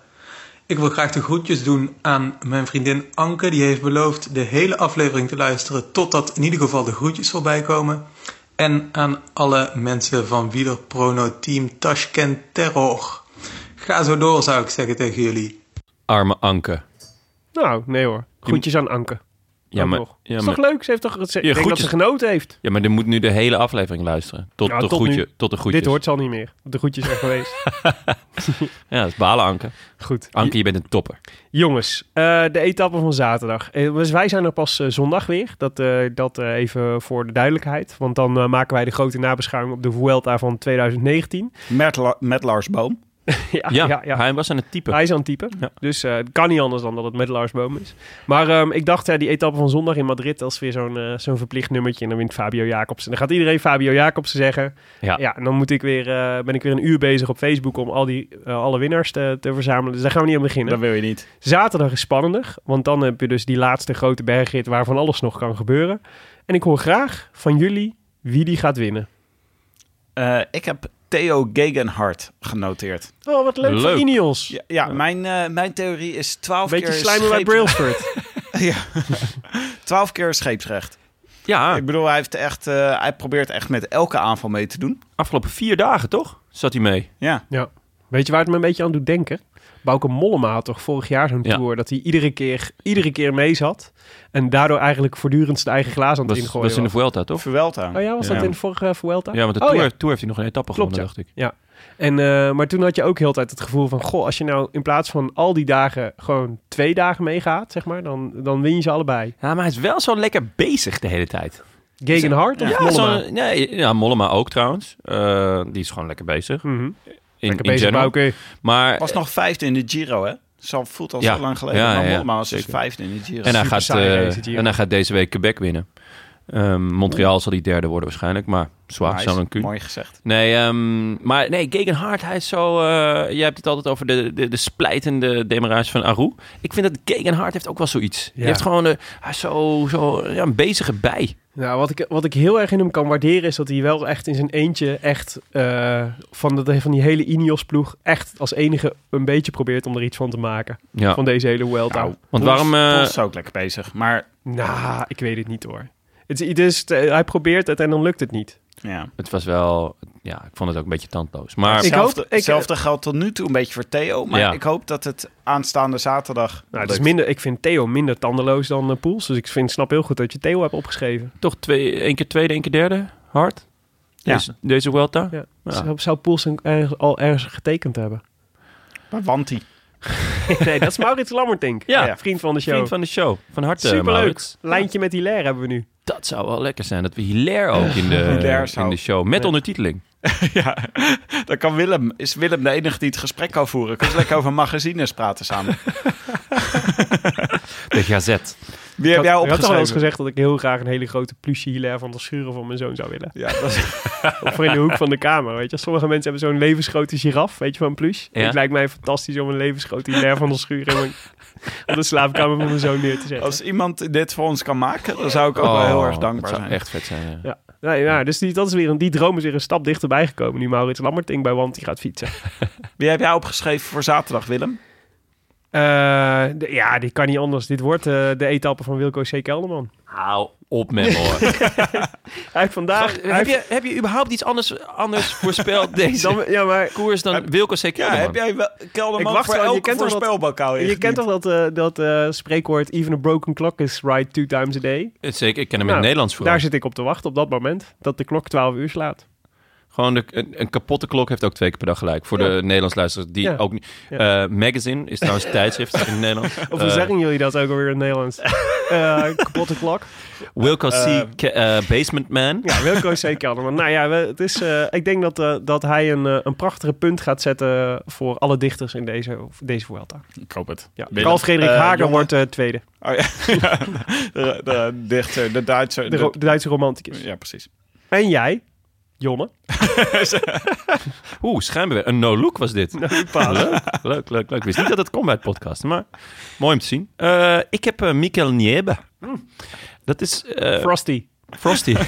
[SPEAKER 7] Ik wil graag de groetjes doen aan mijn vriendin Anke, die heeft beloofd de hele aflevering te luisteren totdat in ieder geval de groetjes voorbij komen. En aan alle mensen van Wieler Prono Team Tashkent Terror. Ga zo door, zou ik zeggen tegen jullie.
[SPEAKER 1] Arme Anke.
[SPEAKER 2] Nou, nee hoor. Groetjes aan Anke.
[SPEAKER 1] Ja,
[SPEAKER 2] Ook
[SPEAKER 1] maar,
[SPEAKER 2] nog.
[SPEAKER 1] ja,
[SPEAKER 2] is
[SPEAKER 1] maar,
[SPEAKER 2] toch leuk? Ze heeft toch, ze, ik denk dat
[SPEAKER 1] groetjes-
[SPEAKER 2] ze genoten heeft.
[SPEAKER 1] ja, maar die moet nu de hele aflevering luisteren. Tot,
[SPEAKER 2] Ja,
[SPEAKER 1] de,
[SPEAKER 2] tot
[SPEAKER 1] groetje,
[SPEAKER 2] nu.
[SPEAKER 1] tot de groetjes.
[SPEAKER 2] Dit hoort ze al niet meer. De groetjes zijn
[SPEAKER 1] (laughs)
[SPEAKER 2] geweest.
[SPEAKER 1] Ja, dat is balen, Anke.
[SPEAKER 2] Goed.
[SPEAKER 1] Anke, je bent een topper.
[SPEAKER 2] Jongens, eh, de etappe van zaterdag. Eh, dus wij zijn er pas eh, zondag weer. Dat, eh, dat eh, even voor de duidelijkheid. Want dan eh, maken wij de grote nabeschouwing op de Vuelta van 2019.
[SPEAKER 5] Met, La- met Lars Boom.
[SPEAKER 2] (laughs) ja,
[SPEAKER 1] Ah, Ja, hij was aan het typen.
[SPEAKER 2] Hij is aan het typen.
[SPEAKER 1] Ja.
[SPEAKER 2] Dus eh, het kan niet anders dan dat het met Lars Boom is. Maar ehm, ik dacht, ja, die etappe van zondag in Madrid, dat is weer zo'n eh, zo'n verplicht nummertje. En dan wint Fabio Jacobsen. Dan gaat iedereen Fabio Jacobsen zeggen.
[SPEAKER 1] Ja.
[SPEAKER 2] en dan moet ik weer, eh, ben ik weer een uur bezig op Facebook om al die, eh, alle winnaars te, te verzamelen. Dus daar gaan we niet aan beginnen.
[SPEAKER 5] Dat wil je niet.
[SPEAKER 2] Zaterdag is spannender, want dan heb je dus die laatste grote bergrit waarvan alles nog kan gebeuren. En ik hoor graag van jullie wie die gaat winnen.
[SPEAKER 5] Eh, ik heb Theo Gegenhardt genoteerd.
[SPEAKER 2] Oh, wat leuk,
[SPEAKER 1] Leuk.
[SPEAKER 2] voor Ineos.
[SPEAKER 5] Ja, ja, Mijn, eh, mijn theorie is 12
[SPEAKER 2] Beetje
[SPEAKER 5] keer,
[SPEAKER 2] slijmen bij
[SPEAKER 5] scheeps-
[SPEAKER 2] Brailsford.
[SPEAKER 5] 12 keer scheepsrecht.
[SPEAKER 1] Ja,
[SPEAKER 5] Ik bedoel, hij, heeft echt, eh, hij probeert echt met elke aanval mee te doen.
[SPEAKER 1] afgelopen vier dagen, toch? Zat hij mee.
[SPEAKER 5] Ja,
[SPEAKER 2] ja. Weet je waar het me een beetje aan doet denken? Bouke Mollema had toch vorig jaar zo'n
[SPEAKER 1] Ja.
[SPEAKER 2] tour dat hij iedere keer, iedere keer mee zat. En daardoor eigenlijk voortdurend zijn eigen glaas aan het
[SPEAKER 1] Dat was,
[SPEAKER 2] ingooien
[SPEAKER 1] was in de
[SPEAKER 2] was.
[SPEAKER 1] Vuelta, toch?
[SPEAKER 5] Verwelta.
[SPEAKER 2] Oh ja, was dat
[SPEAKER 5] Ja.
[SPEAKER 2] in de vorige Vuelta?
[SPEAKER 1] Ja, want de
[SPEAKER 2] Oh
[SPEAKER 1] tour,
[SPEAKER 2] ja.
[SPEAKER 1] tour heeft hij nog een etappe
[SPEAKER 2] Klopt,
[SPEAKER 1] gewonnen, dacht ik.
[SPEAKER 2] Ja, en, eh, maar toen had je ook heel de tijd het gevoel van... Goh, als je nou in plaats van al die dagen gewoon twee dagen meegaat, zeg maar... dan, dan win je ze allebei.
[SPEAKER 1] Ja, maar hij is wel zo lekker bezig de hele tijd.
[SPEAKER 2] Gegenhard of Mollema?
[SPEAKER 1] zo'n- nee, ja, Mollema ook trouwens. Eh, die is gewoon lekker bezig.
[SPEAKER 2] Mhm.
[SPEAKER 1] In,
[SPEAKER 2] Lekker
[SPEAKER 1] in
[SPEAKER 2] bezig,
[SPEAKER 1] general.
[SPEAKER 2] Bouke.
[SPEAKER 1] Maar,
[SPEAKER 5] Was nog vijfde in de Giro, hè? Zo voelt al
[SPEAKER 1] Ja.
[SPEAKER 5] zo lang geleden.
[SPEAKER 1] Ja, ja,
[SPEAKER 5] maar
[SPEAKER 1] ja.
[SPEAKER 5] Mollema was dus
[SPEAKER 1] Zeker.
[SPEAKER 5] vijfde in de Giro.
[SPEAKER 1] en, hij gaat,
[SPEAKER 2] saaie
[SPEAKER 1] eh,
[SPEAKER 2] race dit hier.
[SPEAKER 1] en hij gaat deze week Quebec winnen. Ehm, Montreal zal die derde worden waarschijnlijk, maar zwaar zal een
[SPEAKER 5] Nice.
[SPEAKER 1] kuun.
[SPEAKER 5] Mooi gezegd.
[SPEAKER 1] Nee, ehm, maar nee, Gegenhard, hij is zo... eh, je hebt het altijd over de, de, de splijtende demarage van Aru. Ik vind dat Gegenhard heeft ook wel zoiets. Hij
[SPEAKER 2] Ja.
[SPEAKER 1] heeft gewoon eh, hij is zo, zo ja, een bezige bij.
[SPEAKER 2] Nou, wat ik, wat ik heel erg in hem kan waarderen... is dat hij wel echt in zijn eentje echt... eh, van, de, van die hele Ineos-ploeg... echt als enige een beetje probeert om er iets van te maken.
[SPEAKER 1] Ja.
[SPEAKER 2] Van deze hele Vuelta.
[SPEAKER 5] Nou,
[SPEAKER 2] Nou,
[SPEAKER 1] Want
[SPEAKER 5] Poels-
[SPEAKER 1] waarom... eh,
[SPEAKER 5] Poels is ook lekker bezig. Maar
[SPEAKER 2] ik weet het niet hoor. Het, is- het is, hij probeert het en dan lukt het niet.
[SPEAKER 5] ja.
[SPEAKER 1] het was wel... Ja, ik vond het ook een beetje tandloos. Maar
[SPEAKER 2] Ik
[SPEAKER 5] Hetzelfde-
[SPEAKER 2] hoop- ik-
[SPEAKER 5] hetzelfde geldt tot nu toe een beetje voor Theo. Maar
[SPEAKER 1] Ja.
[SPEAKER 5] ik hoop dat het aanstaande zaterdag...
[SPEAKER 2] Nou, het is minder, ik vind Theo minder tandeloos dan eh, Poels. Dus ik vind, snap heel goed dat je Theo hebt opgeschreven.
[SPEAKER 1] toch twee, één keer tweede, één keer derde. Hard.
[SPEAKER 5] Ja.
[SPEAKER 1] Deze, deze Welta.
[SPEAKER 2] Ja. Zou, zou Poels hem ergens- al ergens getekend
[SPEAKER 1] (laughs)
[SPEAKER 2] hebben?
[SPEAKER 5] Waar want hij?
[SPEAKER 2] nee, dat is Maurits Lammertink.
[SPEAKER 1] Ja.
[SPEAKER 2] Vriend van de show.
[SPEAKER 1] Vriend van de show. Van harte,
[SPEAKER 2] Superleuk.
[SPEAKER 1] Maurits.
[SPEAKER 2] Lijntje met Hilaire hebben we nu.
[SPEAKER 1] Dat zou wel lekker zijn. Dat we Hilaire ook in
[SPEAKER 5] (laughs) Hilaire
[SPEAKER 1] de,
[SPEAKER 5] zou-
[SPEAKER 1] in de show. Met
[SPEAKER 2] Ja.
[SPEAKER 1] ondertiteling.
[SPEAKER 5] (laughs) Ja, dan kan Willem, is Willem de enige die het gesprek kan voeren. Kunnen ze lekker over magazines praten samen.
[SPEAKER 1] (laughs) De Gazette.
[SPEAKER 5] Wie heb
[SPEAKER 2] ik
[SPEAKER 5] jij
[SPEAKER 2] had- ik had toch wel eens
[SPEAKER 5] opgeschreven?
[SPEAKER 2] gezegd dat ik heel graag een hele grote plusje Hilaire van de schuren van mijn zoon zou willen.
[SPEAKER 5] Ja, dat is-
[SPEAKER 2] (laughs) Of voor in de hoek van de kamer, weet je. Sommige mensen hebben zo'n levensgrote giraf, weet je, van plush.
[SPEAKER 1] Ja.
[SPEAKER 2] Het lijkt mij fantastisch om een levensgrote Hilaire van de
[SPEAKER 1] (laughs)
[SPEAKER 2] schuren in mijn, op de slaapkamer van mijn zoon neer te zetten.
[SPEAKER 5] als iemand dit voor ons kan maken, dan zou ik ook wel heel erg dankbaar
[SPEAKER 1] Oh, dat zou
[SPEAKER 5] zijn.
[SPEAKER 1] echt vet zijn. ja.
[SPEAKER 2] Ja, nou, ja dus die, dat is weer een, die droom is weer een stap dichterbij gekomen. Nu Maurits Lammerting bij Want die gaat fietsen.
[SPEAKER 5] Wie heb jij opgeschreven voor zaterdag, Willem?
[SPEAKER 2] Eh, de- ja, die kan niet anders. Dit wordt eh, de etappe van Wilco C. Kelderman.
[SPEAKER 1] Hou op met me
[SPEAKER 5] (laughs)
[SPEAKER 1] hoor.
[SPEAKER 2] Hij heeft vandaag... hij
[SPEAKER 1] heb,
[SPEAKER 2] heeft-
[SPEAKER 1] je, heb je überhaupt iets anders,
[SPEAKER 2] (laughs)
[SPEAKER 1] anders voorspeld deze
[SPEAKER 2] dan, ja, maar
[SPEAKER 1] koers dan Wilco C. Kelderman?
[SPEAKER 5] jij wel Kelderman
[SPEAKER 2] Ik wacht wel, je kent toch dat-
[SPEAKER 5] voorspelbokaal?
[SPEAKER 2] je kent toch dat, eh, dat eh, spreekwoord... Even a broken clock is right two times a day?
[SPEAKER 1] Het eh, Zeker, ik ken hem in
[SPEAKER 2] Nou,
[SPEAKER 1] het Nederlands vooral.
[SPEAKER 2] Daar zit ik op te wachten op dat moment. Dat de klok 12 uur slaat.
[SPEAKER 1] Gewoon de, een, een kapotte klok heeft ook twee keer per dag gelijk. Voor de Nederlands luisteraars die
[SPEAKER 2] Ja.
[SPEAKER 1] ook niet... eh, magazine is trouwens tijdschrift in het Nederlands.
[SPEAKER 2] (laughs) Of hoe
[SPEAKER 1] Eh,
[SPEAKER 2] zeggen jullie dat ook alweer in het Nederlands? Eh, kapotte klok.
[SPEAKER 1] Wilco C. Ke- eh, Basement Man.
[SPEAKER 2] Ja, Wilco C. Kelderman. Nou ja, we- het is, eh, ik denk dat, eh, dat hij een, eh, een prachtige punt gaat zetten voor alle dichters in deze, deze Vuelta.
[SPEAKER 5] Ik hoop het.
[SPEAKER 2] Ja.
[SPEAKER 5] Willem,
[SPEAKER 2] Carl Frederik
[SPEAKER 5] eh,
[SPEAKER 2] Hagen
[SPEAKER 5] jongen.
[SPEAKER 2] wordt eh, tweede.
[SPEAKER 5] Oh, ja. de, de dichter, de Duitser.
[SPEAKER 2] De, ro-
[SPEAKER 5] De,
[SPEAKER 2] de Duitse romanticus.
[SPEAKER 5] ja, precies.
[SPEAKER 2] En jij, Jonne.
[SPEAKER 1] Oeh, schijnbewerking. Een no-look was dit. leuk, leuk, leuk, leuk. Ik wist niet dat het kon bij het podcast, maar mooi om te zien. Eh, ik heb eh, Mikkel Niebe. Dat is... eh,
[SPEAKER 2] Frosty.
[SPEAKER 1] Frosty. (laughs)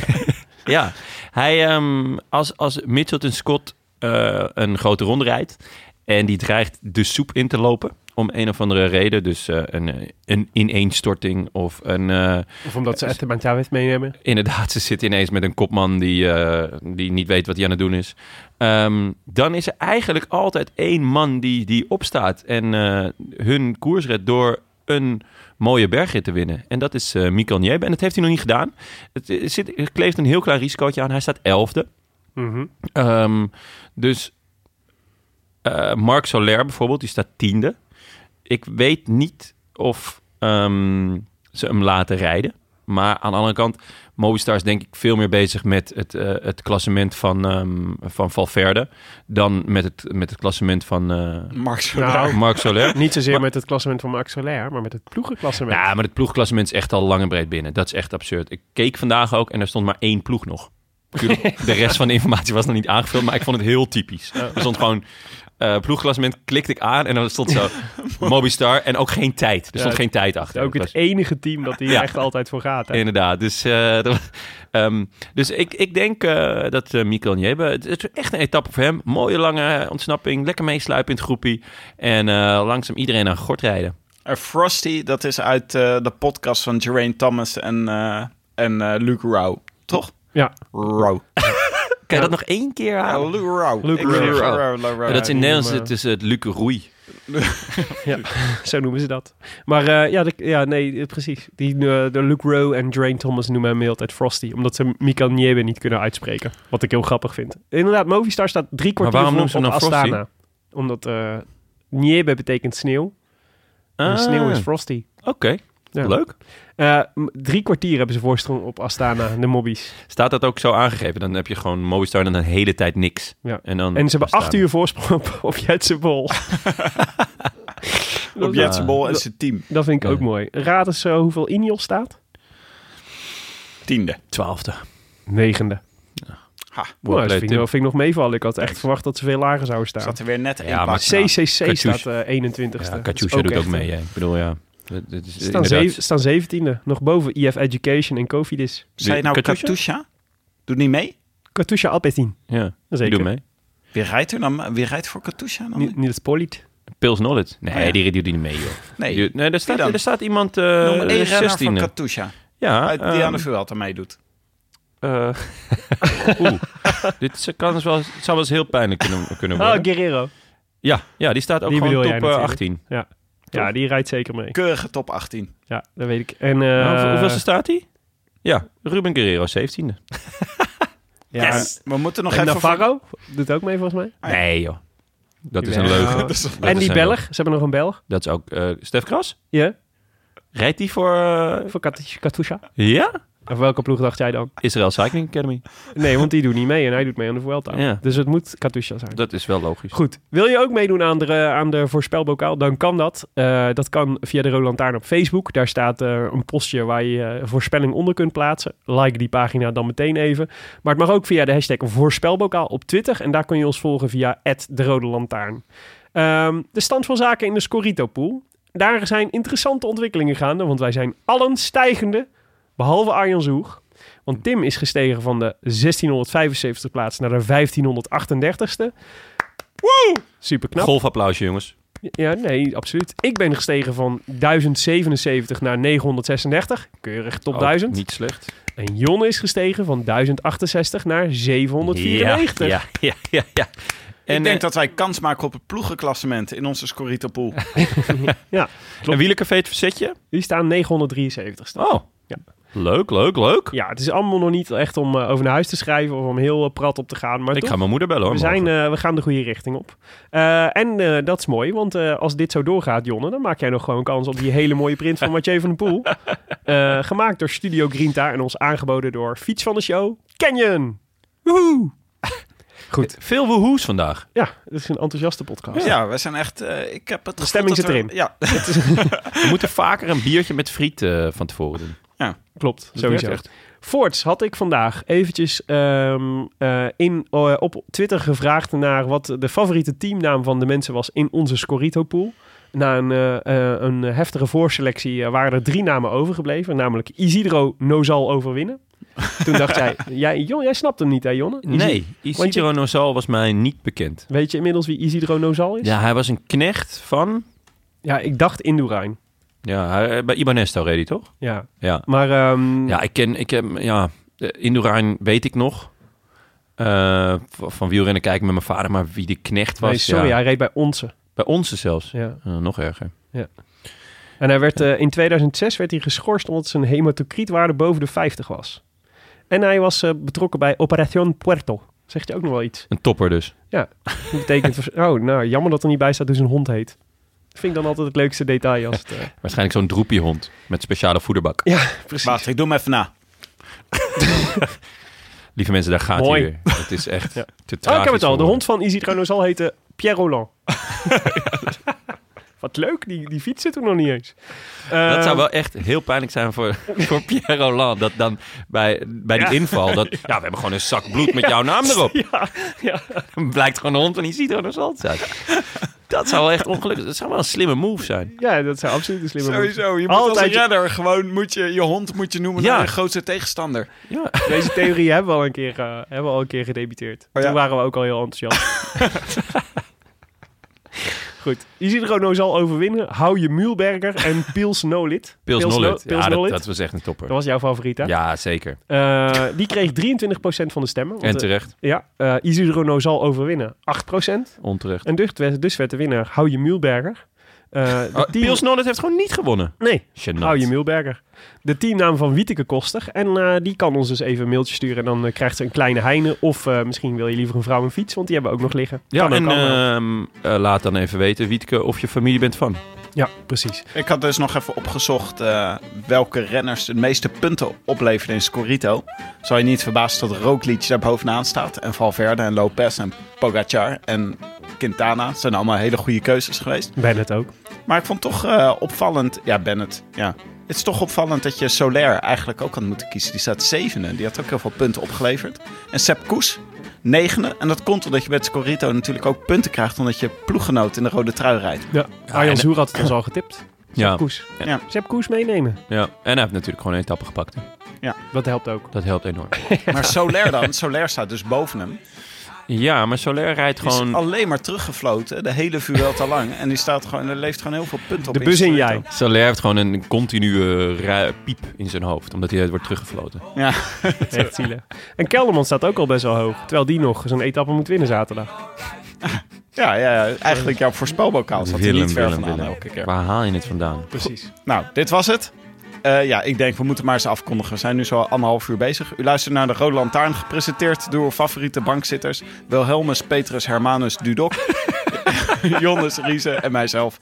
[SPEAKER 1] ja, hij, ehm, als, als Mitchelton Scott eh, een grote ronde rijdt en die dreigt de soep in te lopen om een of andere reden, dus eh, een, eh, een ineenstorting of een... eh,
[SPEAKER 2] Of omdat ze echt mijn thuis meenemen.
[SPEAKER 1] inderdaad, (laughs) ze zit ineens met een kopman die, eh, die niet weet wat hij aan het doen is. Ehm, dan is er eigenlijk altijd één man die, die opstaat en eh, hun koers redt door een mooie bergrit te winnen. En dat is eh Mikkel Niebe. En dat heeft hij nog niet gedaan. Het, eh, zit, er kleeft een heel klein risicootje aan. Hij staat elfde.
[SPEAKER 2] Mhm.
[SPEAKER 1] Ehm, dus eh, Mark Soler bijvoorbeeld, die staat tiende. Ik weet niet of ehm, ze hem laten rijden. Maar aan de andere kant, Movistar is denk ik veel meer bezig met het, eh, het klassement van, ehm, van Valverde... dan met het, met het klassement van eh,
[SPEAKER 5] Mark Soler.
[SPEAKER 2] Nou,
[SPEAKER 1] Marc Soler.
[SPEAKER 2] niet zozeer met het klassement van Max Soler, maar met het ploegenklassement.
[SPEAKER 1] Ja, maar het ploegklassement is echt al lang en breed binnen. Dat is echt absurd. Ik keek vandaag ook en er stond maar één ploeg nog.
[SPEAKER 2] (laughs)
[SPEAKER 1] Tuurlijk, De rest van de informatie was nog niet aangevuld, maar ik vond het heel typisch. Er stond gewoon eh ploegklassement, klikte ik aan en dan stond
[SPEAKER 2] (laughs)
[SPEAKER 1] zo Mobistar en ook geen tijd. Er stond
[SPEAKER 2] Ja,
[SPEAKER 1] geen tijd achter.
[SPEAKER 2] Ook
[SPEAKER 1] Het
[SPEAKER 2] het
[SPEAKER 1] was-
[SPEAKER 2] enige team dat hier
[SPEAKER 1] Ja.
[SPEAKER 2] echt altijd voor gaat. hè.
[SPEAKER 1] Inderdaad. Dus, eh, (laughs) dat was- ehm, dus ik, ik denk eh, dat eh Mikkel Niebe... Het, het is echt een etappe voor hem. Mooie lange ontsnapping, lekker meesluipen in het groepie. En eh, langzaam iedereen aan gort rijden.
[SPEAKER 5] En Eh, Frosty, dat is uit eh, de podcast van Geraint Thomas en, eh, en eh, Luke Rowe. Toch?
[SPEAKER 2] Ja.
[SPEAKER 5] Rowe.
[SPEAKER 1] Kan je dat nog één keer
[SPEAKER 5] Ja,
[SPEAKER 1] halen?
[SPEAKER 5] Luke Rowe.
[SPEAKER 2] Luke
[SPEAKER 5] Ah, Ik zeg
[SPEAKER 1] Rowe.
[SPEAKER 5] Luke Rowe.
[SPEAKER 1] Ja, dat is in
[SPEAKER 2] die
[SPEAKER 1] Nederlands
[SPEAKER 2] noemen-
[SPEAKER 1] het is het Luc Roei.
[SPEAKER 2] (laughs) Zo noemen ze dat. Maar eh, ja, de- ja, nee, eh, precies. Die, eh, de Luke Rowe en Drain Thomas noemen hem heel tijd Frosty. Omdat ze Mikael Niebe niet kunnen uitspreken. Wat ik heel grappig vind. Inderdaad, Movistar staat drie kwartier
[SPEAKER 1] waarom
[SPEAKER 2] voor
[SPEAKER 1] noemen ze hem
[SPEAKER 2] op
[SPEAKER 1] dan
[SPEAKER 2] Astana.
[SPEAKER 1] Frosty?
[SPEAKER 2] Omdat eh Niebe betekent sneeuw. En sneeuw is Frosty.
[SPEAKER 1] Oké,
[SPEAKER 2] Ja.
[SPEAKER 1] Ah. leuk.
[SPEAKER 2] Eh, m- drie kwartier hebben ze voorsprong op Astana, de mobbies.
[SPEAKER 1] Staat dat ook zo aangegeven? Dan heb je gewoon Movistar en dan een hele tijd niks.
[SPEAKER 2] Ja.
[SPEAKER 1] En, dan
[SPEAKER 2] En ze hebben
[SPEAKER 1] staan-
[SPEAKER 2] acht uur voorsprong op, op
[SPEAKER 1] (laughs)
[SPEAKER 2] Jetse Bol.
[SPEAKER 5] Op Jetse Bol en zijn team.
[SPEAKER 2] Dat vind ik ook
[SPEAKER 1] Ja.
[SPEAKER 2] mooi. Raad eens eh, hoeveel Ineos staat?
[SPEAKER 5] Tiende.
[SPEAKER 1] Twaalfde.
[SPEAKER 2] Negende. Nou, dat
[SPEAKER 1] Leuk,
[SPEAKER 2] vind, ik,
[SPEAKER 1] Tim.
[SPEAKER 2] wel- vind ik nog meevallen. Ik had echt verwacht dat ze veel lager zouden staan.
[SPEAKER 5] Zat er weer net één
[SPEAKER 1] maar
[SPEAKER 5] pak
[SPEAKER 1] C-
[SPEAKER 5] naast.
[SPEAKER 2] CCC
[SPEAKER 1] Katusha.
[SPEAKER 2] staat eh, 21ste.
[SPEAKER 1] Ja,
[SPEAKER 2] Dat is
[SPEAKER 1] Katjusha doet ook
[SPEAKER 2] echt,
[SPEAKER 1] mee.
[SPEAKER 2] eh,
[SPEAKER 1] hè. Ik bedoel, ja. Dat, dat is
[SPEAKER 2] Staan,
[SPEAKER 1] inderdaad-
[SPEAKER 2] zeven, staan 17e. Nog boven IF Education en Cofidis.
[SPEAKER 5] Zei je nou
[SPEAKER 1] Katusha?
[SPEAKER 5] Katusha? Doet niet mee?
[SPEAKER 2] Katusha Alpetin.
[SPEAKER 1] Ja, die
[SPEAKER 2] Zeker.
[SPEAKER 1] doet mee.
[SPEAKER 5] Wie rijdt er dan? Wie rijdt voor Katusha dan?
[SPEAKER 2] Ni- Niels Polit.
[SPEAKER 1] Pils Nollet. Nee,
[SPEAKER 2] Ah,
[SPEAKER 5] Oh, ja.
[SPEAKER 1] die, die doet niet mee, joh.
[SPEAKER 5] Nee.
[SPEAKER 1] Die- nee daar, staat,
[SPEAKER 5] dan?
[SPEAKER 1] er staat iemand eh
[SPEAKER 5] Noem één renner van
[SPEAKER 1] 16e.
[SPEAKER 5] Katusha.
[SPEAKER 1] Ja,
[SPEAKER 5] Uit Oh, die aan
[SPEAKER 1] ehm,
[SPEAKER 5] de Vuelta meedoet.
[SPEAKER 1] eh,
[SPEAKER 2] (laughs)
[SPEAKER 1] Oeh, (laughs) dit is- kan dus wel, het zou wel eens heel pijnlijk
[SPEAKER 2] (laughs)
[SPEAKER 1] kunnen, kunnen
[SPEAKER 2] Oh,
[SPEAKER 1] worden.
[SPEAKER 2] Guerrero.
[SPEAKER 1] Ja, ja, die staat ook
[SPEAKER 2] Die bedoel
[SPEAKER 1] gewoon
[SPEAKER 2] jij
[SPEAKER 1] top eh,
[SPEAKER 2] natuurlijk.
[SPEAKER 1] 18.
[SPEAKER 2] Ja, die rijdt zeker mee.
[SPEAKER 5] Keurige top 18.
[SPEAKER 2] Ja, dat weet ik. En,
[SPEAKER 1] Nou, hoeveel-
[SPEAKER 2] eh,
[SPEAKER 1] hoeveelste staat hij? Ja, Ruben Guerrero, 17e.
[SPEAKER 2] ja,
[SPEAKER 5] Yes. We moeten nog
[SPEAKER 2] En
[SPEAKER 5] even...
[SPEAKER 2] Navarro doet ook mee volgens mij.
[SPEAKER 5] Ah, ja.
[SPEAKER 1] Nee, joh. Dat
[SPEAKER 2] Die
[SPEAKER 1] is een
[SPEAKER 2] Belg.
[SPEAKER 1] leugen.
[SPEAKER 2] (laughs)
[SPEAKER 5] Dat is-
[SPEAKER 1] Dat
[SPEAKER 2] en
[SPEAKER 1] is
[SPEAKER 2] die
[SPEAKER 1] een
[SPEAKER 2] Belg.
[SPEAKER 1] leugen.
[SPEAKER 2] Ze hebben nog een Belg.
[SPEAKER 1] Dat is ook... eh, Stef Kras?
[SPEAKER 2] Ja,
[SPEAKER 1] Rijdt die voor... eh,
[SPEAKER 2] voor Kat- Katusha.
[SPEAKER 1] ja?
[SPEAKER 2] Of welke ploeg dacht jij dan?
[SPEAKER 1] Israël Cycling Academy.
[SPEAKER 2] Nee, want die doet niet mee en hij doet mee aan de Vuelta.
[SPEAKER 1] Ja. Dus-
[SPEAKER 2] Dus het moet Katusha zijn.
[SPEAKER 1] Dat is wel logisch.
[SPEAKER 2] Goed, wil je ook meedoen aan de, aan de voorspelbokaal? Dan kan dat. Eh, dat kan via de Rode Lantaarn op Facebook. Daar staat eh, een postje waar je eh, een voorspelling onder kunt plaatsen. Like die pagina dan meteen even. Maar het mag ook via de hashtag voorspelbokaal op Twitter. En daar kun je ons volgen via de Rode Lantaarn. Ehm, de stand van zaken in de Scorito Pool. Daar zijn interessante ontwikkelingen gaande, want wij zijn allen stijgende, behalve Arjan Zoeg. Want Tim is gestegen van de 1675 plaats naar de 1538ste. Woe! Super knap.
[SPEAKER 1] Golfapplausje, jongens.
[SPEAKER 2] Ja, nee, absoluut. Ik ben gestegen van 1077 naar 936. Keurig top
[SPEAKER 1] Ook
[SPEAKER 2] 1000.
[SPEAKER 1] Oh, Niet slecht.
[SPEAKER 2] En Jon is gestegen van 1068 naar 794.
[SPEAKER 1] Ja, ja, ja. ja. En,
[SPEAKER 5] ik denk
[SPEAKER 1] eh,
[SPEAKER 5] dat wij kans maken op het ploegenklassement in onze Scorito-pool.
[SPEAKER 1] een wielercafé het verzetje?
[SPEAKER 2] Die staan 973 staan.
[SPEAKER 1] Oh.
[SPEAKER 2] Ja.
[SPEAKER 1] Leuk, leuk, leuk.
[SPEAKER 2] Ja, het is allemaal nog niet echt om eh, over naar huis te schrijven of om heel eh, prat op te gaan. Maar
[SPEAKER 1] ik
[SPEAKER 2] toch,
[SPEAKER 1] ga mijn moeder bellen, hoor.
[SPEAKER 2] we, zijn,
[SPEAKER 1] morgen.
[SPEAKER 2] eh, we gaan de goede richting op. Eh, en eh, dat is mooi, want eh, als dit zo doorgaat, Jonne, dan maak jij nog gewoon kans op die hele mooie print van Mathieu van den Poel. Eh, gemaakt door Studio Grinta en ons aangeboden door Fiets van de Show, Canyon. Woehoe! Goed.
[SPEAKER 1] Veel woehoes vandaag.
[SPEAKER 2] Ja, dit is een enthousiaste podcast.
[SPEAKER 5] Ja, we zijn echt... eh, ik heb het
[SPEAKER 2] De stemming
[SPEAKER 5] gevoel dat
[SPEAKER 2] zit
[SPEAKER 5] we- Ja,
[SPEAKER 1] (laughs) We moeten vaker een biertje met friet eh, van tevoren doen.
[SPEAKER 5] Ja.
[SPEAKER 2] klopt. Sowieso.
[SPEAKER 1] echt.
[SPEAKER 2] Voorts had ik vandaag eventjes ehm, eh, in, eh, op Twitter gevraagd naar wat de favoriete teamnaam van de mensen was in onze Scorito-pool. Na een, eh, eh, een heftige voorselectie eh, waren er drie namen overgebleven. Namelijk Isidro Nozal overwinnen. Toen
[SPEAKER 1] (laughs)
[SPEAKER 2] dacht jij, jij, Jon, jij snapt hem niet hè Jonne? Isi-
[SPEAKER 1] Nee,
[SPEAKER 2] Want
[SPEAKER 1] Isidro Nozal was mij niet bekend.
[SPEAKER 2] Weet je inmiddels wie Isidro Nozal is?
[SPEAKER 1] Ja, hij was een knecht van...
[SPEAKER 2] Ja, ik dacht Indurain.
[SPEAKER 1] Ja, hij- eh, bij Ibanesto reed hij toch?
[SPEAKER 2] Ja,
[SPEAKER 1] Ja,
[SPEAKER 2] maar ehm,
[SPEAKER 1] ja ik ken... Ik heb, ja, eh, Indurain weet ik nog. Eh, van van wielrennen kijken met mijn vader, maar wie de knecht was...
[SPEAKER 2] nee, sorry,
[SPEAKER 1] ja.
[SPEAKER 2] hij reed bij Onze.
[SPEAKER 1] Bij onze zelfs.
[SPEAKER 2] Ja.
[SPEAKER 1] Eh, nog erger.
[SPEAKER 2] En hij werd, eh, in 2006 werd hij geschorst omdat zijn hematocrietwaarde boven de 50 was. En hij was eh, betrokken bij Operación Puerto. Zegt je ook nog wel iets?
[SPEAKER 1] Een topper dus.
[SPEAKER 2] Dat betekent... vers- oh, nou, jammer dat er niet bij staat hoe zijn hond heet. Dat vind ik dan altijd het leukste detail. Als het, eh,
[SPEAKER 5] (laughs)
[SPEAKER 1] Waarschijnlijk zo'n droepiehond met speciale voederbak.
[SPEAKER 5] Wacht,
[SPEAKER 2] Oh,
[SPEAKER 5] ik doe hem even na.
[SPEAKER 1] Lieve mensen, daar gaat
[SPEAKER 2] Mooi.
[SPEAKER 1] hij weer. Het is echt
[SPEAKER 2] (laughs) Ja.
[SPEAKER 1] te tragisch.
[SPEAKER 2] oh, ik heb het al. De
[SPEAKER 1] voor
[SPEAKER 2] hond van Isidro Nozal heette Pierre
[SPEAKER 5] (laughs)
[SPEAKER 2] Roland. (laughs) Wat leuk, die, die fietsen toen nog niet eens.
[SPEAKER 1] woorden. Dat zou
[SPEAKER 2] Eh,
[SPEAKER 1] wel echt heel pijnlijk zijn voor, (laughs) voor Pierre Roland. Dat dan bij, bij die inval... Dat, ja, we hebben gewoon een zak bloed met jouw naam erop.
[SPEAKER 2] Ja, ja.
[SPEAKER 1] Blijkt gewoon een hond en die ziet er nog zand zijn. Dat zou wel echt ongelukkig Dat zou wel een slimme move zijn.
[SPEAKER 2] ja, dat zou absoluut een slimme move zijn.
[SPEAKER 5] Sowieso, je moet als
[SPEAKER 2] Altijd-
[SPEAKER 5] een redder gewoon moet je, je hond moet je noemen
[SPEAKER 1] Ja.
[SPEAKER 5] naar je grootste tegenstander.
[SPEAKER 1] Ja.
[SPEAKER 2] Deze theorie hebben we al een keer, eh, hebben we al een keer gedebuteerd.
[SPEAKER 5] Oh ja.
[SPEAKER 2] Toen waren we ook al heel enthousiast.
[SPEAKER 5] (laughs)
[SPEAKER 2] Goed. Isidro Nozal overwinnen. Hou je Mühlberger en Pils Nolit.
[SPEAKER 1] (laughs) Pils Nollet.
[SPEAKER 2] Pils
[SPEAKER 1] Ja, dat,
[SPEAKER 2] Nolit.
[SPEAKER 1] dat was echt een
[SPEAKER 2] dat
[SPEAKER 1] topper.
[SPEAKER 2] was jouw favoriet, hè?
[SPEAKER 1] Ja, zeker.
[SPEAKER 2] Eh, die kreeg 23% van de stemmen. Want,
[SPEAKER 1] En
[SPEAKER 2] eh,
[SPEAKER 1] terecht.
[SPEAKER 2] ja, eh, Isidro Nozal overwinnen 8%.
[SPEAKER 1] Onterecht.
[SPEAKER 2] En dus werd, dus werd de winnaar Hou je Mühlberger. Eh, de
[SPEAKER 1] Oh,
[SPEAKER 2] team-
[SPEAKER 1] Pils Nollet heeft gewoon niet gewonnen.
[SPEAKER 2] Nee,
[SPEAKER 1] Gênant.
[SPEAKER 2] Hou je Milberger. De teamnaam van Wieteke Koster. En eh, die kan ons dus even een mailtje sturen. En dan eh, krijgt ze een kleine heine. Of eh, misschien wil je liever een vrouw een fiets. Want die hebben we ook nog liggen.
[SPEAKER 1] Ja,
[SPEAKER 2] Kan ook
[SPEAKER 1] en
[SPEAKER 2] allemaal.
[SPEAKER 1] ehm, eh, laat dan even weten, Wietke, of je familie bent van.
[SPEAKER 2] ja, precies.
[SPEAKER 5] Ik had dus nog even opgezocht eh, welke renners de meeste punten opleverden in Scorito. Zal je niet verbaasd dat Roglic daar bovenaan staat. En Valverde en Lopez en Pogacar en Quintana. Het zijn allemaal hele goede keuzes geweest.
[SPEAKER 2] Bennett ook.
[SPEAKER 5] Maar ik vond toch eh, opvallend... Ja, Bennett, ja. Het is toch opvallend dat je Soler eigenlijk ook had moeten kiezen. Die staat zevende. Die had ook heel veel punten opgeleverd. En Sepp Koes, negende. En dat komt omdat je bij Scorito natuurlijk ook punten krijgt... omdat je ploeggenoot in de rode trui rijdt.
[SPEAKER 2] Ja, Arjan
[SPEAKER 1] en-
[SPEAKER 2] Zoer had het ons al getipt.
[SPEAKER 1] Ja,
[SPEAKER 2] Koes.
[SPEAKER 5] Ja.
[SPEAKER 2] Sepp Koes meenemen.
[SPEAKER 1] ja. En hij heeft natuurlijk gewoon een etappe gepakt. hè.
[SPEAKER 2] Dat helpt ook.
[SPEAKER 1] Dat helpt enorm.
[SPEAKER 5] Maar Soler dan, Soler staat dus boven hem.
[SPEAKER 1] Ja, maar Soler rijdt
[SPEAKER 5] Die is
[SPEAKER 1] gewoon...
[SPEAKER 5] alleen maar teruggefloten, de hele
[SPEAKER 2] (laughs)
[SPEAKER 5] Vuelta lang. En die staat gewoon, er leeft gewoon heel veel punten op.
[SPEAKER 2] De bus in jij.
[SPEAKER 1] Soler heeft gewoon een continue ru- piep in zijn hoofd, omdat hij wordt teruggefloten.
[SPEAKER 5] Ja,
[SPEAKER 2] Echt zielig. En Kelderman staat ook al best wel hoog. Terwijl die nog zo'n etappe moet winnen zaterdag.
[SPEAKER 5] ja, ja, ja. eigenlijk jouw voorspelbokaal zat er
[SPEAKER 1] Willem,
[SPEAKER 5] niet ver
[SPEAKER 1] Willem,
[SPEAKER 5] vandaan
[SPEAKER 1] Willem.
[SPEAKER 5] elke keer.
[SPEAKER 1] Waar haal je het vandaan?
[SPEAKER 2] Precies.
[SPEAKER 5] Nou, dit was het. Eh, ja, ik denk, we moeten maar eens afkondigen. We zijn nu zo anderhalf uur bezig. U luistert naar de Rode Lantaarn, gepresenteerd door uw favoriete bankzitters... Wilhelmus Petrus Hermanus Dudok, (laughs) Jonas Riese en mijzelf,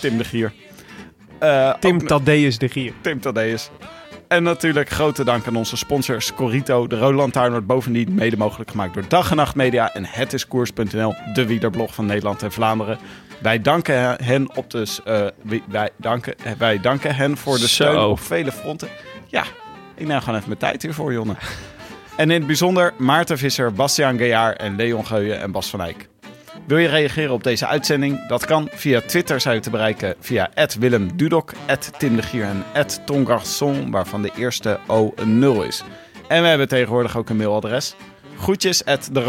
[SPEAKER 5] Tim de Gier. Eh, ook-
[SPEAKER 2] Tim Taddeus de Gier.
[SPEAKER 5] Tim Thaddeus. En natuurlijk grote dank aan onze sponsor Scorito. De Roland Tuin wordt bovendien mede mogelijk gemaakt door Dag en Nacht Media en Het is Koers.nl, de wielerblog van Nederland en Vlaanderen. Wij danken hen, op de, s- eh, wie- wij danken, eh, wij danken hen voor de
[SPEAKER 1] Zo.
[SPEAKER 5] steun op vele fronten. Ja, ik neem gewoon even mijn tijd hiervoor, Jonne. En in het bijzonder Maarten Visser, Bastiaan Gejaar en Leon Geuyen en Bas van Eyck. Wil je reageren op deze uitzending? Dat kan. Via Twitter zijn we te bereiken via Willem Dudok, Tim de Gier en Tongarson, waarvan de eerste O een 0 is. En we hebben tegenwoordig ook een mailadres. Groetjes at de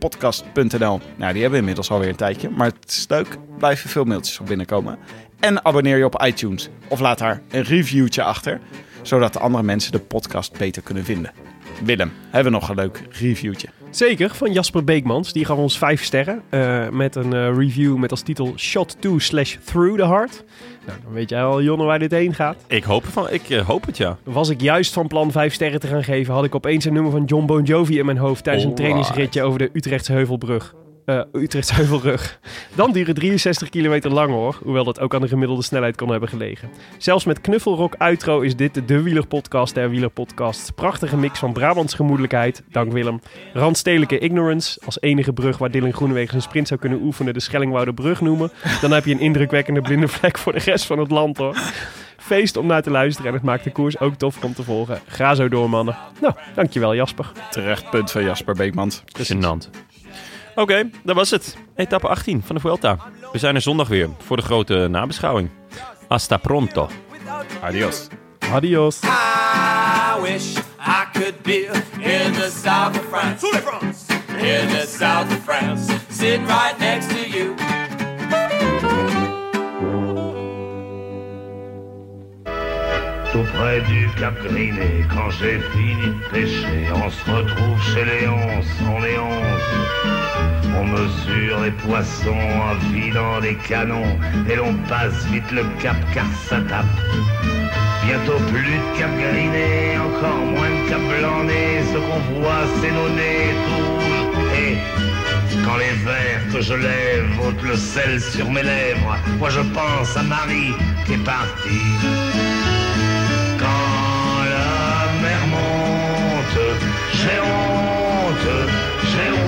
[SPEAKER 5] Nou, die hebben we inmiddels alweer een tijdje, maar het is leuk. Blijven veel mailtjes op binnenkomen. En abonneer je op iTunes. Of laat daar een reviewtje achter, zodat de andere mensen de podcast beter kunnen vinden. Willem, hebben we nog een leuk reviewtje?
[SPEAKER 2] Zeker, van Jasper Beekmans. Die gaf ons vijf sterren eh, met een eh, review met als titel Shot 2 slash Through the Heart. Nou, dan weet jij al, Jonne, waar dit heen gaat.
[SPEAKER 1] Ik hoop, van, ik eh, hoop het, ja.
[SPEAKER 2] Was ik juist van plan vijf sterren te gaan geven, had ik opeens een nummer van John Bon Jovi in mijn hoofd tijdens een
[SPEAKER 1] Alright.
[SPEAKER 2] trainingsritje over de Utrechtse Heuvelbrug. Eh, Utrechtse Heuvelrug. (laughs) Dan duurde 63 kilometer lang hoor, hoewel dat ook aan de gemiddelde snelheid kon hebben gelegen. Zelfs met knuffelrock uitro is dit de de wielerpodcast der wielerpodcasts. Prachtige mix van Brabants gemoedelijkheid, dank Willem. Randstedelijke ignorance, als enige brug waar Dylan Groenewegen zijn sprint zou kunnen oefenen de Schellingwouderbrug noemen. Dan heb je een indrukwekkende blinde vlek voor de rest van het land hoor. feest om naar te luisteren en het maakt de koers ook tof om te volgen. Ga zo door, mannen. Nou, dankjewel Jasper.
[SPEAKER 5] Terecht punt van Jasper Beekmans.
[SPEAKER 1] Gênant. Oké, dat was het. Etappe 18 van de Vuelta. We zijn er zondag weer voor de grote nabeschouwing. Hasta pronto.
[SPEAKER 5] Adios.
[SPEAKER 2] Adios.
[SPEAKER 4] I wish I could be in the south of France. In the south of France, sitting right next to you.
[SPEAKER 6] tout près du Cap Griné. Quand j'ai fini de pêcher, on se retrouve chez les onces, on les onces. On mesure les poissons en filant des canons et l'on passe vite le cap car ça tape. Bientôt plus de Cap Griné, encore moins de Cap Blanc-Nez. Ce qu'on voit, c'est nos nez tout rouges et quand les verres que je lève ôtent le sel sur mes lèvres, moi je pense à Marie qui est partie. Quand la mer monte, j'ai honte, j'ai honte. Ah, Ah,